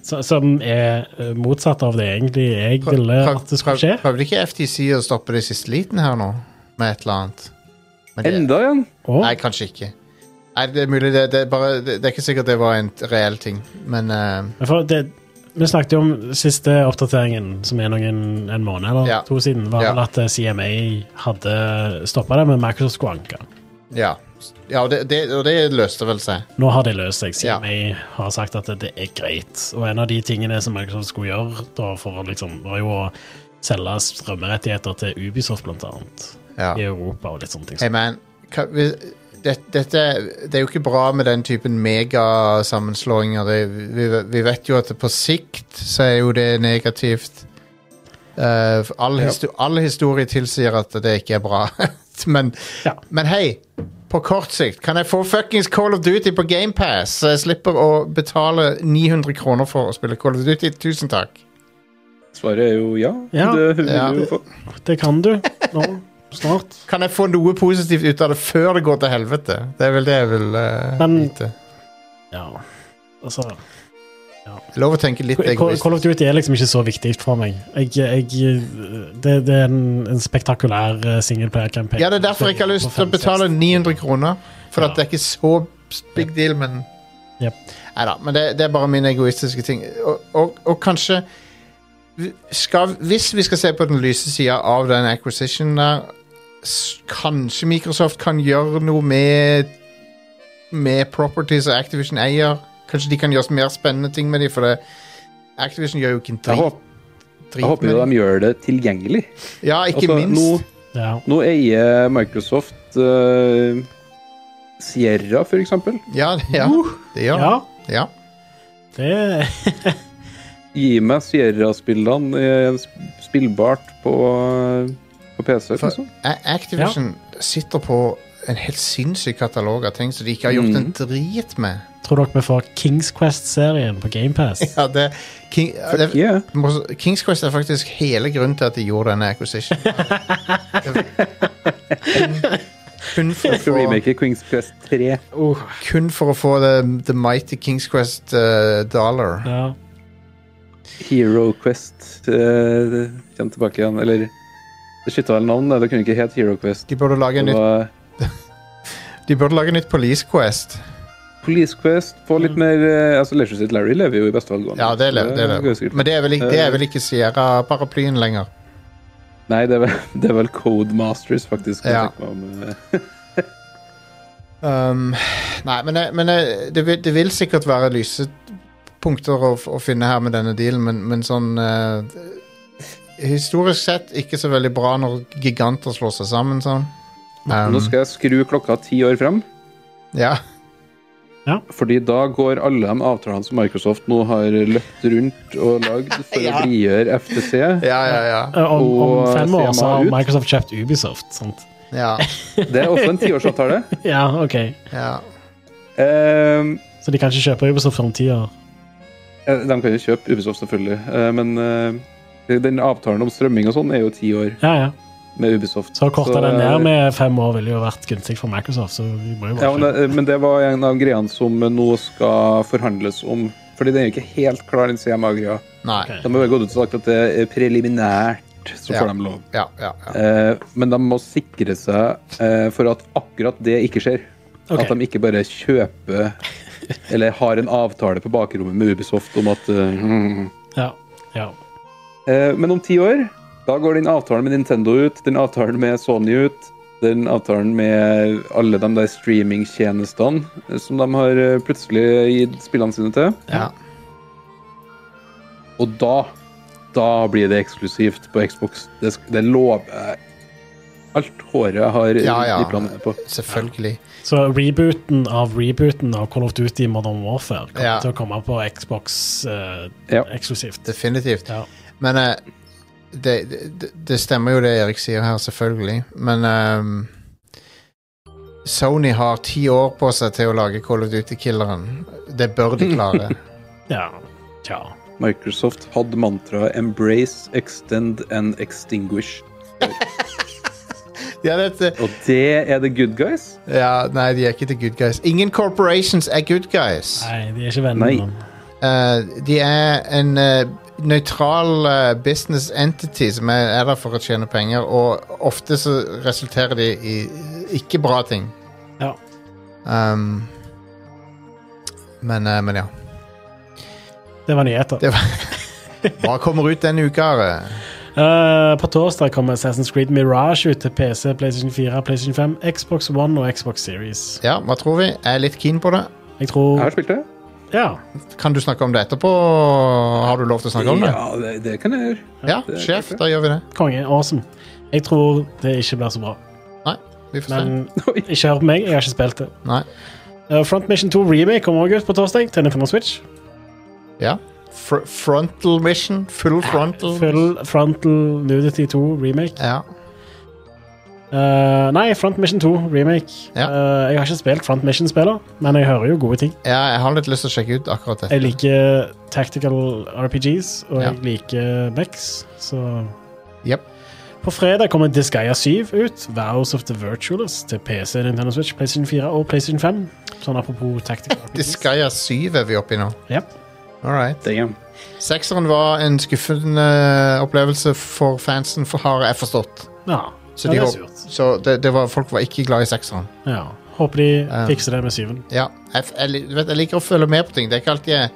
Speaker 3: Så, som er eh, motsatt av det egentlig jeg ville
Speaker 2: Prøv-
Speaker 3: at det skulle
Speaker 2: prøv-
Speaker 3: skje.
Speaker 2: Prøvde ikke FTC å stoppe det i siste liten her nå? Med et eller annet? Men det-
Speaker 4: Enda igjen.
Speaker 3: Og
Speaker 2: Nei, kanskje ikke. Nei, det er mulig. Det, det, er bare, det, det er ikke sikkert det var en t- reell ting, men eh,
Speaker 3: Men For det, vi snakket jo om siste oppdateringen, som er noen en måned eller
Speaker 2: Ja.
Speaker 3: to siden, var
Speaker 2: Ja.
Speaker 3: vel at eh, CMA hadde stoppa det, men Microsoft skulle anke.
Speaker 2: ja. ja og, det, det, og det løste vel seg.
Speaker 3: Nå har de løst seg.
Speaker 2: Ja.
Speaker 3: CMA har sagt at det er greit. Og en av de tingene som Microsoft skulle gjøre, da, for å liksom, var jo å selge strømmerettigheter til Ubisoft, blant annet,
Speaker 2: Ja.
Speaker 3: i Europa og litt sånne ting.
Speaker 2: Hey man, hva, vi- det, dette, det er jo ikke bra med den typen megasammenslåinger. Det- Vi, vi vet jo at på sikt så er jo det negativt. Eh, for all, histo all historie tilsier at det ikke er bra. men,
Speaker 3: Ja.
Speaker 2: men hei, på kort sikt, kan jeg få fuckings Call of Duty på GamePass, så jeg slipper å betale 900 kroner for å spille Call of Duty? Tusen takk.
Speaker 4: Svaret er jo ja.
Speaker 3: Ja.
Speaker 4: Det vil
Speaker 2: Ja.
Speaker 4: du jo få.
Speaker 3: Det kan du nå, snart.
Speaker 2: Kan jeg få noe positivt ut av det før det går til helvete? Det er vel det jeg vil eh,
Speaker 3: Men-
Speaker 2: vite.
Speaker 3: Ja. Altså
Speaker 2: Lov å tenke litt
Speaker 3: Call
Speaker 2: egoistisk.
Speaker 3: Call of Duty er liksom ikke så viktig for meg. Jeg, jeg, det, det er en, en spektakulær eh, singleplayer-campaign.
Speaker 2: Ja, det er derfor jeg ikke har lyst til å betale 900 kroner. For at det er ikke så big deal, men
Speaker 3: Jep.
Speaker 2: Nei da. Men det, det er bare mine egoistiske ting. Og, og, og kanskje vi skal, Hvis vi skal se på den lyse sida av den acquisitionen der, s- kanskje Microsoft kan gjøre noe med med properties og Activision eier. Kanskje de kan gjøre mer spennende ting med dem, for det, Activision gjør jo ikke en
Speaker 4: Jeg
Speaker 2: drit,
Speaker 4: håper,
Speaker 2: drit
Speaker 4: jeg håper
Speaker 2: med
Speaker 4: jo
Speaker 2: dem.
Speaker 4: de gjør det tilgjengelig.
Speaker 2: Ja, ikke
Speaker 4: Altså, nå-
Speaker 2: minst.
Speaker 3: Ja.
Speaker 4: Nå eier Microsoft eh, Sierra, for eksempel.
Speaker 2: Ja, ja, det gjør
Speaker 3: ja,
Speaker 2: det. Uh. Ja.
Speaker 3: det
Speaker 4: Gi meg Sierra-spillene eh, sp- spillbart på, eh, på PC.
Speaker 2: For-
Speaker 4: liksom.
Speaker 2: A- Activision sitter på en helt sinnssyk katalog av ting som de ikke har gjort en drit med.
Speaker 3: Tror dere vi får Kings Quest-serien på GamePass?
Speaker 2: Ja, det, King, det,
Speaker 4: Ja.
Speaker 2: må- Kings Quest er faktisk hele grunnen til at de gjorde denne acquisition. kun, kun, for å
Speaker 4: Skal
Speaker 2: få,
Speaker 4: remake Queens Quest 3.
Speaker 2: kun for å få the, the mighty Kings Quest eh, dollar.
Speaker 3: Ja.
Speaker 4: Hero Quest eh, kommer tilbake igjen. Eller det skytta vel navn, det. det kunne ikke hett Hero Quest. eh,
Speaker 2: De burde lage
Speaker 4: Det
Speaker 2: nytt,
Speaker 4: var
Speaker 2: de burde lage nytt Police Quest.
Speaker 4: Police Quest. Få litt mer eh, altså Leisure Suit Larry lever jo i beste velgående.
Speaker 2: Mm. Ja, det er, le- det er, Eh.
Speaker 4: går jo
Speaker 2: det.
Speaker 4: sikkert.
Speaker 2: Men det er vel, ikke- det er vel ikke Sierra-paraplyen lenger.
Speaker 4: Nei, det er vel, det er vel Codemasters, faktisk. kan
Speaker 2: Ja.
Speaker 4: jeg tenke meg om, eh.
Speaker 2: Um, nei, men, det- men det, det, vil, det vil sikkert være lyse punkter å, f- å finne her med denne dealen, men, men sånn eh, Historisk sett ikke så veldig bra når giganter slår seg sammen sånn. Um,
Speaker 4: Nå skal jeg skru klokka ti år frem,
Speaker 2: ja,
Speaker 4: fordi da går alle de avtalene som Microsoft nå har løpt rundt og lagd for å
Speaker 2: Ja.
Speaker 4: blidgjøre FTC.
Speaker 2: ja, ja, ja.
Speaker 3: Eh, Om, om
Speaker 4: Og
Speaker 3: fem år
Speaker 4: CMA
Speaker 3: så har
Speaker 4: ut.
Speaker 3: Microsoft kjøpt Ubisoft. Sant?
Speaker 2: ja,
Speaker 4: Det er også en tiårsavtale.
Speaker 3: Ja, ok.
Speaker 2: ja.
Speaker 4: Eh,
Speaker 3: Så de kan ikke kjøpe Ubisoft for om ti år.
Speaker 4: Eh, De kan jo kjøpe Ubisoft, selvfølgelig. Eh, Men eh, den avtalen om strømming og sånn er jo ti år
Speaker 3: Ja, ja.
Speaker 4: med Ubisoft.
Speaker 3: Så å korte
Speaker 4: Så,
Speaker 3: den
Speaker 4: eh,
Speaker 3: ned med fem år ville jo vært gunstig for Microsoft. Så vi må jo
Speaker 4: Ja,
Speaker 3: bare
Speaker 4: men det, eh, men det var en av greiene som nå skal forhandles om. Fordi den er jo ikke helt klar, den CMA-greia.
Speaker 2: Nei.
Speaker 3: Ok.
Speaker 4: De har bare gått ut og sagt at det er preliminært, så
Speaker 2: Ja.
Speaker 4: får de lov.
Speaker 2: Ja, ja, ja.
Speaker 4: Eh, Men de må sikre seg eh, for at akkurat det ikke skjer.
Speaker 3: Ok.
Speaker 4: At de ikke bare kjøper eller har en avtale på bakrommet med Ubisoft om at eh, mm,
Speaker 3: ja. ja.
Speaker 4: Eh, Men om ti år, da går den avtalen med Nintendo ut, den avtalen med Sony ut, den avtalen med alle de der streamingtjenestene eh, som de har eh, plutselig gitt spillene sine til.
Speaker 2: ja.
Speaker 4: Og da da blir det eksklusivt på Xbox. Det, sk- det lover jeg. Alt håret jeg har i-
Speaker 2: Ja, ja.
Speaker 4: i planene på.
Speaker 2: Selvfølgelig.
Speaker 3: Så rebooten av rebooten av Call of Duty Modern Warfare kommer
Speaker 2: Ja.
Speaker 3: til å komme på Xbox eh,
Speaker 4: Ja.
Speaker 3: eksklusivt.
Speaker 2: Definitivt.
Speaker 3: Ja.
Speaker 2: Men eh, det, det, det stemmer jo det Erik sier her, selvfølgelig, men ehm, Sony har ti år på seg til å lage Call of Duty-killeren. Det bør de klare.
Speaker 3: Ja. Tja.
Speaker 4: Microsoft hadde mantraet 'embrace, extend and extinguish'.
Speaker 2: ja, dette,
Speaker 4: Og det er the good guys.
Speaker 2: ja, nei, de er ikke the good guys. Ingen corporations er good guys.
Speaker 3: Nei, de er ikke venner.
Speaker 4: Nei.
Speaker 3: men-
Speaker 2: Eh, de er en eh, nøytral eh, business entity som er, er der for å tjene penger, og ofte så resulterer de i ikke bra ting.
Speaker 3: Ja.
Speaker 2: Um, men, eh, men ja.
Speaker 3: Det var nyheter.
Speaker 2: Det var Hva kommer ut denne uka? Are?
Speaker 3: Eh, på torsdag kommer Assassin's Creed Mirage ut til PC, PlayStation 4, PlayStation 5, Xbox One og Xbox Series.
Speaker 2: Ja, hva tror vi? Jeg er litt keen på det.
Speaker 3: Jeg
Speaker 4: Jeg har
Speaker 3: tror
Speaker 4: spilt det.
Speaker 3: Ja.
Speaker 2: Kan du snakke om det etterpå? Har du lov til å snakke om det?
Speaker 4: Ja, det, det kan jeg gjøre.
Speaker 2: Ja,
Speaker 4: det er
Speaker 2: sjef,
Speaker 4: klart det.
Speaker 2: da gjør vi det.
Speaker 3: Konge. Awesome. Jeg tror det ikke blir så bra.
Speaker 2: Nei, vi får se.
Speaker 3: Men
Speaker 4: Oi.
Speaker 3: ikke hør på meg, jeg har ikke spilt det.
Speaker 2: Nei.
Speaker 3: Eh, Front Mission 2 Remake kommer også ut på torsdag til Nintendo Switch.
Speaker 2: Ja. Fr frontal mission. Full frontal.
Speaker 3: Full Frontal Nudity 2 Remake.
Speaker 2: Ja.
Speaker 3: Eh, nei, Front Mission 2 Remake.
Speaker 2: Ja.
Speaker 3: Eh, jeg har ikke spilt Front Mission-spiller, men jeg hører jo gode ting.
Speaker 2: ja, jeg har litt lyst til å sjekke ut akkurat
Speaker 3: Jeg
Speaker 2: dette.
Speaker 3: liker tactical RPGs, og
Speaker 2: Ja.
Speaker 3: jeg liker Bex, så
Speaker 2: Jep.
Speaker 3: På fredag kommer Disgaea 7 ut, Vows of the Virtualist, til PC, Nintendo Switch, PlayStation 4 og PlayStation 5. Sånn apropos tactical RPGs.
Speaker 2: Disgaea 7 er vi oppi nå.
Speaker 3: Ja.
Speaker 2: All right.
Speaker 4: Damn.
Speaker 2: Sekseren var en skuffende eh, opplevelse for fansen, for har jeg forstått.
Speaker 3: ja.
Speaker 2: Så,
Speaker 3: ja,
Speaker 2: de
Speaker 3: det er
Speaker 2: hå-
Speaker 3: surt.
Speaker 2: så det, det var, folk var ikke glad i sekseren.
Speaker 3: Ja. Håper de
Speaker 2: Ja.
Speaker 3: fikser det med syven.
Speaker 2: Ja, jeg, f- jeg, li- du vet, jeg liker å følge med på ting. Det er ikke alltid jeg,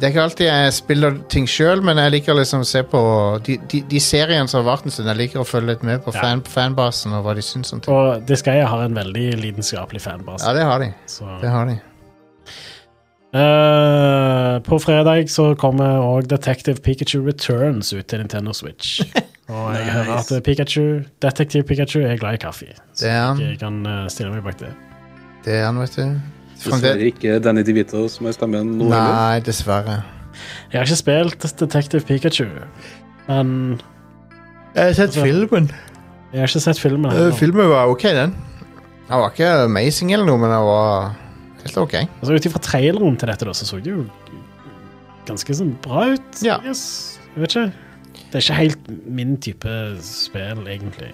Speaker 2: det er ikke alltid jeg spiller ting sjøl, men jeg liker liksom å se på de, de, de seriene som har vært en stund. Jeg liker å følge litt med på
Speaker 3: Ja.
Speaker 2: fan, fanbasen og hva de syns om ting.
Speaker 3: Og Disgaea har en veldig lidenskapelig fanbase.
Speaker 2: Ja, det har de.
Speaker 3: Så.
Speaker 2: Det har de.
Speaker 3: Eh, på fredag så kommer òg Detective Pikachu Returns ut til Nintendo Switch. Og jeg hører at eh, Pikachu, Detektiv Pikachu er glad i kaffe, så
Speaker 2: Det er han,
Speaker 3: jeg kan eh, stille meg bak det.
Speaker 2: det er han vet du.
Speaker 4: Dessverre
Speaker 2: Fremdeles-
Speaker 4: ikke Danny DeVito som har stemmen nå heller.
Speaker 2: Nei, dessverre.
Speaker 3: Jeg har ikke spilt Detective Pikachu, men
Speaker 2: Jeg har sett
Speaker 3: Altså-
Speaker 2: filmen.
Speaker 3: Jeg har ikke sett filmen
Speaker 2: Eh,
Speaker 3: ennå.
Speaker 2: filmen var ok, den. Den var ikke amazing eller noe, men den var helt ok.
Speaker 3: Altså, Ut ifra traileren til dette da, så så det jo ganske sånn bra ut.
Speaker 2: Ja.
Speaker 3: Yes. Jeg vet ikke. Det er ikke helt min type spill, egentlig.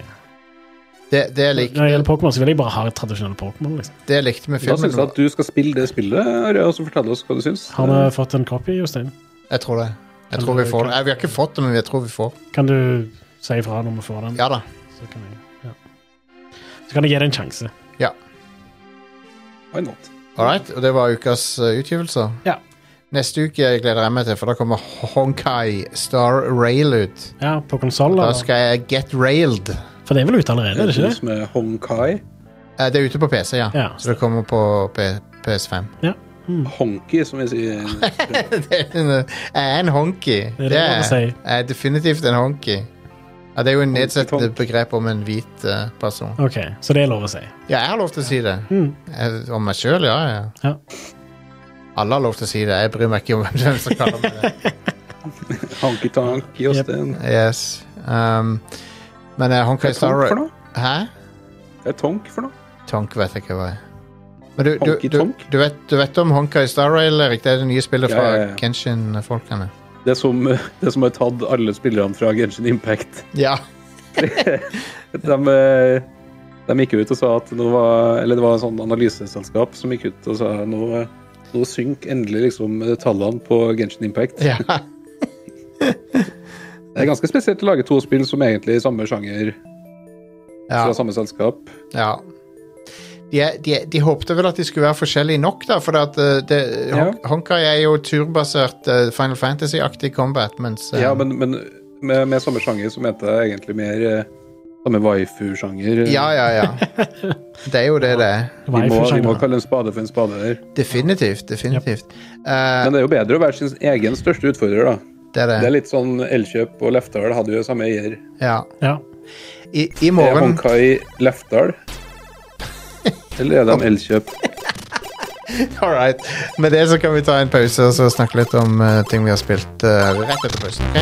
Speaker 2: Det, det, jeg
Speaker 3: Når det
Speaker 2: likte,
Speaker 3: gjelder Pokémon, så vil jeg bare ha et tradisjonelt Pokémon. liksom.
Speaker 2: det jeg likte med
Speaker 4: Da
Speaker 2: filmen
Speaker 4: syns jeg at du skal spille det spillet, Are, og så fortelle oss hva du syns.
Speaker 3: Har
Speaker 2: Mm.
Speaker 3: vi fått en copy, Jostein?
Speaker 2: Jeg tror det. Jeg
Speaker 3: Kan
Speaker 2: tror vi
Speaker 3: du-
Speaker 2: får
Speaker 3: kan-
Speaker 2: det. Eh, Vi har ikke fått det, men jeg tror vi får det.
Speaker 3: Kan du si ifra når vi får den?
Speaker 2: Ja da.
Speaker 3: Så kan jeg, ja. Så kan jeg gi det en sjanse.
Speaker 4: Why not?
Speaker 2: Alright, og det var ukas eh, utgivelser.
Speaker 3: Ja.
Speaker 2: Neste uke gleder jeg meg til, for da kommer Honkai Star Rail ut.
Speaker 3: Ja, På konsoll?
Speaker 2: Da
Speaker 3: eller?
Speaker 2: skal jeg get railed.
Speaker 3: For det er vel ute allerede, er det ikke det?
Speaker 4: Med Hong Kai.
Speaker 2: Eh, Det er ute på PC, ja.
Speaker 3: Ja.
Speaker 2: Så det kommer på P PS5.
Speaker 4: Honky, som vi sier.
Speaker 2: Det er en, eh, jeg er en honky.
Speaker 3: er det man må si.
Speaker 2: jeg er eh, definitivt en honky. Ja, det er jo en nedsettende
Speaker 4: Honky-tonk.
Speaker 2: begrep om en hvit eh, person.
Speaker 3: Ok, Så det er lov å si.
Speaker 2: Ja, jeg har lov til å si det.
Speaker 3: Mm.
Speaker 2: Jeg, om meg sjøl, ja, ja.
Speaker 3: Ja.
Speaker 2: Alle har lov til å si det. Jeg bryr meg ikke om hvem som kaller meg det.
Speaker 4: Honky Tonk, Jostein.
Speaker 2: Yes. Um, men eh,
Speaker 4: Hva
Speaker 2: Honkai
Speaker 4: er tonk
Speaker 2: Star
Speaker 4: for noe?
Speaker 2: Hæ?
Speaker 4: Hva er tonk for noe?
Speaker 2: Tonk vet jeg ikke hva er. Men du, du,
Speaker 4: Honky
Speaker 2: du,
Speaker 4: Tonk?
Speaker 2: du, vet, du vet om Honkai Star Rail, Erik? Det er det nye spillet
Speaker 4: Ja,
Speaker 2: fra
Speaker 4: ja, ja.
Speaker 2: Kenshin-folkene.
Speaker 4: Det som, det som har tatt alle spillerne fra Genshin Impact.
Speaker 2: Ja.
Speaker 4: De, eh, de gikk ut og sa at nå var Eller det var en sånn analyseselskap som gikk ut og sa nå, eh, nå synker endelig liksom tallene på Genshin Impact.
Speaker 2: ja.
Speaker 4: Det er ganske spesielt å lage to spill som egentlig er i samme sjanger,
Speaker 2: ja.
Speaker 4: fra samme selskap.
Speaker 2: ja. De, er- de, er- de håpte vel at de skulle være forskjellige nok, da. For at, eh, det, Hon- Honkai er jo turbasert eh, Final Fantasy-aktig combat, mens eh,
Speaker 4: Ja, men, men med, med samme sjanger så mente jeg egentlig mer eh, samme waifu-sjanger.
Speaker 2: ja, ja, ja. Det er jo det det er.
Speaker 4: Vi må, vi må
Speaker 3: Waifu-sjanger.
Speaker 4: kalle en spade for en spade her.
Speaker 2: Definitivt. Definitivt. Eh,
Speaker 4: Men det er jo bedre å være sin egen største utfordrer, da.
Speaker 2: det er det.
Speaker 4: Det er litt sånn Elkjøp og Lefdal hadde jo samme eier.
Speaker 2: Ja.
Speaker 3: Ja.
Speaker 2: I, i
Speaker 4: Er
Speaker 2: morgen
Speaker 4: Honkai Lefdal? Eller er de Elkjøp?
Speaker 2: All right. Med det så kan vi ta en pause og så snakke litt om eh, ting vi har spilt eh, rett etter pausen. ok?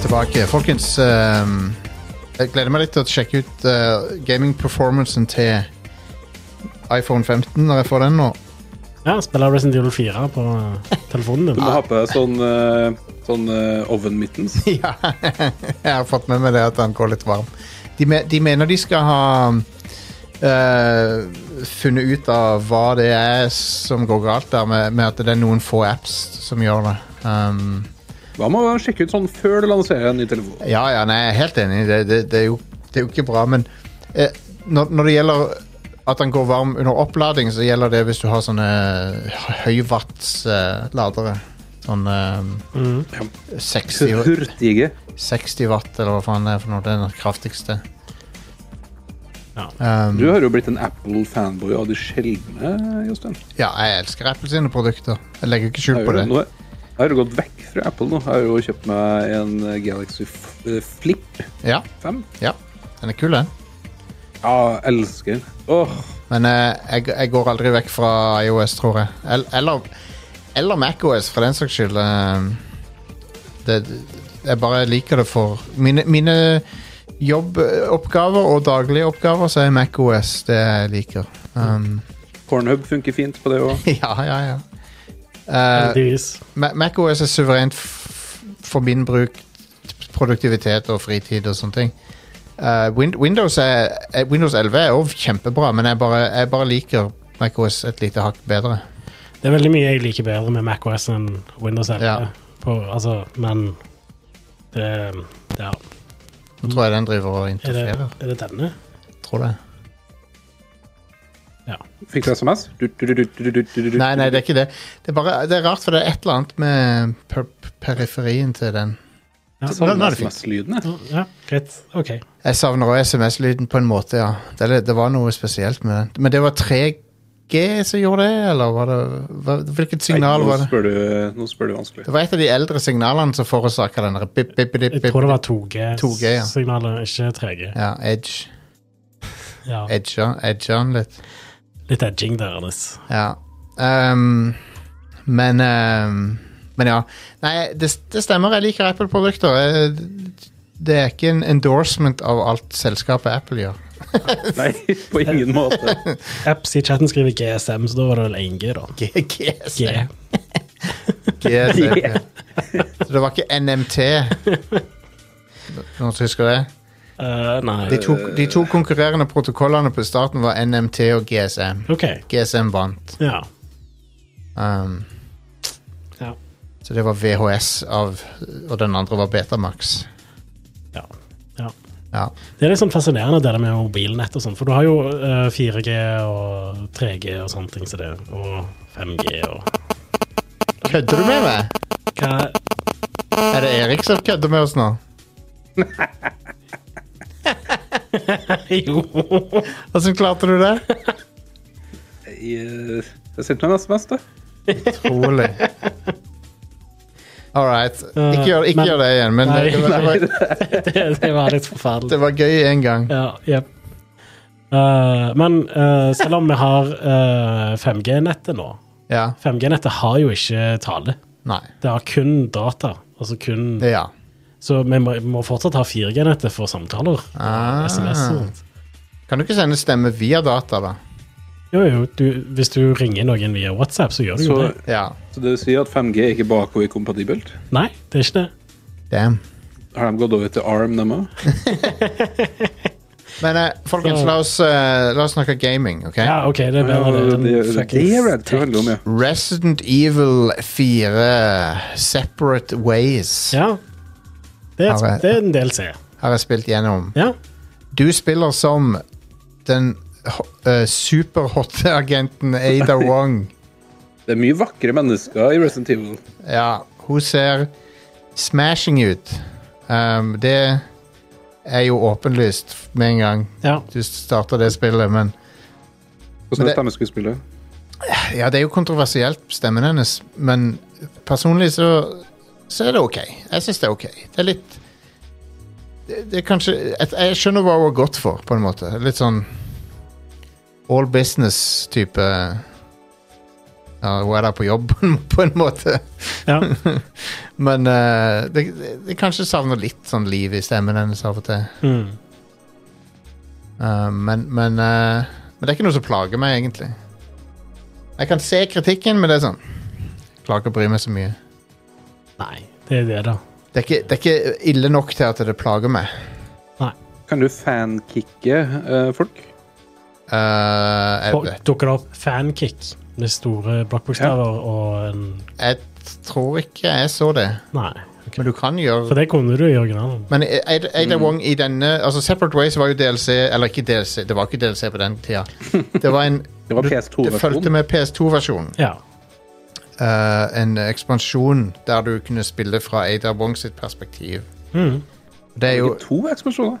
Speaker 2: tilbake. Folkens, ehm, jeg gleder meg litt til å sjekke ut eh, gaming-performancen til iPhone 15 når jeg får den nå.
Speaker 3: Ja, spiller Resident Evil 4 på eh, telefonen
Speaker 4: Du
Speaker 3: din.
Speaker 4: må ha på deg sånn, eh, sånn eh, oven-mittens.
Speaker 2: Ja, jeg har fått med meg det at han går litt varm. De, me de mener de skal ha eh, funnet ut av hva det er som går galt der, med, med at det er noen få apps som gjør det. Um,
Speaker 4: Hva med å sjekke ut sånn før du lanserer en ny telefon?
Speaker 2: ja, ja, nei, jeg er helt enig. Det, det, det, er, jo, det er jo ikke bra, men eh, når, når det gjelder at den går varm under opplading, så gjelder det hvis du har sånne eh, høyvatts-ladere. eh, Sånn eh,
Speaker 3: Mm.
Speaker 2: 60 og-
Speaker 4: Hurtige.
Speaker 2: 60 watt, eller hva faen det er for noe. Det er den kraftigste.
Speaker 3: Ja.
Speaker 2: Um,
Speaker 4: Du har jo blitt en Apple-fanboy av de sjeldne, Jostein.
Speaker 2: ja, jeg elsker Apple sine produkter. Jeg legger ikke skjul
Speaker 4: Jeg
Speaker 2: på
Speaker 4: har jo
Speaker 2: det.
Speaker 4: nå- jeg har jo gått vekk fra Apple nå. Jeg har jo kjøpt meg en eh, Galaxy F- eh, Flip
Speaker 2: Ja,
Speaker 4: 5.
Speaker 2: ja. Den er kul, den.
Speaker 4: Ja, jeg elsker den. Åh,
Speaker 2: Men eh, jeg, jeg går aldri vekk fra IOS, tror jeg. El- Eller, eller MacOS, for den saks skyld. Um, det, jeg bare liker det for Mine, mine jobboppgaver og daglige oppgaver, så er MacOS det jeg liker. Um,
Speaker 4: Pornhub funker fint på det òg.
Speaker 2: ja, ja, ja. Eh,
Speaker 3: Heldigvis.
Speaker 2: Ma- MacOS er suverent f- for min bruk, t- produktivitet og fritid og sånne ting. Eh, Win- Windows, er, eh, Windows 11 er også kjempebra, men jeg bare, jeg bare liker MacOS et lite hakk bedre.
Speaker 3: Det er veldig mye jeg liker bedre med MacOS enn Windows 11.
Speaker 2: Ja.
Speaker 3: På, altså, men det ja.
Speaker 2: Nå tror jeg den driver og
Speaker 3: Mm. er, det,
Speaker 2: interferer.
Speaker 3: er det denne?
Speaker 2: Tror det.
Speaker 4: Fikk du SMS? Du, du, du, du, du, du, du, du.
Speaker 2: Nei, nei, det er ikke det. Det er, bare, det er rart, for det er et eller annet med per periferien til den.
Speaker 3: Ja,
Speaker 4: Sånn
Speaker 2: Nå- nå er det fint.
Speaker 4: SMS-lyden, jeg.
Speaker 3: ja greit. OK.
Speaker 2: Jeg savner òg SMS-lyden på en måte, ja. Det, er litt- det var noe spesielt med den. Men det var 3G som gjorde det, eller var det hva, Hvilket signal
Speaker 4: Nei,
Speaker 2: var
Speaker 4: Nå
Speaker 2: det?
Speaker 4: spør du, nå spør du vanskelig.
Speaker 2: Det var et av de eldre signalene som forårsaka den der bip, bip, bip,
Speaker 3: Jeg
Speaker 2: bip.
Speaker 3: tror det var
Speaker 2: 2G, ja.
Speaker 3: 2G-signalet, ikke 3G.
Speaker 2: Ja, edge.
Speaker 3: Ja.
Speaker 2: Edge on, edge on litt.
Speaker 3: Litt edging der, Anders.
Speaker 2: Ja. Ehm, men ehm, Men ja. Nei, det, det stemmer. Jeg liker Apple-produkter. Jeg- Det er ikke en endorsement av alt selskapet Apple gjør.
Speaker 4: Nei, på ingen måte.
Speaker 3: Apps i chatten skriver GSM, så da var det vel 1G, da.
Speaker 2: G, G,
Speaker 3: G. E.
Speaker 2: G, G. E. Så det var ikke NMT. Noen som husker det?
Speaker 3: Eh, nei.
Speaker 2: De to, de to konkurrerende protokollene på starten var NMT og GSM.
Speaker 3: OK.
Speaker 2: GSM vant.
Speaker 3: Ja.
Speaker 2: Um,
Speaker 3: Ja.
Speaker 2: Så det var VHS av Og den andre var Betamax.
Speaker 3: ja. ja.
Speaker 2: Ja.
Speaker 3: Det er litt sånn fascinerende det der med mobilnett og sånn, for du har jo eh, 4G og 3G og sånne ting som det, og 5G og
Speaker 2: Kødder du med meg?
Speaker 3: Hva
Speaker 2: Er det Erik som kødder med oss nå?
Speaker 3: Jo!
Speaker 2: Hvordan klarte du det?
Speaker 4: Jeg, eh, jeg sendte meg en SMS, da.
Speaker 2: Utrolig. All right. Ikke gjør, ikke
Speaker 3: Men-
Speaker 2: gjør det igjen, men
Speaker 3: Nei,
Speaker 2: det, var, det, var,
Speaker 3: Det, det var litt
Speaker 2: det
Speaker 3: forferdelig.
Speaker 2: var gøy én gang.
Speaker 3: Ja, jepp. Eh, men eh, selv om vi har eh, 5G-nettet nå 5G-nettet har jo ikke tale.
Speaker 2: Nei.
Speaker 3: Det har kun data. Altså kun
Speaker 2: Det, ja.
Speaker 3: Så vi må, må fortsatt ha 4G-nettet for samtaler.
Speaker 2: Ah.
Speaker 3: SMS og sånt.
Speaker 2: Kan du ikke sende stemme via data, da?
Speaker 3: Jo, jo, du, hvis du ringer noen via WhatsApp, så gjør du
Speaker 4: Så,
Speaker 3: jo det.
Speaker 2: Ja.
Speaker 4: så det vil si at 5G er ikke bakoverkompatibelt?
Speaker 3: Nei, det er ikke det.
Speaker 2: Damn.
Speaker 4: Har de gått over til ARM, dem òg?
Speaker 2: Men eh, folkens,
Speaker 3: Så-
Speaker 2: la oss, eh, la oss snakke gaming, OK?
Speaker 3: Ja, OK, det er bedre det. enn
Speaker 4: Ah, Det er
Speaker 3: fucking
Speaker 4: det Red Crew handler om, ja.
Speaker 2: Resident Evil 4 Separate Ways
Speaker 3: Ja. Det er,
Speaker 2: Har jeg-
Speaker 3: et- det er en DLC.
Speaker 2: har jeg spilt gjennom.
Speaker 3: Ja.
Speaker 2: Du spiller som den ho- eh, superhotte agenten Ada Wong.
Speaker 4: Det er mye vakre mennesker i Resident Evil.
Speaker 2: Ja, hun ser smashing ut. Um, det er jo åpenlyst med en gang
Speaker 3: ja.
Speaker 2: du starter det spillet, men Men
Speaker 4: Hvordan
Speaker 2: det-
Speaker 4: er stemmeskuespillet?
Speaker 2: Ja, det er jo kontroversielt, stemmen hennes, men personlig så, så er det OK. Jeg syns det er OK. Det er litt det, det er kanskje Jeg, jeg skjønner hva hun er godt for, på en måte. Litt sånn all business-type Ja, hun er der på jobb på en måte.
Speaker 3: Ja.
Speaker 2: Men eh, det, det, det kanskje savner litt sånn liv i stemmen hennes av og til.
Speaker 3: Mm.
Speaker 2: Eh, men, men, eh, men det er ikke noe som plager meg, egentlig. Jeg kan se kritikken, men det er sånn Klarer ikke å bry meg så mye.
Speaker 3: Nei, det er det, da.
Speaker 2: Det er, ikke, det er ikke ille nok til at det plager meg.
Speaker 4: Kan du fankicke eh, folk?
Speaker 2: Eh, jeg,
Speaker 3: Og
Speaker 2: vet-
Speaker 3: Dukker det opp fankick med store blokkbokstaver og en
Speaker 2: jeg tror ikke jeg så det,
Speaker 3: Nei.
Speaker 2: men du kan gjøre
Speaker 3: For det Mm. kunne du i originalen.
Speaker 2: Men Ada Ada Wong i denne Altså Separate Ways var jo DLC Eller ikke DLC, det var ikke DLC på den tida. Det var en
Speaker 4: Det var
Speaker 2: Det fulgte
Speaker 4: PS2-versjonen.
Speaker 2: med PS2-versjonen.
Speaker 3: Ja.
Speaker 2: Eh, en ekspansjon der du kunne spille fra Ada Wong sitt perspektiv.
Speaker 3: Mm.
Speaker 2: Det er jo
Speaker 4: To ekspansjoner.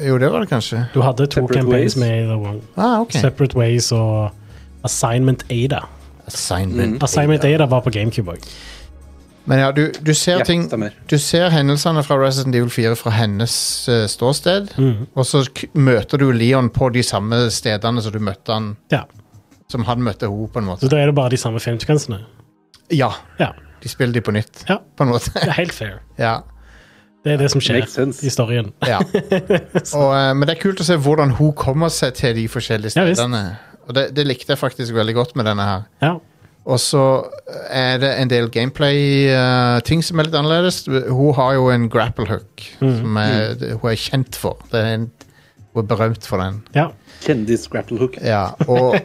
Speaker 2: Jo, det var det kanskje.
Speaker 3: Du hadde to
Speaker 4: Separate
Speaker 3: campaigns
Speaker 4: Ways.
Speaker 3: med i The One.
Speaker 2: Ah, ok.
Speaker 3: Separate Ways og Assignment Ada.
Speaker 2: Assignment.
Speaker 4: Mm.
Speaker 3: Assignment Ada var på GameCube òg.
Speaker 2: Men ja, du, du ser
Speaker 4: Ja,
Speaker 2: ting
Speaker 4: stemmer.
Speaker 2: Du ser hendelsene fra Resident Evil 4 fra hennes eh, ståsted,
Speaker 3: Mhm.
Speaker 2: og så k møter du Leon på de samme stedene som du møtte han
Speaker 3: Ja.
Speaker 2: Som han møtte henne, på en måte.
Speaker 3: Så da er det bare de samme filmsekvensene.
Speaker 2: Ja.
Speaker 3: Ja.
Speaker 2: De spiller de på nytt,
Speaker 3: Ja.
Speaker 2: på en måte.
Speaker 3: Det er helt fair.
Speaker 2: ja.
Speaker 3: Det er det som skjer
Speaker 4: Makes sense.
Speaker 3: i storyen.
Speaker 2: Ja. Og, eh, men det er kult å se hvordan hun kommer seg til de forskjellige
Speaker 3: Ja, visst.
Speaker 2: stedene. og det, det likte jeg faktisk veldig godt med denne her.
Speaker 3: Ja.
Speaker 2: Og så er det en del gameplay-ting som er litt annerledes. Hun har jo en grapple hook, som er, det- hun er kjent for. Det er en, hun er berømt for den.
Speaker 3: ja.
Speaker 4: Kjendis-grapplehook.
Speaker 2: Ja, og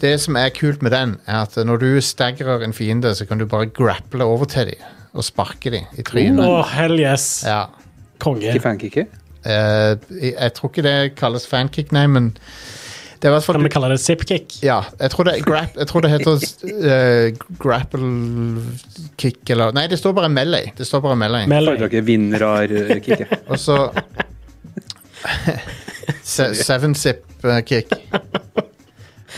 Speaker 2: det som er kult med den, er at når du staggerer en fiende, så kan du bare grapple over til dem og sparke dem i
Speaker 3: Å,
Speaker 2: trynet.
Speaker 3: Oh, hell yes!
Speaker 2: Ja.
Speaker 3: Konge.
Speaker 4: Ikke fankicke.
Speaker 2: Eh, jeg, jeg tror ikke det kalles fankick, nei, men det er i hvert fall
Speaker 3: Kan vi kalle det zipkick?
Speaker 2: Ja, jeg tror det, er grap, jeg tror det heter eh, grapple kick eller Nei, det står bare melee. Det står bare melee.
Speaker 3: Melee.
Speaker 4: Foretrekker vinrar-kicke.
Speaker 2: Og så se- Seven zip eh, kick.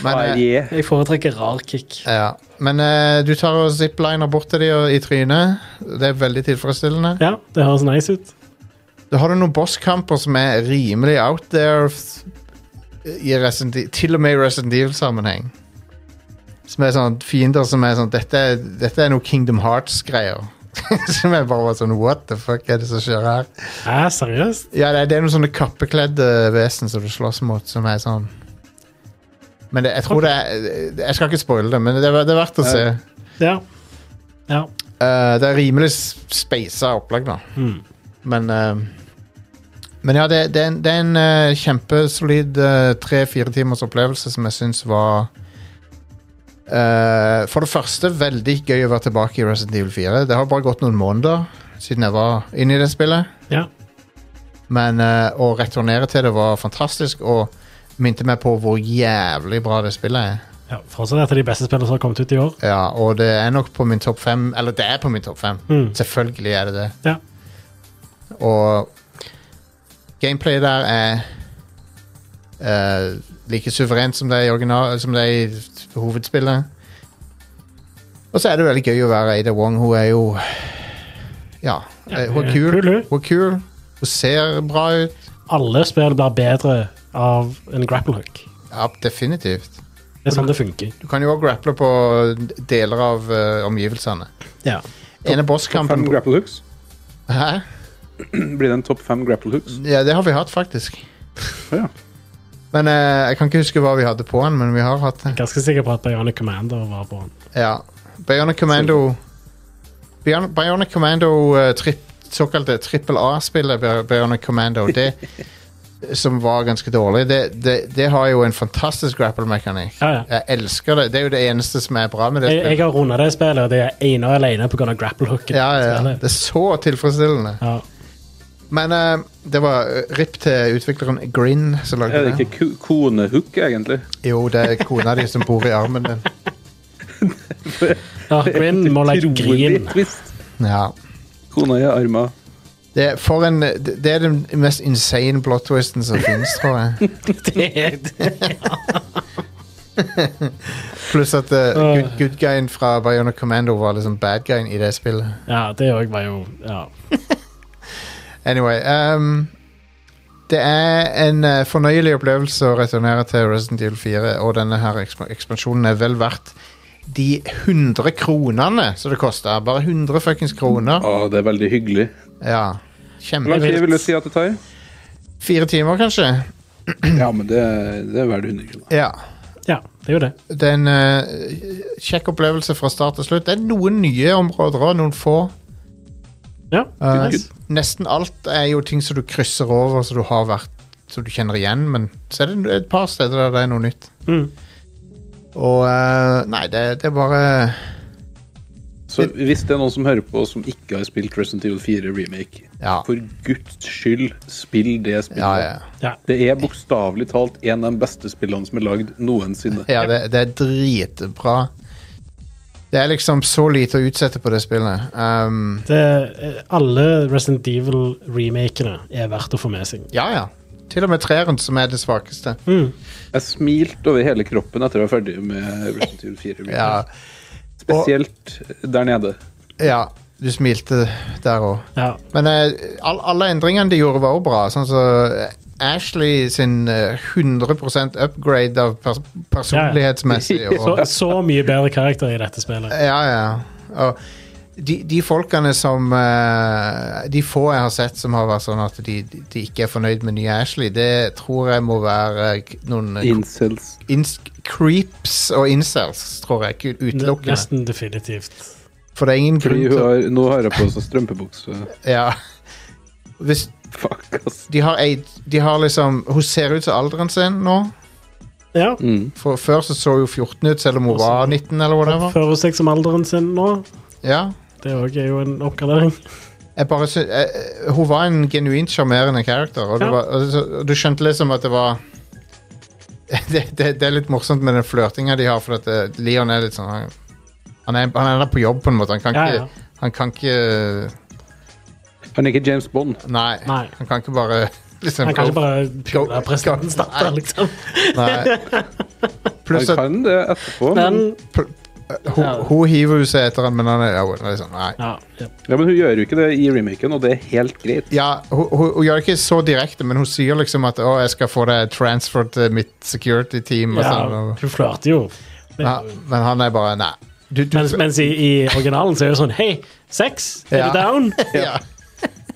Speaker 2: Men, eh,
Speaker 4: Yeah.
Speaker 6: Jeg foretrekker rar kick.
Speaker 2: ja. Men eh, du tar og zipliner bort til de og, i trynet. Det er veldig tilfredsstillende.
Speaker 3: Ja, det høres nice ut.
Speaker 2: Da har du noen bosskamper som er rimelig out there f- i Resident Evil, til og med i Resident Evil-sammenheng. Som er sånn fiender som er sånn Dette, er- dette er noe Kingdom Hearts-greier. som jeg bare var sånn What the fuck er det som skjer her?
Speaker 3: Hæ, seriøst?
Speaker 2: Ja, det, er- det er noen sånne kappekledde vesen som du slåss mot, som er sånn Men det, jeg tror det er Jeg skal ikke spoile det, men det er, det er verdt å se.
Speaker 3: Ja. Ja.
Speaker 2: Eh, det er rimelig s- speisa opplegg, da.
Speaker 3: Hmm.
Speaker 2: Men eh, Men ja, det, det er en, det er en eh, kjempesolid eh, tre-fire timers opplevelse som jeg syns var eh, For det første veldig gøy å være tilbake i Resident Evil 4. Det har bare gått noen måneder siden jeg var inne i det spillet.
Speaker 3: ja.
Speaker 2: Men eh, å returnere til det var fantastisk, og minte meg på hvor jævlig bra det spillet er.
Speaker 3: ja. Fortsatt et av de beste spillene som har kommet ut i år.
Speaker 2: Ja, og det er nok på min topp fem. Eller det er på min topp fem.
Speaker 3: Mm.
Speaker 2: Selvfølgelig er det det.
Speaker 3: Ja.
Speaker 2: Og gameplayet der er eh, like suverent som det er i, original, som det er i hovedspillet. Og så er det veldig gøy å være Ada Wong. Hun er jo Ja, eh, hun er
Speaker 3: eh,
Speaker 2: kul.
Speaker 3: kul, hun.
Speaker 2: Hun er kul. Hun ser bra ut.
Speaker 3: Alle spill blir bedre av en grapple hook.
Speaker 2: Ja, definitivt.
Speaker 3: Det er sånn det funker.
Speaker 2: Du kan jo òg grapple på deler av eh, omgivelsene.
Speaker 3: Ja.
Speaker 2: Ene
Speaker 4: Fem
Speaker 2: bosskampen
Speaker 4: grapplehooks.
Speaker 2: Hæ?
Speaker 4: Blir det en topp fem grapplehooks?
Speaker 2: Ja, det har vi hatt, faktisk.
Speaker 4: Ja.
Speaker 2: Men eh, jeg kan ikke huske hva vi hadde på den, men vi har hatt den.
Speaker 3: Ganske sikker på at Bionic Commander var på den.
Speaker 2: Ja. Bionic Commando Bion- Bionic Commando eh, tripp, Såkalte trippel A-spillet Bi- Bionic Commando Det som var ganske dårlig det, det, det har jo en fantastisk grapple-mekanikk
Speaker 3: Ja, ja.
Speaker 2: Jeg elsker det Det er jo det eneste som er bra med det
Speaker 3: Jeg, jeg
Speaker 2: spillet
Speaker 3: har runda det spillet, og det er ene og alene pga. grapple hooken.
Speaker 2: ja, ja, ja. Det er så tilfredsstillende
Speaker 3: ja.
Speaker 2: Men eh, det var eh, RIP til utvikleren Grin som lagde
Speaker 4: Er det
Speaker 2: det
Speaker 4: ikke ku- konehook, egentlig?
Speaker 2: Jo, det er kona di som bor i armen din
Speaker 3: Ja, Grin må legge
Speaker 4: Utrolig
Speaker 3: grin.
Speaker 4: twist.
Speaker 2: Ja
Speaker 4: Kona i arma.
Speaker 2: det er, for en, det det er den mest insane plot twisten som finnes, tror jeg.
Speaker 6: Det er det.
Speaker 2: Pluss at eh, good, good guyen fra Bionic Commando var liksom bad guyen i det spillet.
Speaker 3: Ja, det òg var jo ja.
Speaker 2: Anyway ehm, Det er en eh, fornøyelig opplevelse å returnere til Resident Evil 4, og denne her eksp- ekspansjonen er vel verdt de 100 kronene som det koster. Bare 100 fuckings kroner.
Speaker 4: Å, det er veldig hyggelig.
Speaker 2: Ja.
Speaker 4: Hvor
Speaker 2: Kjempe...
Speaker 4: lang tid vil du si at det tar?
Speaker 2: Fire timer, kanskje?
Speaker 4: Ja, men det, det er verdt 100 kroner.
Speaker 2: Ja.
Speaker 3: Ja, det er jo det.
Speaker 2: Det er en eh, kjekk opplevelse fra start til slutt. Det er noen nye områder òg, noen få.
Speaker 3: Ja,
Speaker 2: Eh,
Speaker 3: nice.
Speaker 2: Nesten alt er jo ting som du krysser over, som du har vært Som du kjenner igjen, men så er det et par steder der det er noe nytt.
Speaker 3: Mm.
Speaker 2: Og eh, Nei, det, det er bare
Speaker 4: Så hvis det er noen som hører på som ikke har spilt Resident Evil 4 Remake,
Speaker 2: Ja.
Speaker 4: for guds skyld, spill det spillet.
Speaker 2: Ja, ja.
Speaker 3: Ja.
Speaker 4: Det er bokstavelig talt en av de beste spillene som er lagd noensinne.
Speaker 2: ja det, det er dritbra. Det er liksom så lite å utsette på det spillet. Um,
Speaker 3: Det, eh, alle Resident Evil-remakene er verdt å få med seg.
Speaker 2: ja, ja. Til og med treeren, som er det svakeste.
Speaker 4: Jeg smilte over hele kroppen etter å være ferdig med Resident Evil 4. Remake.
Speaker 2: Ja,
Speaker 4: Spesielt der nede.
Speaker 2: ja du smilte der òg.
Speaker 3: Ja.
Speaker 2: Men eh, all, alle endringene de gjorde var også bra. Sånn så eh, Ashley sin eh, 100 upgrade av pers personlighetsmessig.
Speaker 3: Så,
Speaker 2: Og,
Speaker 3: så mye bedre karakter i dette spillet.
Speaker 2: ja, ja. Og de, de folkene som eh, De få jeg har sett som har vært sånn at de, de ikke er fornøyd med nye Ashley, det tror jeg må være eh, noen eh,
Speaker 4: Incels.
Speaker 2: ins- creeps og incels, tror jeg. ikke Utelukkende.
Speaker 3: Nesten definitivt.
Speaker 2: For det er ingen grunn
Speaker 4: Fordi hun
Speaker 2: til å
Speaker 4: har, nå har jeg på seg strømpebukse.
Speaker 2: ja. Hvis
Speaker 4: Fuck, ass.
Speaker 2: de har, ei, de har liksom Hun ser ut som alderen sin nå.
Speaker 3: Ja.
Speaker 4: Mm.
Speaker 2: For Før så så hun 14 ut, selv om hun
Speaker 3: Også-
Speaker 2: var 19 eller whatever.
Speaker 3: Oppfører seg som alderen sin nå.
Speaker 2: Ja.
Speaker 3: Det òg er jo en oppgradering.
Speaker 2: Jeg bare sy jeg, jeg- hun var en genuint sjarmerende karakter, og, det
Speaker 3: Ja.
Speaker 2: var, og, så- og du skjønte liksom at det var det, det, det er litt morsomt med den flørtinga de har, for at eh, Leon er litt sånn Han, han, er, han er der på jobb, på en måte. Han kan
Speaker 3: Ja,
Speaker 2: ikke,
Speaker 3: ja.
Speaker 2: Han kan ikke
Speaker 4: Han er ikke James Bond.
Speaker 2: nei,
Speaker 3: Nei.
Speaker 2: Han kan ikke bare liksom,
Speaker 3: Han kan ikke bare
Speaker 2: go-
Speaker 3: pule presidentens
Speaker 2: go-
Speaker 3: datter, liksom.
Speaker 2: Nei.
Speaker 4: Han
Speaker 2: Pluss at
Speaker 4: kan det etterpå, men,
Speaker 6: Men
Speaker 2: hun, hun hiver jo seg etter han, men han er ja, liksom, Nei.
Speaker 3: Ja, ja.
Speaker 4: ja, men hun gjør jo ikke det i remaken, og det er helt greit.
Speaker 2: Ja, hun, hun, hun gjør det ikke så direkte, men hun sier liksom at å, jeg skal få deg transfer til mitt security team. Og
Speaker 3: ja
Speaker 2: sånn, og,
Speaker 3: hun flørter jo. Det-
Speaker 2: ja, men han er bare nei. Du, du,
Speaker 3: Mens, mens i, i originalen så er det sånn Hei, sex? Er
Speaker 2: Ja.
Speaker 3: du down?
Speaker 2: ja,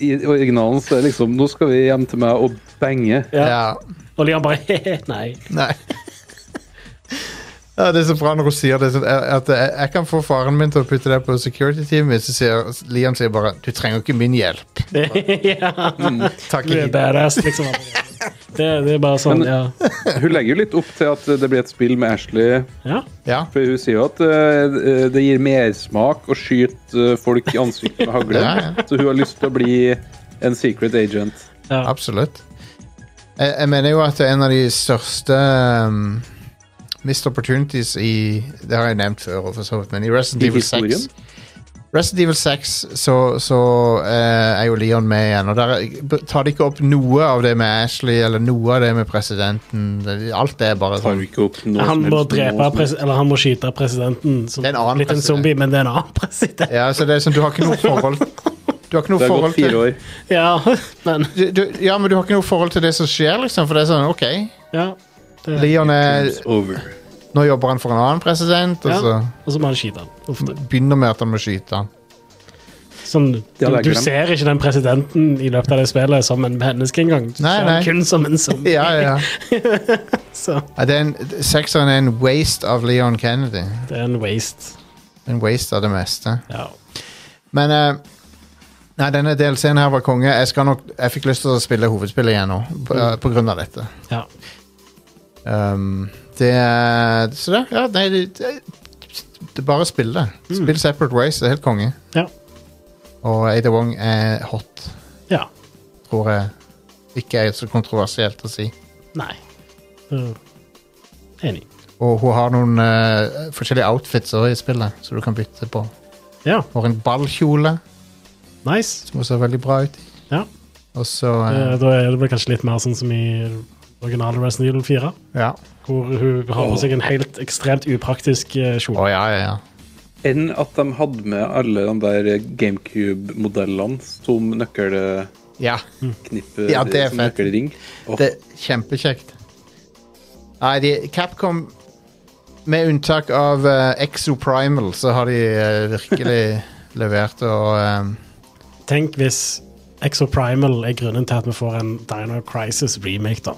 Speaker 4: I originalen så er det liksom Nå skal vi hjem til meg og bange.
Speaker 2: ja.
Speaker 3: Ja. Og Lian bare «Hehe, Nei.
Speaker 2: Nei. Ja, det er så bra når hun sier det. sånn, eh, At jeg, jeg kan få faren min til å putte deg på security teamet. Så sier Liam sier bare 'Du trenger ikke min hjelp'.
Speaker 3: ja.
Speaker 2: Takk,
Speaker 3: Du er
Speaker 2: Liam.
Speaker 3: badass, liksom. Det, det er bare sånn,
Speaker 4: Men-
Speaker 3: ja.
Speaker 4: Hun legger jo litt opp til at det blir et spill med Ashley.
Speaker 3: ja.
Speaker 2: Ja.
Speaker 4: For hun sier jo at eh, det gir mersmak å skyte eh, folk i ansiktet med hagle.
Speaker 2: Ja, ja.
Speaker 4: Så hun har lyst til å bli en secret agent.
Speaker 3: ja.
Speaker 2: Absolutt. Jeg, jeg mener jo at en av de største um, missed opportunities i Det har jeg nevnt før, og for så vidt, men i Resident
Speaker 4: I
Speaker 2: Evil 6
Speaker 4: historien?
Speaker 2: Resident Evil 6 så, så eh, er jo Leon med igjen, og der tar de ikke opp noe av det med Ashley eller noe av det med presidenten. Alt det er bare
Speaker 4: Tar
Speaker 2: sånn.
Speaker 4: jo ikke opp noe
Speaker 3: Han
Speaker 4: som
Speaker 3: må
Speaker 4: helst,
Speaker 3: drepe
Speaker 4: noe som helst.
Speaker 3: pres Eller han må skyte presidenten. Som
Speaker 2: Det er en annen
Speaker 3: blitt en
Speaker 2: president.
Speaker 3: zombie, men det er en annen president.
Speaker 2: Ja, så det er sånn, du har ikke noe forhold Du har ikke noe
Speaker 4: Det har gått
Speaker 2: forhold til
Speaker 4: fire år.
Speaker 3: Ja, men
Speaker 2: du, du, Ja, men du har ikke noe forhold til det som skjer, liksom, for det er sånn, OK.
Speaker 3: Ja. Det,
Speaker 2: Leon er
Speaker 4: It's over.
Speaker 2: Nå jobber han for en annen president, og
Speaker 3: ja.
Speaker 2: så
Speaker 3: Og så må han skyte han. Ofte.
Speaker 2: begynner med at han må skyte han.
Speaker 3: Sånn, du,
Speaker 4: Ja, det er
Speaker 3: du
Speaker 4: ikke dem.
Speaker 3: ser ikke den presidenten i løpet av det spillet som en menneske engang. Du
Speaker 2: Nei,
Speaker 3: ser
Speaker 2: nei.
Speaker 3: han kun som en zombie.
Speaker 2: Ja, ja.
Speaker 3: Så
Speaker 2: ja det er en, sekseren er en waste av Leon Kennedy.
Speaker 3: det er en waste.
Speaker 2: En waste av det meste.
Speaker 3: Ja.
Speaker 2: Men eh, Nei, denne DLC-en her var konge. Jeg, skal nok, jeg fikk lyst til å spille hovedspillet igjen nå, på, eh, på grunn av dette.
Speaker 3: ja.
Speaker 2: Um, det er- Så det, ja, nei, det, det, det bare spill det. Spill Separate Ways, det er helt konge.
Speaker 3: Ja.
Speaker 2: Og Ada Wong er hot,
Speaker 3: ja.
Speaker 2: tror jeg. Ikke er så kontroversielt å si.
Speaker 3: Nei. Så, Enig.
Speaker 2: Og hun har noen eh, forskjellige outfits også i spillet, så du kan bytte på.
Speaker 3: Ja,
Speaker 2: Hun har en ballkjole
Speaker 3: nice.
Speaker 2: som hun ser veldig bra ut i.
Speaker 3: Ja.
Speaker 2: Og så eh,
Speaker 3: Eh, Da er det vel kanskje litt mer sånn som i originale Resident Evil 4.
Speaker 2: Ja.
Speaker 3: Hvor hun har på seg en helt ekstremt upraktisk eh,
Speaker 2: Å,
Speaker 3: kjole.
Speaker 2: ja, ja, ja.
Speaker 4: Enn at de hadde med alle de der GameCube-modellene som nøkkelknippe
Speaker 2: Ja,
Speaker 3: Mm.
Speaker 2: Ja, det er fett.
Speaker 4: som nøkkelring. Åh,
Speaker 2: det er kjempekjekt. Nei, de, Capcom Med unntak av eh, Exoprimal, så har de eh, virkelig levert og eh,
Speaker 3: Tenk hvis Exoprimal er grunnen til at vi får en Dino Crisis remake, da.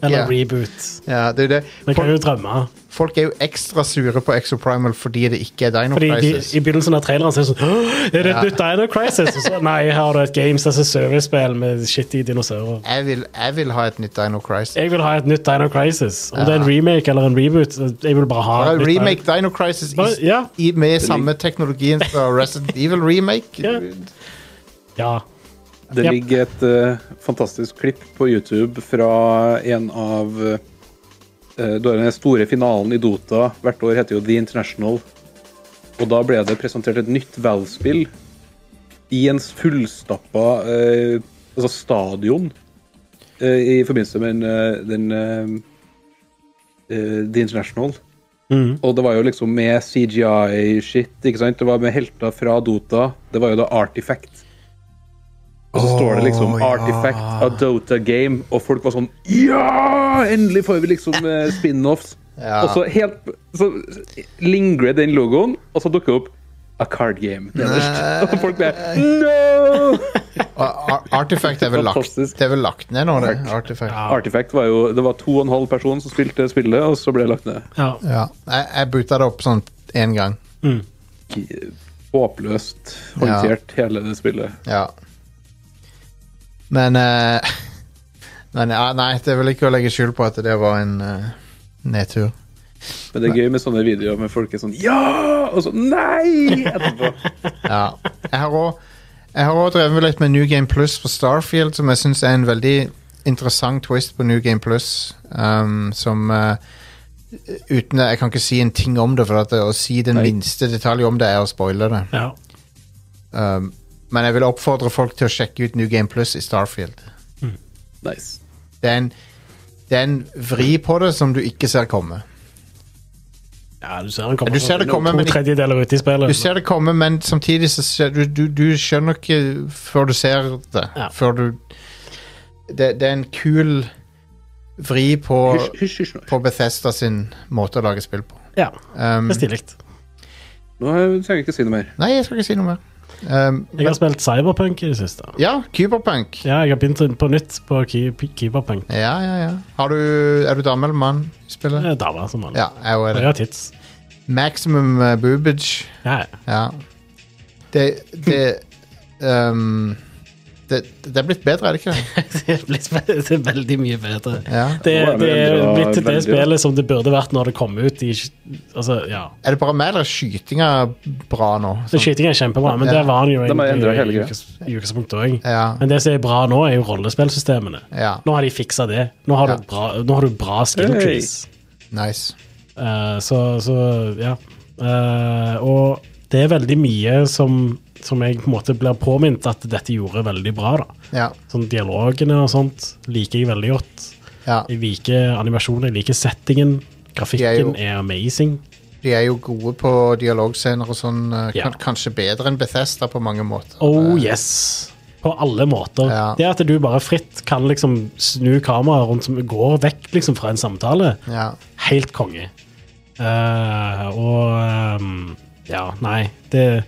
Speaker 3: Eller
Speaker 2: Ja.
Speaker 3: reboot.
Speaker 2: Ja, det er jo det.
Speaker 3: Vi kan
Speaker 2: Folk,
Speaker 3: jo drømme.
Speaker 2: folk er jo ekstra sure på Exoprimal fordi det ikke er Dino
Speaker 3: Fordi de,
Speaker 2: Crisis.
Speaker 3: I begynnelsen av traileren så er det sånn «Åh, Er det et nytt Dino Crisis? Og så, nei, her har du et Games as a Service-spill med shitty dinosaurer.
Speaker 2: Jeg, vil, jeg vil ha et nytt Dino Crisis.
Speaker 3: Jeg vil ha et nytt Dino Crisis. Om det er en remake eller en reboot, jeg vil bare ha
Speaker 2: Bare
Speaker 3: et nytt
Speaker 2: remake Dino Crisis i,
Speaker 3: Bare- ja.
Speaker 2: i, med samme teknologien fra Resident Evil Remake.
Speaker 3: Ja. Ja.
Speaker 4: Det
Speaker 3: Yep.
Speaker 4: ligger et eh, fantastisk klipp på YouTube fra en av eh, da den store finalen i Dota hvert år heter jo The International. Og da ble det presentert et nytt Valve-spill i en fullstappa eh, altså stadion eh, i forbindelse med den, eh, den eh, eh, The International. Og det var jo liksom med CGI-shit, ikke sant? Det var med helter fra Dota. Det var jo da Artifact. Og så står det liksom 'Artifact a Dota Game', og folk var sånn Ja! Endelig får vi liksom eh, spin-offs.
Speaker 2: Ja.
Speaker 4: Og så helt Så lingrer den logoen, og så dukker det opp A Card Game nederst. Og folk ble No!
Speaker 2: Og Ar- Artifact er vel lagt,
Speaker 4: Fantastisk.
Speaker 2: det er vel lagt ned nå, det. Artifact.
Speaker 4: Artifact var jo Det var to og en halv person som spilte spillet, og så ble det lagt ned.
Speaker 3: ja.
Speaker 2: Ja. Jeg, jeg boota det opp sånn én gang.
Speaker 4: Håpløst håndtert, hele det spillet.
Speaker 2: Ja. Men eh, Men ja, nei, det er vel ikke å legge skjul på at det var en eh, nedtur.
Speaker 4: Men det er gøy med sånne videoer med folk er sånn Ja! Og så Nei! Etterpå.
Speaker 2: Ja. Jeg har òg jeg har også drevet litt med New Game Plus på Starfield, som jeg syns er en veldig interessant twist på New Game Plus. Um, som eh, uten Jeg kan ikke si en ting om det, for at å si den minste detalj om det er å spoile det.
Speaker 3: ja.
Speaker 2: Um, men jeg vil oppfordre folk til å sjekke ut New Game Plus i Starfield.
Speaker 4: Nice.
Speaker 2: Det er en, det er en vri på det som du ikke ser komme.
Speaker 3: Ja, du ser den kommer.
Speaker 2: Du ser det komme, men
Speaker 3: to
Speaker 2: ikke-
Speaker 3: tredjedeler ute i spillet.
Speaker 2: Du ser det komme, men samtidig så ser du, du, du skjønner ikke før du ser det.
Speaker 3: Ja.
Speaker 2: Før du det, det er en kul vri på,
Speaker 4: Hysj, hysj, hysj. nå.
Speaker 2: på Bethesda sin måte å lage spill på.
Speaker 3: Ja,
Speaker 2: Um,
Speaker 3: det er stilig.
Speaker 4: Nå trenger jeg ikke si noe mer.
Speaker 2: nei, jeg skal ikke si noe mer. Um,
Speaker 3: Jeg har spilt Cyberpunk i det siste.
Speaker 2: ja, Kyberpunk.
Speaker 3: Ja, jeg har begynt på nytt på Ky- Cyberpunk.
Speaker 2: Ja, ja, ja. Har du, er du dame eller mann i spillet?
Speaker 3: Det er dama som vanlig.
Speaker 2: Ja, jeg også er
Speaker 3: Og jeg
Speaker 2: det.
Speaker 3: har tits.
Speaker 2: Maximum uh, boobage.
Speaker 3: Ja, ja.
Speaker 2: Ja. Det det, um, det det er blitt bedre, er det ikke det?
Speaker 6: Det er blitt det er veldig mye bedre.
Speaker 2: Ja.
Speaker 3: Det,
Speaker 4: Nå er vi
Speaker 3: det er
Speaker 4: endret
Speaker 3: blitt det
Speaker 4: veldig.
Speaker 3: spillet som det burde vært når det kom ut. I, altså, ja.
Speaker 2: Er det bare meg, eller er skytinga bra nå?
Speaker 3: Så
Speaker 4: Sånn.
Speaker 3: Skyting er kjempebra, men
Speaker 2: Ja.
Speaker 3: der var han jo
Speaker 4: De har endret hele
Speaker 3: egentlig i
Speaker 4: greia.
Speaker 3: ukes- i utgangspunktet òg.
Speaker 2: Ja.
Speaker 3: Men det som er bra nå, er jo rollespillsystemene.
Speaker 2: Ja,
Speaker 3: Nå har de fiksa det. Nå har,
Speaker 2: Ja.
Speaker 3: du bra, nå har du bra skill
Speaker 4: Hey.
Speaker 3: trees.
Speaker 2: nice.
Speaker 3: Eh, så, så ja. Eh, og det er veldig mye som, som jeg på en måte blir påminnet at dette gjorde veldig bra. da.
Speaker 2: Ja,
Speaker 3: Sånn Dialogene og sånt liker jeg veldig godt.
Speaker 2: ja.
Speaker 3: Jeg liker animasjonen, jeg liker settingen. Grafikken
Speaker 2: Jeg
Speaker 3: er amazing.
Speaker 2: De er jo gode på dialogscener og sånn. eh,
Speaker 3: Ja.
Speaker 2: kan- Kanskje bedre enn Bethesda på mange måter. Eh,
Speaker 3: Oh yes! På alle måter.
Speaker 2: Ja.
Speaker 3: Det at du bare fritt kan liksom snu kameraet rundt som går vekk liksom fra en samtale,
Speaker 2: Ja.
Speaker 3: helt konge. Eh, og ehm, ja, nei, det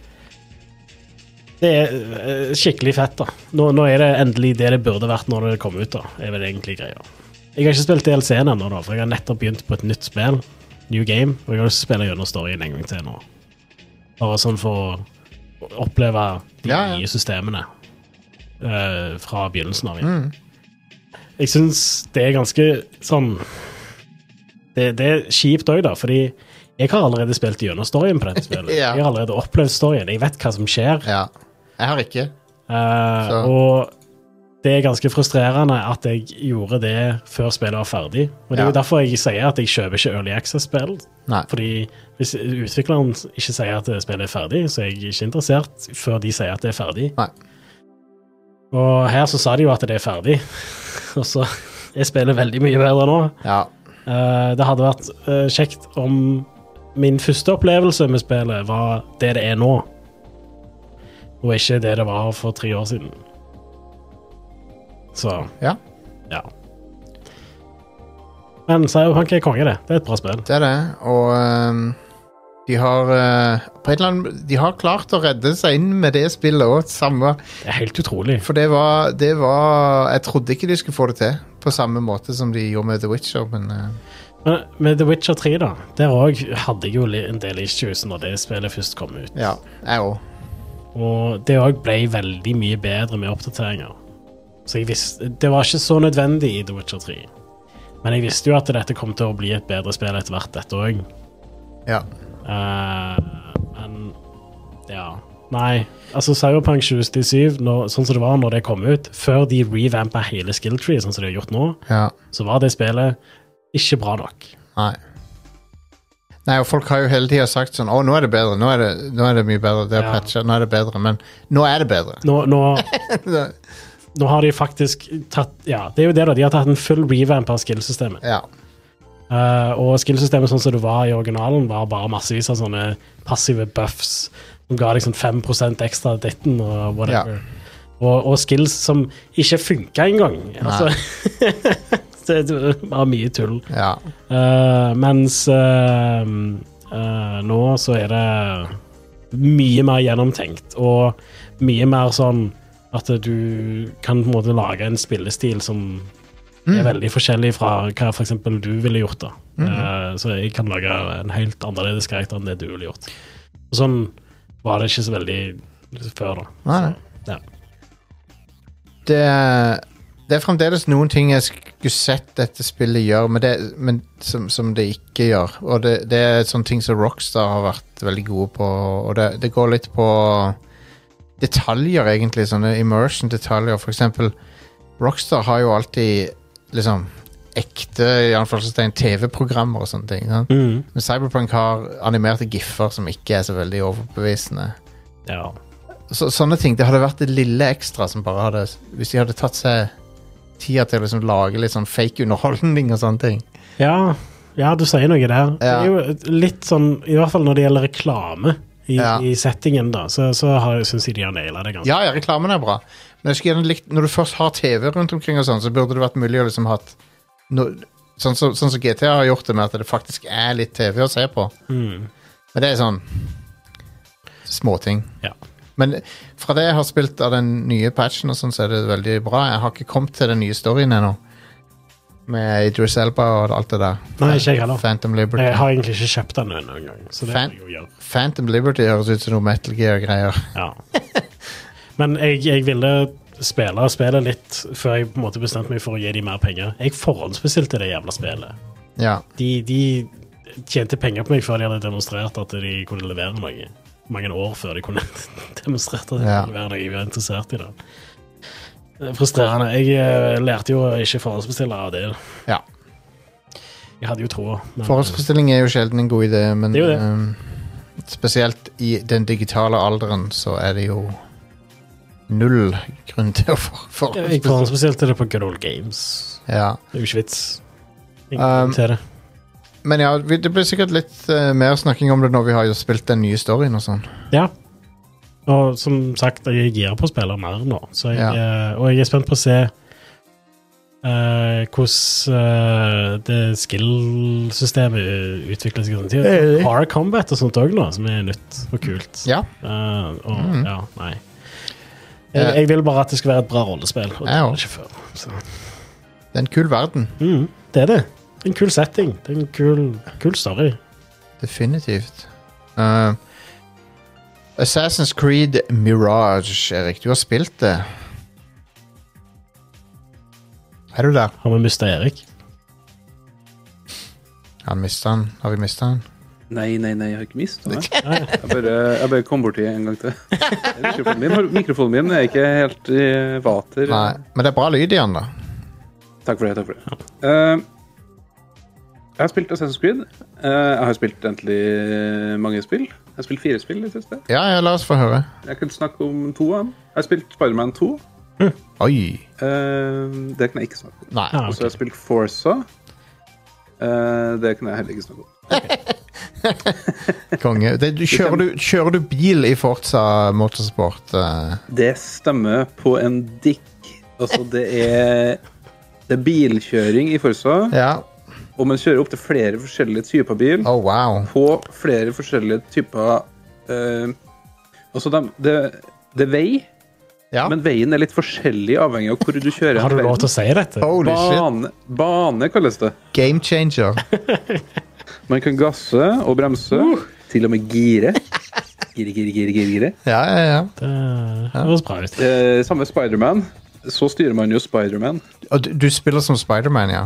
Speaker 3: Det er eh, skikkelig fett, da. Nå, nå er det endelig det det burde vært når det kom ut, da. Er vel egentlig greia. Jeg har ikke spilt DLC-en ennå, da, for jeg har nettopp begynt på et nytt spill. New Game. Og jeg har lyst til å spille gjennom storyen en gang til nå. Bare sånn for å oppleve de
Speaker 2: Ja, ja.
Speaker 3: nye systemene eh, fra begynnelsen av. igjen. Jeg syns det er ganske sånn det, det er kjipt òg, da, fordi jeg har allerede spilt gjennom storyen på dette spillet.
Speaker 2: Ja.
Speaker 3: Jeg har allerede opplevd storyen. Jeg vet hva som skjer.
Speaker 2: ja. Jeg har ikke.
Speaker 3: Eh,
Speaker 2: Så.
Speaker 3: og det er ganske frustrerende at jeg gjorde det før spillet var ferdig. Og det er
Speaker 2: Ja.
Speaker 3: jo derfor jeg sier at jeg kjøper ikke Early Access-spill.
Speaker 2: Nei.
Speaker 3: Fordi hvis utvikleren ikke sier at spillet er ferdig, så er jeg ikke interessert før de sier at det er ferdig.
Speaker 2: Nei.
Speaker 3: Og her så sa de jo at det er ferdig, og så er spillet veldig mye bedre nå.
Speaker 2: Ja.
Speaker 3: Eh, det hadde vært eh, kjekt om min første opplevelse med spillet var det det er nå, og ikke det det var for tre år siden. Så
Speaker 2: Ja.
Speaker 3: ja. Men Cyberpunk er konge, det. Det er et bra spill.
Speaker 2: Det er det, og ehm, de har eh, på en eller annen, De har klart å redde seg inn med det spillet òg, samme
Speaker 3: Det er helt utrolig.
Speaker 2: For det var, det var Jeg trodde ikke de skulle få det til på samme måte som de gjorde med The Witcher, men eh,
Speaker 3: Men med The Witcher 3, da, der òg hadde jeg jo li- en del issues når det spillet først kom ut.
Speaker 2: ja. Jeg òg.
Speaker 3: Og det òg ble veldig mye bedre med oppdateringer. Så jeg visste, Det var ikke så nødvendig i The Witcher 3. Men jeg visste jo at dette kom til å bli et bedre spill etter hvert, dette òg.
Speaker 2: Ja.
Speaker 3: men ja. Nei. Altså, Cyberpunk 2077, når, sånn som det var når det kom ut, før de revampa hele Skill Tree, sånn som de har gjort nå,
Speaker 2: ja.
Speaker 3: så var det spillet ikke bra nok.
Speaker 2: Nei. Nei, og folk har jo hele tida sagt sånn Å, nå er det bedre. Nå er det, nå er det mye bedre. Det er
Speaker 3: Ja.
Speaker 2: patcha. Nå er det bedre. Men nå er det bedre.
Speaker 3: Nå, nå,
Speaker 2: Det-
Speaker 3: nå har de faktisk tatt Ja, det er jo det, da. De har tatt en full revamp av skillsystemet.
Speaker 2: Ja.
Speaker 3: Eh, og skillsystemet sånn som det var i originalen, var bare massevis av sånne passive buffs som ga deg sånn 5 ekstra ditten og whatever. Og, og skills som ikke funka engang. Altså, det det var mye tull.
Speaker 2: ja.
Speaker 3: Eh, mens eh, eh, nå så er det mye mer gjennomtenkt, og mye mer sånn at du kan på en måte lage en spillestil som
Speaker 2: Mm.
Speaker 3: er veldig forskjellig fra hva for eksempel du ville gjort. da. Eh, så jeg kan lage en helt annerledes karakter enn det du ville gjort. Og sånn var det ikke så veldig før, da.
Speaker 2: Nei, nei.
Speaker 3: Ja.
Speaker 2: Det, er- det er fremdeles noen ting jeg skulle sett dette spillet gjøre, men det, men som, som det ikke gjør. Og det, det er sånne ting som Rockstar har vært veldig gode på, og det, det går litt på detaljer, egentlig. Sånne immersion-detaljer. For eksempel, Rockstar har jo alltid liksom ekte i anførselstegn, TV-programmer og sånne ting. Sant?
Speaker 3: Mhm.
Speaker 2: Men Cyberpunk har animerte giffer som ikke er så veldig overbevisende.
Speaker 3: ja.
Speaker 2: Så, sånne ting. Det hadde vært det lille ekstra som bare hadde Hvis de hadde tatt seg tida til å liksom lage litt sånn fake underholdning og sånne ting.
Speaker 3: Ja, ja du sier noe der. Det
Speaker 2: Ja.
Speaker 3: er jo litt sånn, i hvert fall når det gjelder reklame i,
Speaker 2: Ja.
Speaker 3: i settingen, da, så, så syns jeg de har naila det ganske.
Speaker 2: Ja, ja, reklamen er bra, men jeg skulle gjerne likt Når du først har TV rundt omkring og sånn, så burde det vært mulig å liksom hatt no, Sånn som sånn som GTA har gjort det, med at det faktisk er litt TV å se på. Men det er sånn Småting.
Speaker 3: Ja.
Speaker 2: Men fra det jeg har spilt av den nye patchen, og sånn, så er det veldig bra. Jeg har ikke kommet til den nye storyen ennå. Med Idris Elba og alt det der.
Speaker 3: Nei, ikke jeg heller.
Speaker 2: Phantom Liberty.
Speaker 3: Jeg har egentlig ikke kjøpt den ennå engang, så det
Speaker 2: Fan.
Speaker 3: må jeg jo gjøre.
Speaker 2: Phantom Liberty høres ut som noe Metal Gear-greier.
Speaker 3: Ja. Men jeg, jeg ville spille spillet litt før jeg på en måte bestemte meg for å gi dem mer penger. Jeg forhåndsbestilte det jævla spillet.
Speaker 2: Ja.
Speaker 3: De, de tjente penger på meg før de hadde demonstrert at de kunne levere noe. Mange år før de kunne demonstrert at de
Speaker 2: Ja.
Speaker 3: kunne levere noe jeg var interessert i. det. Det er Frustrerende. Jeg eh, lærte jo å ikke forhåndsbestille av det.
Speaker 2: ja.
Speaker 3: Jeg hadde jo troa. men- eh,
Speaker 2: Forhåndsbestilling er jo sjelden en god idé, men
Speaker 3: Det er jo det.
Speaker 2: ehm, spesielt i den digitale alderen så er det jo null grunn til å for forhåndsbestille.
Speaker 3: Jeg forhåndsbestilte det på Good Old Games.
Speaker 2: Ja.
Speaker 3: Det er jo ikke vits. Ingen
Speaker 2: Um,
Speaker 3: grunn til det.
Speaker 2: Men ja, vi- det blir sikkert litt eh, mer snakking om det når vi har jo spilt den nye storyen og sånn.
Speaker 3: Ja. Og som sagt, jeg er gira på å spille mer nå, så jeg, eh, og jeg er spent på å se eh, hvordan eh, det skill-systemet utvikler seg. i sånn tid. Har combat og sånt òg nå, som er nytt og kult.
Speaker 2: Ja. Mhm.
Speaker 3: Eh, og ja, nei. Jeg,
Speaker 2: Eh.
Speaker 3: jeg vil bare at det skal være et bra rollespill, og det
Speaker 2: Jeg
Speaker 3: var
Speaker 2: òg.
Speaker 3: det ikke før. Så.
Speaker 2: Det er en kul verden.
Speaker 3: Mm, det er det. Det er En kul setting. Det er en kul, kul story.
Speaker 2: Definitivt. Eh, Assassin's Creed Mirage, Erik. Du har spilt det. Er du der?
Speaker 3: Har vi mista Erik?
Speaker 2: Han mistet han. Har vi mista han?
Speaker 4: Nei, nei, nei, jeg har ikke mista meg. Jeg bare, jeg bare kom borti en gang til. Mikrofonen min, har- mikrofonen min er ikke helt i vater.
Speaker 2: Nei. Men det er bra lyd i han, da.
Speaker 4: Takk for det. takk for det. Eh, jeg har spilt Assassin's Creed. Eh, jeg har spilt egentlig mange spill. Jeg har spilt fire spill i det siste.
Speaker 2: Ja, ja, la oss få høre.
Speaker 4: Jeg kan snakke om to av dem. Jeg har spilt Spiderman 2.
Speaker 2: Oi.
Speaker 4: Eh, det kan jeg ikke snakke om.
Speaker 2: Nei.
Speaker 3: Ja,
Speaker 4: Og så
Speaker 3: ok.
Speaker 4: har jeg spilt Forza. Eh, det kan jeg heller ikke snakke om.
Speaker 2: Konge. Det, du, kjører, du, kjører du bil i Forza Motorsport? eh?
Speaker 4: Det stemmer på en dikk. Altså, det er Det er bilkjøring i Forsa.
Speaker 2: ja.
Speaker 4: Og man kjører opp til flere forskjellige typer bil
Speaker 2: Oh, wow.
Speaker 4: på flere forskjellige typer eh, Altså, de, det det er vei,
Speaker 2: Ja.
Speaker 4: men veien er litt forskjellig avhengig av hvor du kjører.
Speaker 3: Har du lov til å si dette?
Speaker 2: Holy shit.
Speaker 4: Bane, bane kalles det.
Speaker 2: Game changer.
Speaker 4: Man kan gasse og bremse.
Speaker 3: Uh.
Speaker 4: Til og med gire. Gire, gire, gire, gire, gire.
Speaker 2: Ja, ja, ja.
Speaker 3: Det høres bra ut.
Speaker 4: Eh, samme Spiderman. Så styrer man jo Spiderman.
Speaker 2: Og du, du spiller som Spiderman, ja.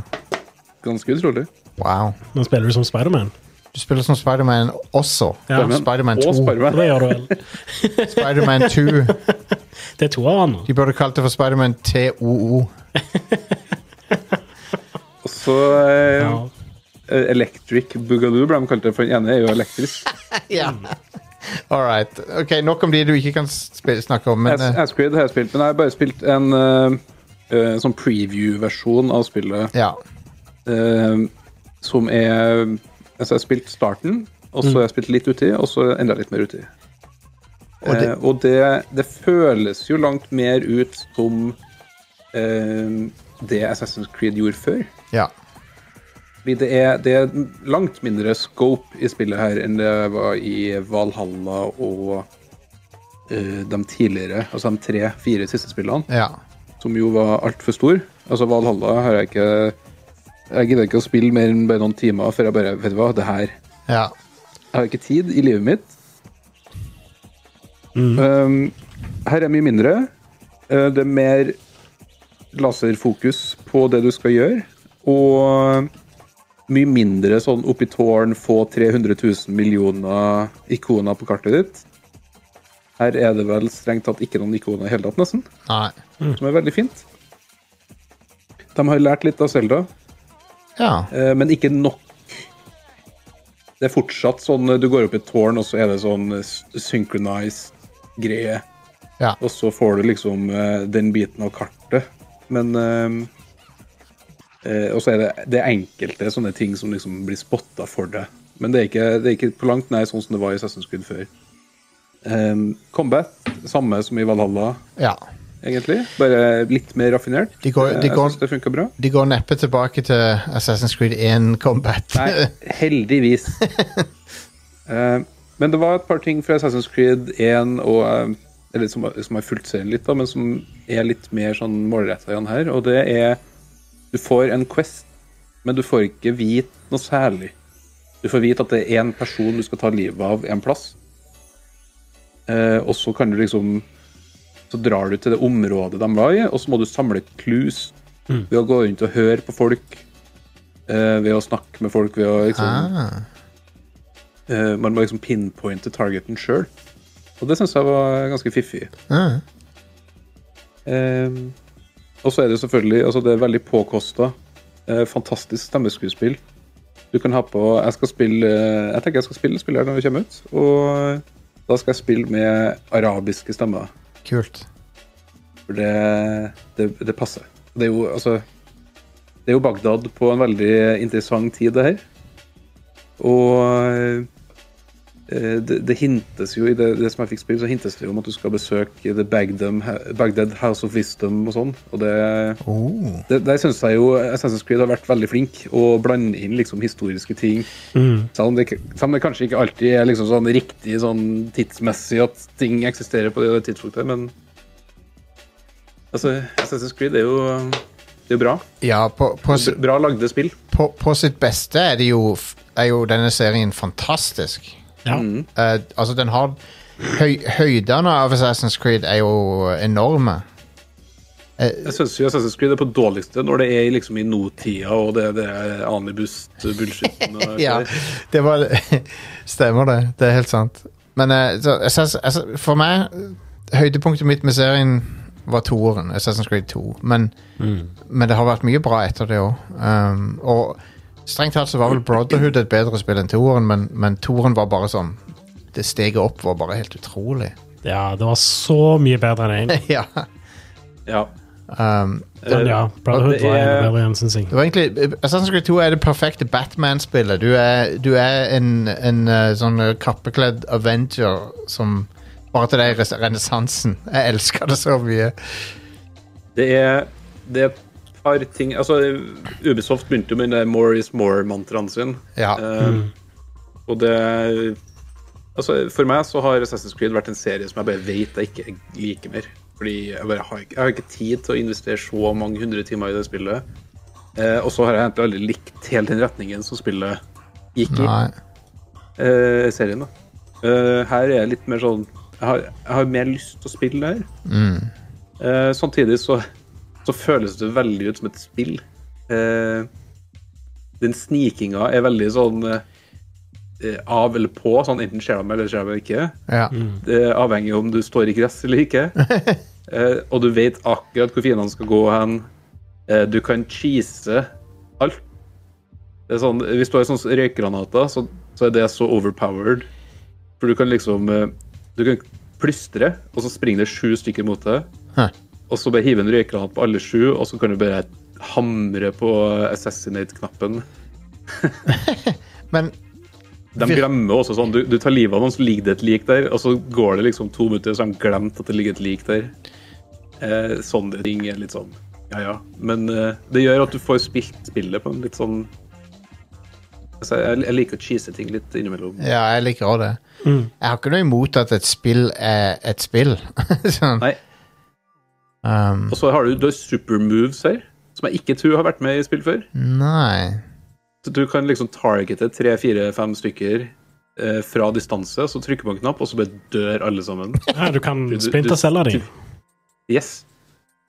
Speaker 4: Ganske utrolig.
Speaker 2: Wow.
Speaker 3: Nå spiller du som Spiderman.
Speaker 2: Du spiller som Spiderman også.
Speaker 3: Ja.
Speaker 2: Spiderman Spiderman
Speaker 4: og
Speaker 2: 2.
Speaker 4: Spiderman.
Speaker 3: Det gjør du vel.
Speaker 2: Spiderman 2.
Speaker 3: Det er to av han.
Speaker 2: De burde kalt det for Spiderman TOO.
Speaker 4: Og så eh,
Speaker 3: Ja.
Speaker 4: eh, Electric Boogaloo ble de kalt det, for den ene er jo elektrisk.
Speaker 2: All right. Ok, nok om de du ikke kan sp- snakke om, men
Speaker 4: As-
Speaker 2: eh,
Speaker 4: Asquid har jeg spilt, men jeg har bare spilt en eh, eh, sånn preview-versjon av spillet.
Speaker 2: ja.
Speaker 4: eh, som er Altså, jeg har spilt starten, og så har jeg spilt litt uti, og så enda litt mer uti.
Speaker 2: Og det-
Speaker 4: Eh, og det, det føles jo langt mer ut som eh, det Assassin's Creed gjorde før.
Speaker 2: ja.
Speaker 4: Fordi det er, det er langt mindre scope i spillet her enn det var i Valhalla og eh, de tidligere, altså de tre-fire siste spillene
Speaker 2: Ja.
Speaker 4: som jo var altfor stor. Altså Valhalla har jeg ikke Jeg gidder ikke å spille mer enn bare noen timer før jeg bare Vet du hva, det her Jeg
Speaker 2: Ja.
Speaker 4: har ikke tid i livet mitt. Um, her er mye mindre. Uh, det er mer laserfokus på det du skal gjøre. Og mye mindre sånn oppi tårn, få 300 000 millioner ikoner på kartet ditt. Her er det vel strengt tatt ikke noen ikoner i hele tatt, nesten
Speaker 2: Nei.
Speaker 4: som er veldig fint. De har lært litt av Selda,
Speaker 2: Ja.
Speaker 4: Eh, men ikke nok. Det er fortsatt sånn eh, du går opp i et tårn, og så er det sånn eh, s- synchronized greie.
Speaker 2: Ja.
Speaker 4: Og så får du liksom eh, den biten av kartet. Men eh, eh, Og så er det, det er enkelte sånne ting som liksom blir spotta for deg. Men det er, ikke, det er ikke på langt nær sånn som det var i Assassin's Creed før. Eh, combat, samme som i Valhalla,
Speaker 2: ja.
Speaker 4: egentlig. Bare litt mer raffinert. Eh,
Speaker 2: De går- de
Speaker 4: jeg
Speaker 2: går-
Speaker 4: syns det funka bra.
Speaker 2: De går neppe tilbake til Assassin's Creed 1 Combat.
Speaker 4: Nei, heldigvis. Eh, men det var et par ting fra Assassin's Creed 1 og, eh, eller som, som har fulgt serien litt, da, men som er litt mer sånn målretta igjen her. Og det er Du får en Quest, men du får ikke vite noe særlig. Du får vite at det er én person du skal ta livet av en plass. Eh, og så kan du liksom Så drar du til det området de var i, og så må du samle clues ved å gå rundt og høre på folk. eh, ved å snakke med folk, ved å liksom
Speaker 2: Ah,
Speaker 4: eh, Man må liksom pinpointe targeten sjøl. Og det syns jeg var ganske fiffig.
Speaker 2: ah,
Speaker 4: Eh, og så er det selvfølgelig altså Det er veldig påkosta. Eh, fantastisk stemmeskuespill. Du kan ha på Jeg skal spille eh, Jeg tenker jeg skal spille spiller når vi kommer ut. Og da skal jeg spille med arabiske stemmer.
Speaker 2: kult.
Speaker 4: For det, det, det passer. Det er jo altså Det er jo Bagdad på en veldig interessant tid, det her. Og eh, det, det hintes jo i det, det som jeg fikk spille, så hintes det jo om at du skal besøke The Bagdam, Bagdad House of Wisdom og sånn. Og det,
Speaker 2: Oh.
Speaker 4: det Der syns jeg jo Assassin's Creed har vært veldig flink å blande inn liksom historiske ting. Selv, om det, ikke- selv om det kanskje ikke alltid er liksom sånn riktig sånn tidsmessig at ting eksisterer på det, og det tidspunktet, men altså, Assassin's Creed er jo det er jo bra.
Speaker 2: Ja, på, på, si-
Speaker 4: Bra lagde spill.
Speaker 2: på, på sitt beste er, det jo, f- er jo denne serien fantastisk.
Speaker 3: Ja.
Speaker 4: Mm.
Speaker 2: Eh, altså, den har høy, Høydene av Assassin's Creed er jo enorme. Eh,
Speaker 4: Jeg syns jo Assassin's Creed er på dårligste når det er liksom i nåtida og det, det er anibust-bullshitten.
Speaker 2: Ja, det var Stemmer det. Det er helt sant. Men eh, så, Assass- Ass- for meg Høydepunktet mitt med serien var toeren. Assassin's Creed 2. Men, men det har vært mye bra etter det òg. Um, og strengt tatt så var vel Brotherhood et bedre spill enn toeren, men, men toeren var bare sånn Det steget opp var bare helt utrolig.
Speaker 3: ja, det var så mye bedre enn én.
Speaker 2: ja.
Speaker 4: Ja.
Speaker 2: Um,
Speaker 3: Men ja, Brotherhood
Speaker 4: Det er-
Speaker 3: var enda bedre igjen, syns jeg.
Speaker 2: Det var egentlig, Assassin's Creed 2 er det perfekte Batman-spillet. Du er, du er en, en eh, sånn eh, kappekledd Avenger som bare til deg i res- renessansen. Jeg elsker det så mye.
Speaker 4: Det er, det er par ting Altså, Ubisoft begynte jo med den der 'more is more'-mantraen sin.
Speaker 2: Ja.
Speaker 4: Eh, Og det Altså, For meg så har Assassin's Creed vært en serie som jeg bare vet jeg ikke liker mer. Fordi jeg bare har ikke, jeg har ikke tid til å investere så mange hundre timer i det spillet. Eh, og så har jeg egentlig aldri likt helt den retningen som spillet gikk i
Speaker 2: Nei.
Speaker 4: eh, serien. da. Eh, her er jeg litt mer sånn Jeg har, jeg har mer lyst til å spille det her. Eh, samtidig så, så føles det veldig ut som et spill. Eh, den snikinga er veldig sånn eh, av eller på. Sånn enten skjer det meg, eller skjer det meg ikke.
Speaker 2: Ja.
Speaker 4: Det er Eh, avhengig om du står i gress eller ikke. Eh, og du vet akkurat hvor fiendene skal gå hen. Eh, du kan cheese alt. Det er sånn, hvis du har sånne røykgranater, så, så er det så overpowered. For du kan liksom eh, Du kan plystre, og så springer det sju stykker mot deg.
Speaker 2: Hæ.
Speaker 4: Og så bare hive en røykgranat på alle sju, og så kan du bare hamre på assassinate-knappen.
Speaker 2: Men
Speaker 4: De glemmer også sånn, du, du tar livet av noen, så ligger det et lik der, og så går det liksom to minutter, så har de glemt at det ligger et lik der. Eh, sånne ting er litt sånn ja, ja. Men eh, det gjør at du får spilt spillet på en litt sånn altså, jeg, jeg liker å cheese ting litt innimellom.
Speaker 2: ja, jeg liker òg det. Jeg har ikke noe imot at et spill er et spill. sånn.
Speaker 4: Nei.
Speaker 2: Um,
Speaker 4: Og så har du, du har supermoves her, som jeg ikke tror har vært med i spill før.
Speaker 2: nei.
Speaker 4: Så du kan liksom targete tre, fire, fem stykker eh, fra distanse, så trykker man en knapp, og så bare dør alle sammen.
Speaker 3: Ja, du kan
Speaker 4: Du- du- du-
Speaker 3: splintercelle dem.
Speaker 4: Yes.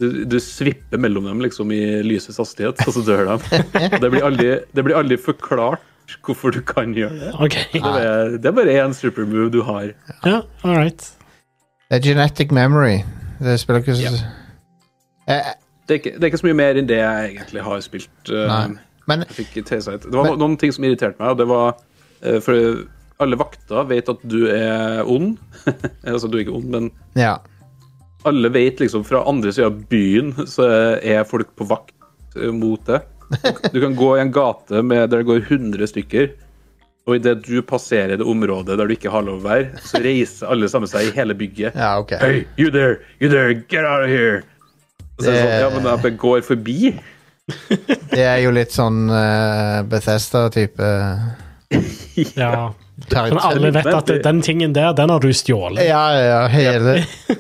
Speaker 4: Du, du svipper mellom dem liksom i lysets hastighet, og så dør de. Og Det blir aldri, det blir aldri forklart hvorfor du kan gjøre det.
Speaker 3: OK.
Speaker 4: Det er bare- Det er bare én supermove du har.
Speaker 3: Ja, all right.
Speaker 2: Det er genetic memory. Det spiller ikke så Eh,
Speaker 4: Det er ikke, det er ikke så mye mer enn det jeg egentlig har spilt. eh,
Speaker 2: Nei. Men
Speaker 4: Jeg fikk tesa ut. Det var no- noen ting som irriterte meg, og det var eh, For alle vakter vet at du er ond. altså, du er ikke ond, men
Speaker 2: ja.
Speaker 4: alle vet liksom fra andre sida av byen så er folk på vakt eh, mot det. Du kan gå i en gate med, der det går 100 stykker, og idet du passerer det området der du ikke har lov å være, så reiser alle sammen seg i hele bygget.
Speaker 2: Ja, OK.
Speaker 4: Hey, you there, you there, get out of here! Og så er det sånn, ja, men jeg bare går forbi.
Speaker 2: Det er jo litt sånn eh, Bethesda-type
Speaker 3: Ja. Men
Speaker 2: territorium.
Speaker 3: Sånn alle vet at den tingen der, den har du stjålet.
Speaker 2: Ja, ja, ja, hele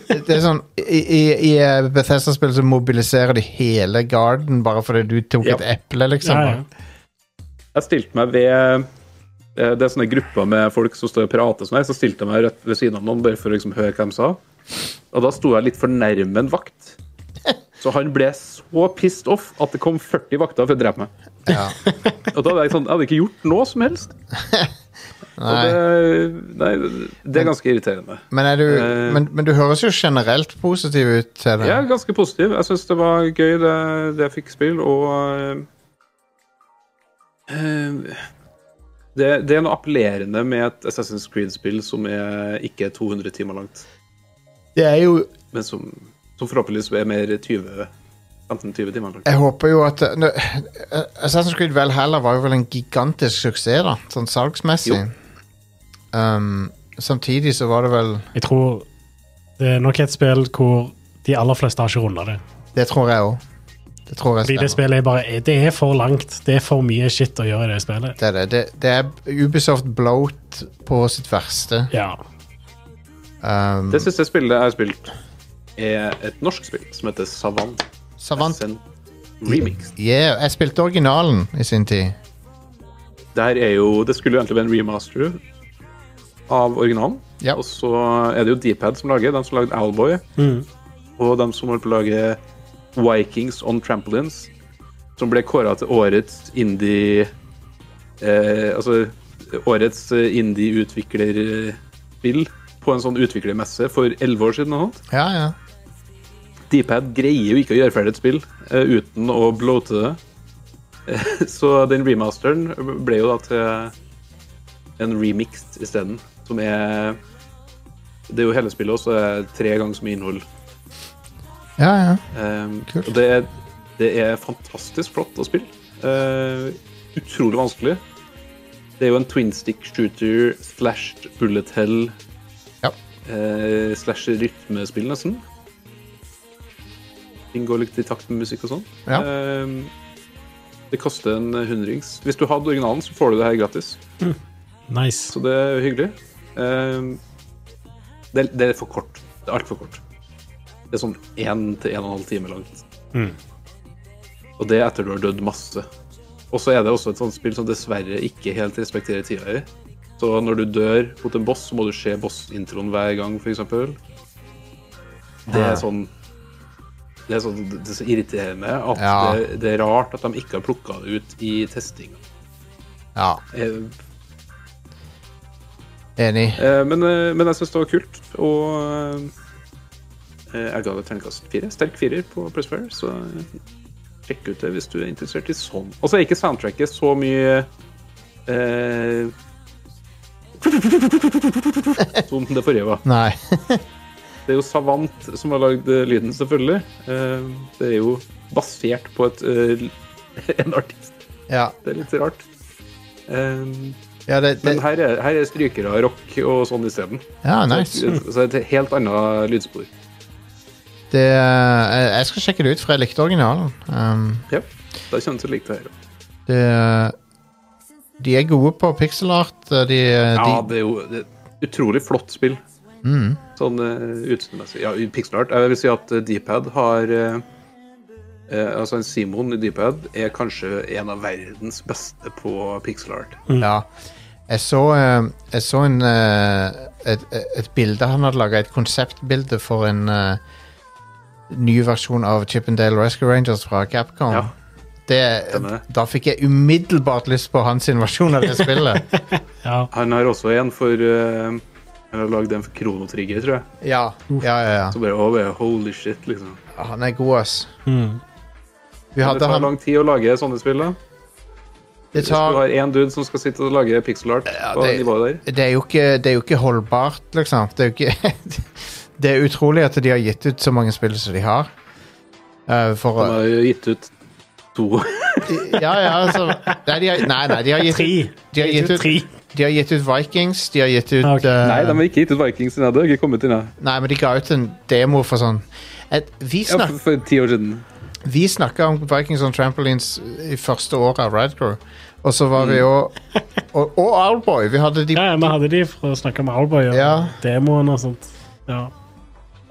Speaker 2: Det er sånn I, i, i eh, Bethesda-spill så mobiliserer de hele garden bare fordi du tok
Speaker 4: Ja.
Speaker 2: et eple, liksom.
Speaker 3: Ja, ja.
Speaker 4: Jeg stilte meg ved eh, Det er sånne grupper med folk som står og prater sånn her, så stilte jeg meg rett ved siden av noen bare for å liksom høre hva de sa. Og da sto jeg litt for nærme en vakt. Så han ble så pissed off at det kom 40 vakter for å drepe meg.
Speaker 2: Ja.
Speaker 4: Og da hadde jeg sånn, jeg hadde ikke gjort noe som helst. Og
Speaker 2: Nei.
Speaker 4: det, nei, det er ganske irriterende.
Speaker 2: Men, er du,
Speaker 4: Eh.
Speaker 2: men, men du høres jo generelt positiv ut til det.
Speaker 4: Jeg er ganske positiv. Jeg syns det var gøy, det, det jeg fikk spill, og eh, det, det er noe appellerende med et Assassin's Creed-spill som er ikke er 200 timer langt,
Speaker 2: Det er jo
Speaker 4: men som, som forhåpentligvis er mer 20 15-20 timer langt.
Speaker 2: Jeg håper jo at nå, eh, Assassin's Creed Valhalla var jo vel en gigantisk suksess, da. Sånn salgsmessig. Um, samtidig så var det vel
Speaker 3: Jeg tror det er nok et spill hvor de aller fleste har ikke runda det.
Speaker 2: Det tror jeg òg. Det tror jeg
Speaker 3: Fordi det
Speaker 2: stemmer.
Speaker 3: spillet er bare Det er for langt. Det er for mye shit å gjøre i det spillet.
Speaker 2: Det er, det. Det, det er Ubisoft bloat på sitt verste.
Speaker 3: Ja.
Speaker 2: Um,
Speaker 4: Det siste spillet jeg har spilt, er et norsk spill som heter Savant.
Speaker 2: Savant
Speaker 4: Sen Remix.
Speaker 2: yeah, Jeg spilte originalen i sin tid.
Speaker 4: Det her er jo Det skulle jo egentlig være en remaster av originalen.
Speaker 2: Ja.
Speaker 4: Og så er det jo Dpad som lager, de som lagde Owlboy. Og de som holdt på å lage Vikings on Trampolines. Som ble kåra til årets indie eh, Altså årets eh, indie-utviklerspill på en sånn utviklermesse for elleve år siden. eller noe sånt.
Speaker 2: Ja, ja.
Speaker 4: Dpad greier jo ikke å gjøre ferdig et spill eh, uten å bloate det. Eh, Så den remasteren ble jo da til en remixed isteden, som er Det er jo hele spillet, og så er det tre ganger så mye innhold.
Speaker 2: ja, ja.
Speaker 4: Eh,
Speaker 2: Kult.
Speaker 4: Og det er, det er fantastisk flott å spille. Eh, utrolig vanskelig. Det er jo en twin stick shooter slash bullet hell
Speaker 2: Ja.
Speaker 4: eh, slash rytmespill, nesten. ting går litt i takt med musikk og sånn.
Speaker 2: Ja.
Speaker 4: Ehm, det koster en hundrings. Hvis du hadde originalen, så får du det her gratis.
Speaker 3: Nice.
Speaker 4: Så det er hyggelig. Ehm, det, det er for kort. Det er altfor kort. Det er sånn én til en og en halv time langt.
Speaker 3: Mm.
Speaker 4: Og det etter du har dødd masse. Og så er det også et sånt spill som dessverre ikke helt respekterer tida i. Så når du dør mot en boss, så må du se boss-introen hver gang, f.eks. Det er sånn Det er, sånn, det er så irriterende at
Speaker 2: Ja.
Speaker 4: det, det er rart at de ikke har plukka det ut i testinga.
Speaker 2: Ja,
Speaker 4: Eh,
Speaker 2: enig.
Speaker 4: Eh, men, eh, men jeg syns det var kult, og eh, jeg ga det terningkast fire. Sterk firer på Pressfire, så eh, sjekk ut det hvis du er interessert i sånn. Og så er ikke soundtracket så mye eh, som det forrige var.
Speaker 2: Nei.
Speaker 4: Det er jo Savant som har lagd eh, lyden, selvfølgelig. Eh, det er jo basert på et, eh, en artist.
Speaker 2: Ja,
Speaker 4: Det er litt rart. Eh,
Speaker 2: ja det, det
Speaker 4: men her er, her er strykere og rock og sånn isteden.
Speaker 2: Ja, nice.
Speaker 4: Så et helt annet lydspor.
Speaker 2: Det, eh, jeg- jeg skal sjekke det ut, for jeg likte originalen. Um,
Speaker 4: Ja, da kjennes det likt det her.
Speaker 2: det, de er gode på pixelart. De, eh, de, Mm.
Speaker 4: Ja, det er jo det er et utrolig flott spill. Sånn uh, utseendemessig. Ja, i pixel art. Jeg vil si at eh, D-pad har eh, eh, Altså, en Simon i D-pad er kanskje en av verdens beste på pixel art.
Speaker 2: Ja. Jeg så, eh, jeg så en, eh, et, et bilde han hadde laga, et konseptbilde for en eh, ny versjon av Chippendale Rescue Rangers fra Capcom.
Speaker 4: Ja.
Speaker 2: Det,
Speaker 4: Stemmer.
Speaker 2: da fikk jeg umiddelbart lyst på hans versjon av det spillet.
Speaker 3: Ja.
Speaker 4: Han har også en for eh, Han har lagd en for Kronotrigger, tror jeg.
Speaker 2: ja, ja, ja,
Speaker 4: Så bare, å, bare holy shit, liksom.
Speaker 2: ja. Han er god, ass. Vi
Speaker 4: Men Mm. det
Speaker 2: hadde
Speaker 4: tar
Speaker 2: han
Speaker 4: lang tid å lage sånne spill, da.
Speaker 2: det,
Speaker 4: Hvis du
Speaker 2: tar,
Speaker 4: har én dude som skal sitte og lage pixel art på
Speaker 2: det-
Speaker 4: nivået der.
Speaker 2: det, er jo ikke, det er jo ikke holdbart, liksom. Det er jo ikke Det er utrolig at de har gitt ut så mange spill som de har. Eh, for,
Speaker 4: Han har jo gitt ut to
Speaker 2: Ja, ja, altså Nei, de har, nei, nei, de har gitt,
Speaker 3: Tre.
Speaker 2: ut, de har gitt ut
Speaker 3: Tre.
Speaker 2: De har gitt ut Vikings, de har gitt ut
Speaker 3: Ah, ok.
Speaker 2: eh,
Speaker 4: Nei, de har ikke gitt ut Vikings ennå. Det har ikke kommet inn, ja.
Speaker 2: nei, men de ga ut en demo for sånn Et, vi,
Speaker 4: Ja,
Speaker 2: snak,
Speaker 4: for, for ti år siden.
Speaker 2: vi snakka om Vikings on Trampolines i første året av Ride Crew, og så var
Speaker 4: Mm.
Speaker 2: vi jo Og, og Owlboy! Vi hadde de
Speaker 3: Ja, ja, vi hadde de for å snakke med Alboy og
Speaker 2: Ja.
Speaker 3: demoen og sånt. Ja.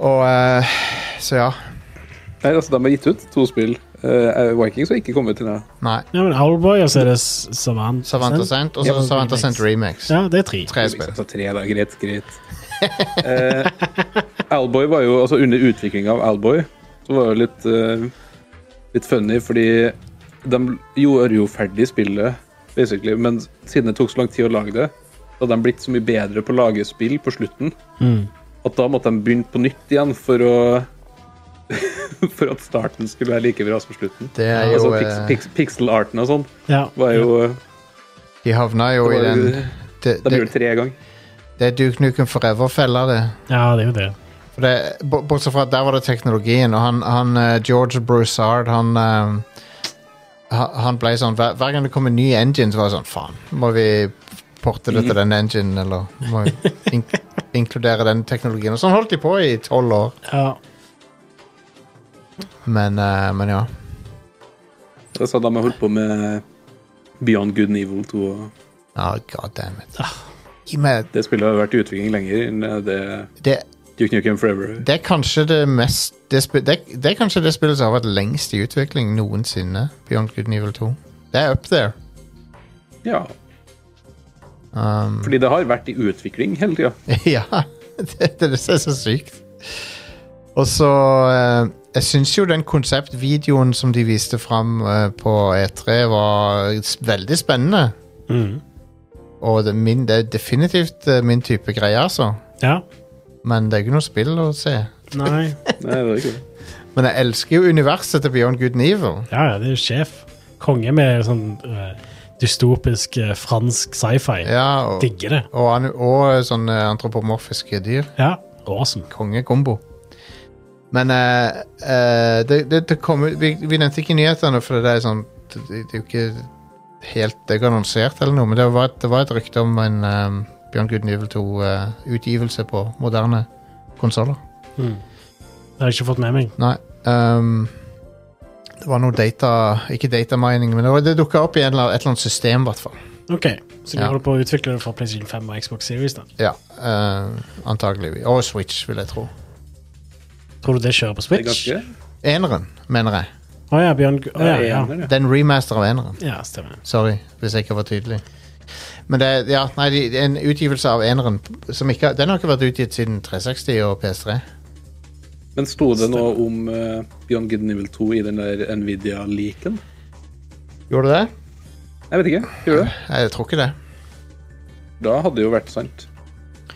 Speaker 2: Og eh, Så ja.
Speaker 4: Nei, altså, de har gitt ut to spill. Eh, Vikings har ikke kommet inn, ja.
Speaker 2: Nei.
Speaker 3: ja, men Alboy, og så er det S- Savant.
Speaker 2: Savanta Sent og så
Speaker 3: Ja,
Speaker 2: Savanta Sent Remix.
Speaker 3: Ja, det er tre.
Speaker 2: Tre spill.
Speaker 4: Liksom, Så tre, da. Greit, greit. Eh, Alboy var jo Altså, under utviklinga av Alboy så var det litt eh, litt funny, fordi de gjorde jo ferdig spillet, basically, men siden det tok så lang tid å lage det, så hadde de blitt så mye bedre på å lage spill på slutten
Speaker 2: Mm.
Speaker 4: at da måtte de begynne på nytt igjen for å For at starten skulle være like bra som slutten.
Speaker 2: Det er
Speaker 4: altså
Speaker 2: jo
Speaker 4: pix,
Speaker 2: eh,
Speaker 4: pix, pixel-arten og sånn
Speaker 3: Ja.
Speaker 4: var jo eh,
Speaker 2: De havna jo
Speaker 4: det
Speaker 2: i
Speaker 4: var,
Speaker 2: den
Speaker 4: jo-
Speaker 2: Det,
Speaker 4: De
Speaker 2: det,
Speaker 4: gjorde det tre ganger.
Speaker 2: det er Duke Nukem Forever-fella, det.
Speaker 3: ja, det er jo det.
Speaker 2: For det, b- bortsett fra at der var det teknologien, og han, han eh, George Broussard, han eh, ha- han ble sånn hver, hver gang det kom en ny engine, så var det sånn Faen, må vi porte det til den enginen, eller må vi ink inkludere den teknologien? Og sånn holdt de på i tolv år,
Speaker 3: Ja.
Speaker 2: men, eh, men ja.
Speaker 4: Da sa de jeg holdt på med Beyond Good and Evil 2. Og
Speaker 2: Oh, God damn it. Gi meg
Speaker 4: det spillet har vært i utvikling lenger enn det
Speaker 2: det,
Speaker 4: Duke Nukem Forever.
Speaker 2: det er kanskje det mest det, spi- det, det er kanskje det spillet som har vært lengst i utvikling noensinne. Beyond Good and Evil 2. Det er up there.
Speaker 4: Ja,
Speaker 2: Um,
Speaker 4: fordi det har vært i utvikling hele tida.
Speaker 2: Ja, det, det, det er så sykt. Og så eh, Jeg syns jo den konseptvideoen som de viste fram eh, på E3, var s- veldig spennende. Og det, er min, det er definitivt eh, min type greie, altså.
Speaker 3: ja.
Speaker 2: Men det er ikke noe spill å se.
Speaker 3: Nei.
Speaker 4: Nei, det er ikke det.
Speaker 2: Men jeg elsker jo universet til Beyond Good and Evil.
Speaker 3: Ja, ja, det er jo sjef. Konge med sånn eh, dystopisk eh, fransk sci-fi.
Speaker 2: Ja, og,
Speaker 3: Digger det.
Speaker 2: og, an- og eh, sånne antropomorfiske dyr.
Speaker 3: Ja. Awesome.
Speaker 2: kongekombo. Men eh, eh, det, det, det kommer vi, vi nevnte ikke nyhetene, for det er sånn Det, det er jo ikke helt det er ikke annonsert eller noe, men det var, et- det var et rykte om en um, Bjørn Guden Evil 2-utgivelse på moderne konsoller.
Speaker 3: Det har jeg ikke fått med meg.
Speaker 2: Nei. Ehm, det var noe data Ikke datamining, men det, var- det dukka opp i en eller, et eller annet system, i hvert fall.
Speaker 3: Ok, Så de
Speaker 2: Ja.
Speaker 3: holder på å utvikle det for PlayStation 5 og Xbox Series? da
Speaker 2: Ja, ehm, antagelig. Og Switch, vil jeg tro.
Speaker 3: Tror du det kjører på
Speaker 4: Det er
Speaker 3: Switch?
Speaker 4: ganske
Speaker 2: Eneren, mener jeg.
Speaker 3: Å ja, Bjørn Å ja, ja.
Speaker 4: ener, ja.
Speaker 2: Det er en remaster av eneren.
Speaker 3: ja, stemmer.
Speaker 2: Sorry, hvis jeg ikke var tydelig. Men det er ja, nei, de- det er en utgivelse av eneren som ikke, Den har ikke vært utgitt siden 360 og PS3.
Speaker 4: Men sto det noe om eh, Beyond Good and Evil 2 i den der Nvidia-leaken?
Speaker 2: Gjorde det?
Speaker 4: Jeg vet ikke. Gjør det?
Speaker 2: Nei, Jeg tror ikke det.
Speaker 4: Da hadde det jo vært sant.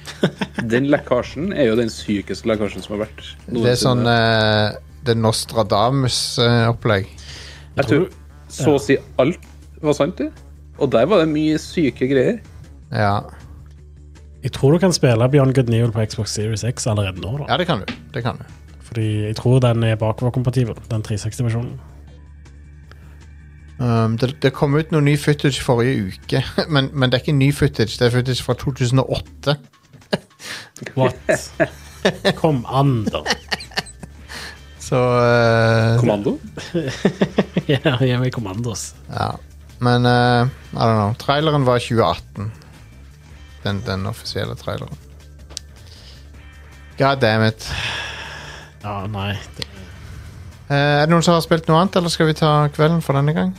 Speaker 4: Den lekkasjen er jo den sykeste lekkasjen som har vært.
Speaker 2: Det er sånn eh, Det er Nostradamus-opplegg.
Speaker 4: Jeg tror så å si alt var sant, det. Og der var det mye syke greier.
Speaker 2: ja.
Speaker 3: Jeg tror du kan spille Bjørn Good Neal på Xbox Series X allerede nå. da
Speaker 2: ja, det kan du. Det kan du.
Speaker 3: Fordi jeg tror den er bakoverkompatibel, den 360-versjonen.
Speaker 2: Um, det, det kom ut noe ny footage forrige uke, men, men det er ikke ny footage. Det er footage fra 2008.
Speaker 3: What? Kom an, da.
Speaker 2: Så eh,
Speaker 4: Kommando.
Speaker 3: Ja, gi meg kommandos.
Speaker 2: Ja. Men eh, I don't know. Traileren var 2018. Den, den offisielle traileren. God damn it.
Speaker 3: Ja, nei. Det,
Speaker 2: Eh, er det noen som har spilt noe annet, eller skal vi ta kvelden for denne gang?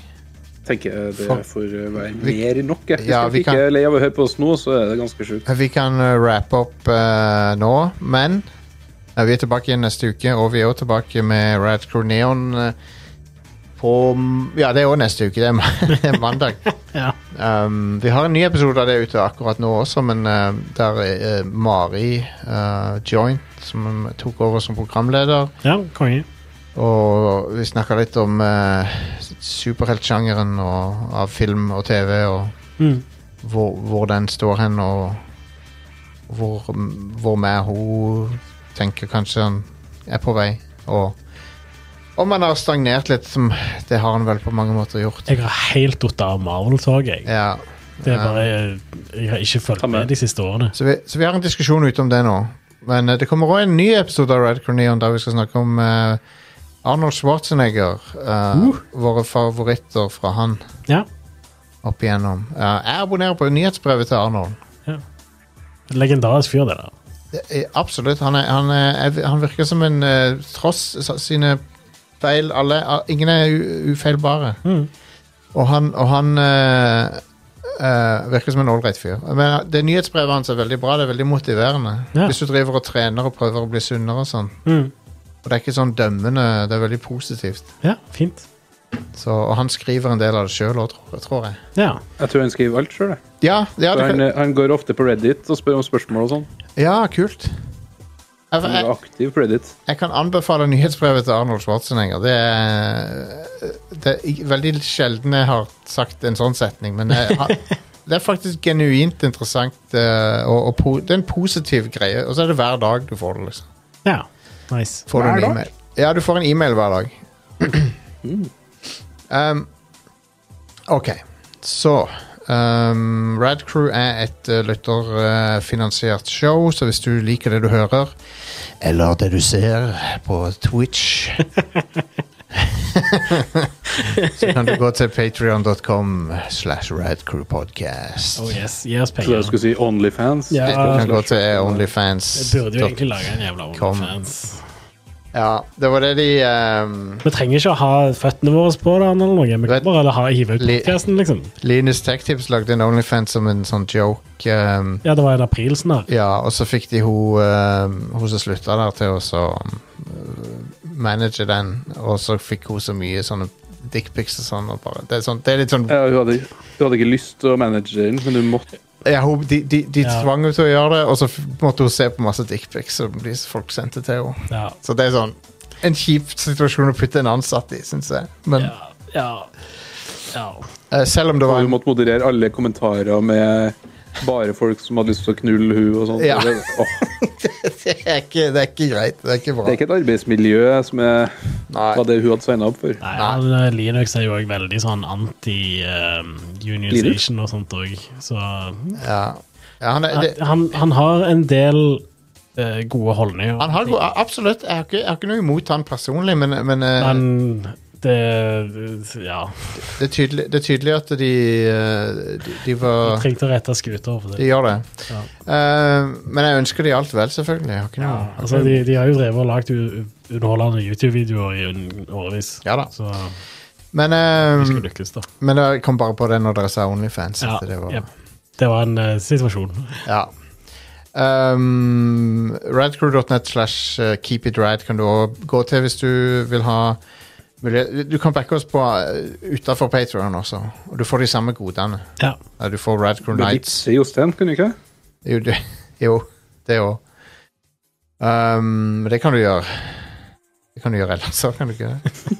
Speaker 4: Tenker jeg det
Speaker 2: For-
Speaker 4: får eh, være
Speaker 2: Vi-
Speaker 4: mer enn nok. jeg. Hvis
Speaker 2: Ja,
Speaker 4: folk
Speaker 2: vi
Speaker 4: ikke
Speaker 2: kan-
Speaker 4: er lei av å høre på oss nå, så er det ganske sjukt.
Speaker 2: Vi kan eh, wrappe opp eh, nå, men eh, vi er tilbake igjen neste uke, og vi er også tilbake med Rad Crew Neon eh, på Ja, det er òg neste uke. Det er, ma- det er mandag.
Speaker 3: ja.
Speaker 2: Um, vi har en ny episode av det ute akkurat nå også, men eh, der er eh, Mari eh, Joint, som tok over som programleder,
Speaker 3: ja, konge.
Speaker 2: og vi snakka litt om eh, superheltsjangeren og- av film og TV og
Speaker 3: Mm.
Speaker 2: hvor, hvor den står hen, og hvor, hvor med hun tenker kanskje han er på vei. Og om han har stagnert litt, som det har han vel på mange måter gjort.
Speaker 3: Jeg har helt datt av Marvel-toget. jeg.
Speaker 2: Ja.
Speaker 3: Det er bare Jeg har ikke fulgt med de siste årene.
Speaker 2: Så, vi, så vi har en diskusjon ute om det nå. Men eh, det kommer òg en ny episode av Red Cronion der vi skal snakke om eh, Arnold Schwarzenegger. eh, Våre favoritter fra han
Speaker 3: Ja.
Speaker 2: opp igjennom. Eh, jeg abonnerer på nyhetsbrevet til Arnold.
Speaker 3: Legendarisk fyr, det der.
Speaker 2: Det er- Absolutt. Han, er, han, er, jeg- han virker som en eh, tross sa- sine feil alle, a- Ingen er u, ufeilbare. Og han, og han eh, eh, virker som en ålreit fyr. Men eh, det nyhetsbrevet hans er veldig bra. Det er veldig motiverende.
Speaker 3: Ja.
Speaker 2: Hvis du driver og trener og prøver å bli sunnere og sånn.
Speaker 3: Mm.
Speaker 2: Og det er ikke sånn dømmende. Det er veldig positivt.
Speaker 3: Ja, fint.
Speaker 2: Så, og han skriver en del av det sjøl òg, tror, tror jeg.
Speaker 3: Ja.
Speaker 4: Jeg tror han skriver alt sjøl.
Speaker 2: Ja, ja, det,
Speaker 4: Han,
Speaker 2: kan-
Speaker 4: eh, han går ofte på Reddit og spør om spørsmål og sånn.
Speaker 2: ja kult. Jeg,
Speaker 4: Han er
Speaker 2: jeg,
Speaker 4: aktiv på Reddit.
Speaker 2: jeg kan anbefale nyhetsbrevet til Arnold Schwarzenegger. Det er, det er i- veldig sjelden jeg har sagt en sånn setning, men jeg, har- det er faktisk genuint interessant. eh, Og, og po, det er en positiv greie, og så er det hver dag du får det. liksom.
Speaker 3: ja. Nice.
Speaker 2: Får du en e-mail? Ja, du får en e-mail hver dag. um, ok, så um, Rad Crew er et uh, lytterfinansiert show, så hvis du liker det du hører, eller det du ser på Twitch Så kan du gå til patreon.com slash radcrewpodcast.
Speaker 3: Oh yes, gi oss
Speaker 4: Så jeg
Speaker 3: penger.
Speaker 4: skulle si Onlyfans.
Speaker 3: Ja.
Speaker 2: Du kan gå til
Speaker 3: Jeg
Speaker 2: Onlyfans.
Speaker 3: burde jo egentlig lage en jævla
Speaker 2: Kom.
Speaker 3: OnlyFans.
Speaker 2: Ja, det var det de um,
Speaker 3: Vi trenger ikke å ha føttene våre på den eller noe. Vi
Speaker 2: Vet-
Speaker 3: kan bare ha hive ut
Speaker 2: Li-
Speaker 3: podcasten, liksom.
Speaker 2: Linus Tech Tips lagde en Onlyfans som en sånn joke. ehm,
Speaker 3: Ja, det var en april snart.
Speaker 2: ja, og så fikk de hun ehm, Hun som slutta der, til å så, ehm, manage den. Og så fikk hun så mye sånne dickpics og sånn. Og bare, det, er sånn det er litt sånn
Speaker 4: Ja, hun, hadde, hun hadde ikke lyst til å manage den, men hun måtte.
Speaker 2: ja, hun, De, de, de
Speaker 3: Ja.
Speaker 2: tvang henne til å gjøre det, og så f- måtte hun se på masse dickpics som de folk sendte til henne.
Speaker 3: Ja.
Speaker 2: Så det er sånn en kjip situasjon å putte en ansatt i, syns jeg. Men
Speaker 3: Ja. Ja. ja.
Speaker 2: eh, selv om det
Speaker 4: Og
Speaker 2: var
Speaker 4: hun måtte moderere alle kommentarer med bare folk som hadde lyst til å knulle hun og sånt.
Speaker 2: Ja.
Speaker 4: Det, åh,
Speaker 2: det, er ikke, det er ikke greit. Det er ikke bra.
Speaker 4: det er ikke et arbeidsmiljø som er,
Speaker 2: Nei.
Speaker 4: var det hun hadde signa opp for.
Speaker 3: Nei, han, eh, Linux er jo også veldig sånn eh, anti-unionization og sånt òg, så
Speaker 2: Ja. Ja, han, er- det,
Speaker 3: han, han har en del eh, gode holdninger.
Speaker 2: Han har, gode- absolutt. Jeg har, ikke, jeg har ikke noe imot han personlig, men, men, eh,
Speaker 3: Men det Ja.
Speaker 2: det, er tydelig, det er tydelig at de, eh, de, de var
Speaker 3: Trengte å rette skuter for
Speaker 2: De
Speaker 3: det.
Speaker 2: gjør det.
Speaker 3: Ja.
Speaker 2: Eh, men jeg ønsker de alt vel, selvfølgelig. Jeg har ikke noe,
Speaker 3: Ja,
Speaker 2: har
Speaker 3: altså,
Speaker 2: ikke noe-
Speaker 3: de, de har jo drevet og lagd u- underholdende YouTube-videoer i en- årevis.
Speaker 2: Ja da.
Speaker 3: Så
Speaker 2: men, eh,
Speaker 3: de skal lykkes, da.
Speaker 2: men jeg kom bare på det når dere sa Onlyfans.
Speaker 3: Ja,
Speaker 2: at det var,
Speaker 3: jep. det var en eh, situasjon.
Speaker 2: ja. Eh, Um, radcrew.net slash eh, keepitrad kan du også gå til hvis du vil ha vil- Du kan backe oss på eh, utenfor Patreon også, og du får de samme godene.
Speaker 3: Ja.
Speaker 2: Eh, Du får Radcrew
Speaker 4: Du
Speaker 2: Nights.
Speaker 4: vipser Jostein, kunne du ikke?
Speaker 2: Jo, det, jo, det òg. Um, det kan du gjøre. Det kan du gjøre ellers òg, kan du ikke det?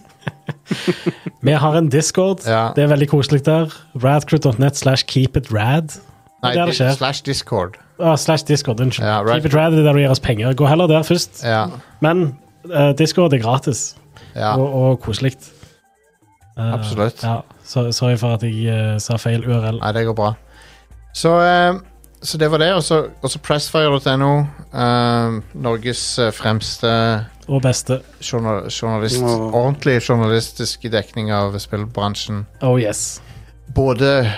Speaker 3: Vi har en discord.
Speaker 2: Ja.
Speaker 3: Det er veldig koselig der. Radcrew.net slash keepitrad.
Speaker 2: Nei,
Speaker 3: Det er det skjer.
Speaker 2: slash discord.
Speaker 3: Ah, slash discord, unnskyld.
Speaker 2: Ja, rad-
Speaker 3: Keepitrad er der du gir oss penger. Gå heller der først.
Speaker 2: Ja,
Speaker 3: Men eh, discord er gratis
Speaker 2: ja
Speaker 3: og, og koselig. Eh,
Speaker 2: absolutt.
Speaker 3: Ja. Så, sorry for at jeg eh, sa feil URL.
Speaker 2: Nei, det går bra. Så, eh, så det var det. Og så og så pressfire.no. eh, Norges eh, fremste
Speaker 3: Og beste.
Speaker 2: journal, journalist,
Speaker 4: Wow.
Speaker 2: ordentlig journalistiske dekning av spillbransjen.
Speaker 3: Oh yes.
Speaker 2: Både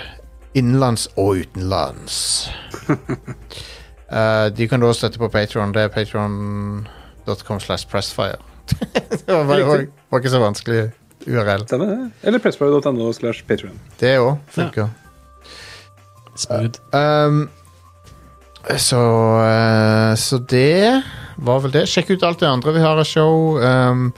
Speaker 2: innenlands og utenlands. Eh, de kan du også støtte på Patreon Det er patreon.com slash pressfire. det var, var, var ikke så vanskelig URL.
Speaker 4: Stemmer det? Eller pressfire.no slash Patreon.
Speaker 2: Det òg funker.
Speaker 3: Smooth.
Speaker 2: Um, så eh, Så det var vel det. Sjekk ut alt det andre vi har av show. Um,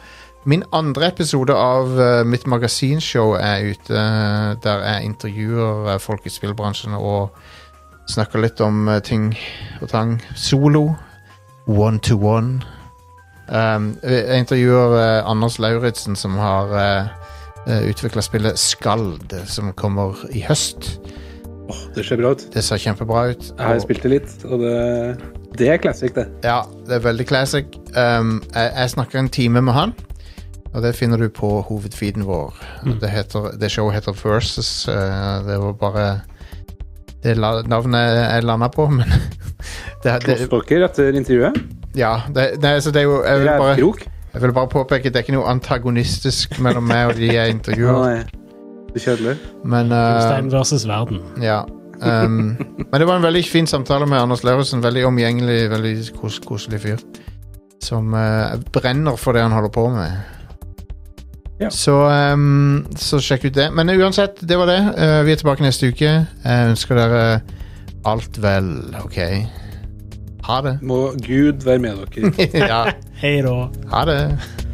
Speaker 2: min andre episode av eh, mitt magasinshow er ute, eh, der jeg intervjuer eh, folk i spillbransjen og snakker litt om eh, ting og tang. Solo. One to one. Um, jeg intervjuer eh, Anders Lauritzen, som har uh, utvikla spillet Skald, som kommer i høst.
Speaker 4: Åh, det ser bra ut.
Speaker 2: Det ser kjempebra ut.
Speaker 4: Jeg har
Speaker 2: Og-
Speaker 4: spilt det litt, og det, det er classic, det.
Speaker 2: Ja, det er veldig classic. Um, jeg, jeg snakker en time med han, og det finner du på hovedfeeden vår.
Speaker 4: Mm.
Speaker 2: Det, heter, det showet heter Versus. uh, det var bare det la, navnet jeg landa på, men det, det,
Speaker 4: Kloss dere etter intervjuet.
Speaker 2: Ja, det, det, så det er jo jeg vil,
Speaker 4: Dere er
Speaker 2: bare,
Speaker 4: krok.
Speaker 2: jeg vil bare påpeke det er ikke noe antagonistisk mellom meg og de jeg intervjuer,
Speaker 4: Nei, det er kjedelig.
Speaker 2: men uh,
Speaker 3: Stein versus verden.
Speaker 2: Ja. Um, men det var en veldig fin samtale med Anders Lauritzen. Veldig omgjengelig, veldig kos koselig fyr. Som eh, brenner for det han holder på med.
Speaker 4: Ja.
Speaker 2: Så, um, så sjekk ut det. Men uansett, det var det. Eh, vi er tilbake neste uke. Jeg ønsker dere alt vel, OK? Ha det.
Speaker 4: Må Gud være med dere.
Speaker 2: ja,
Speaker 3: Hei da.
Speaker 2: ha det.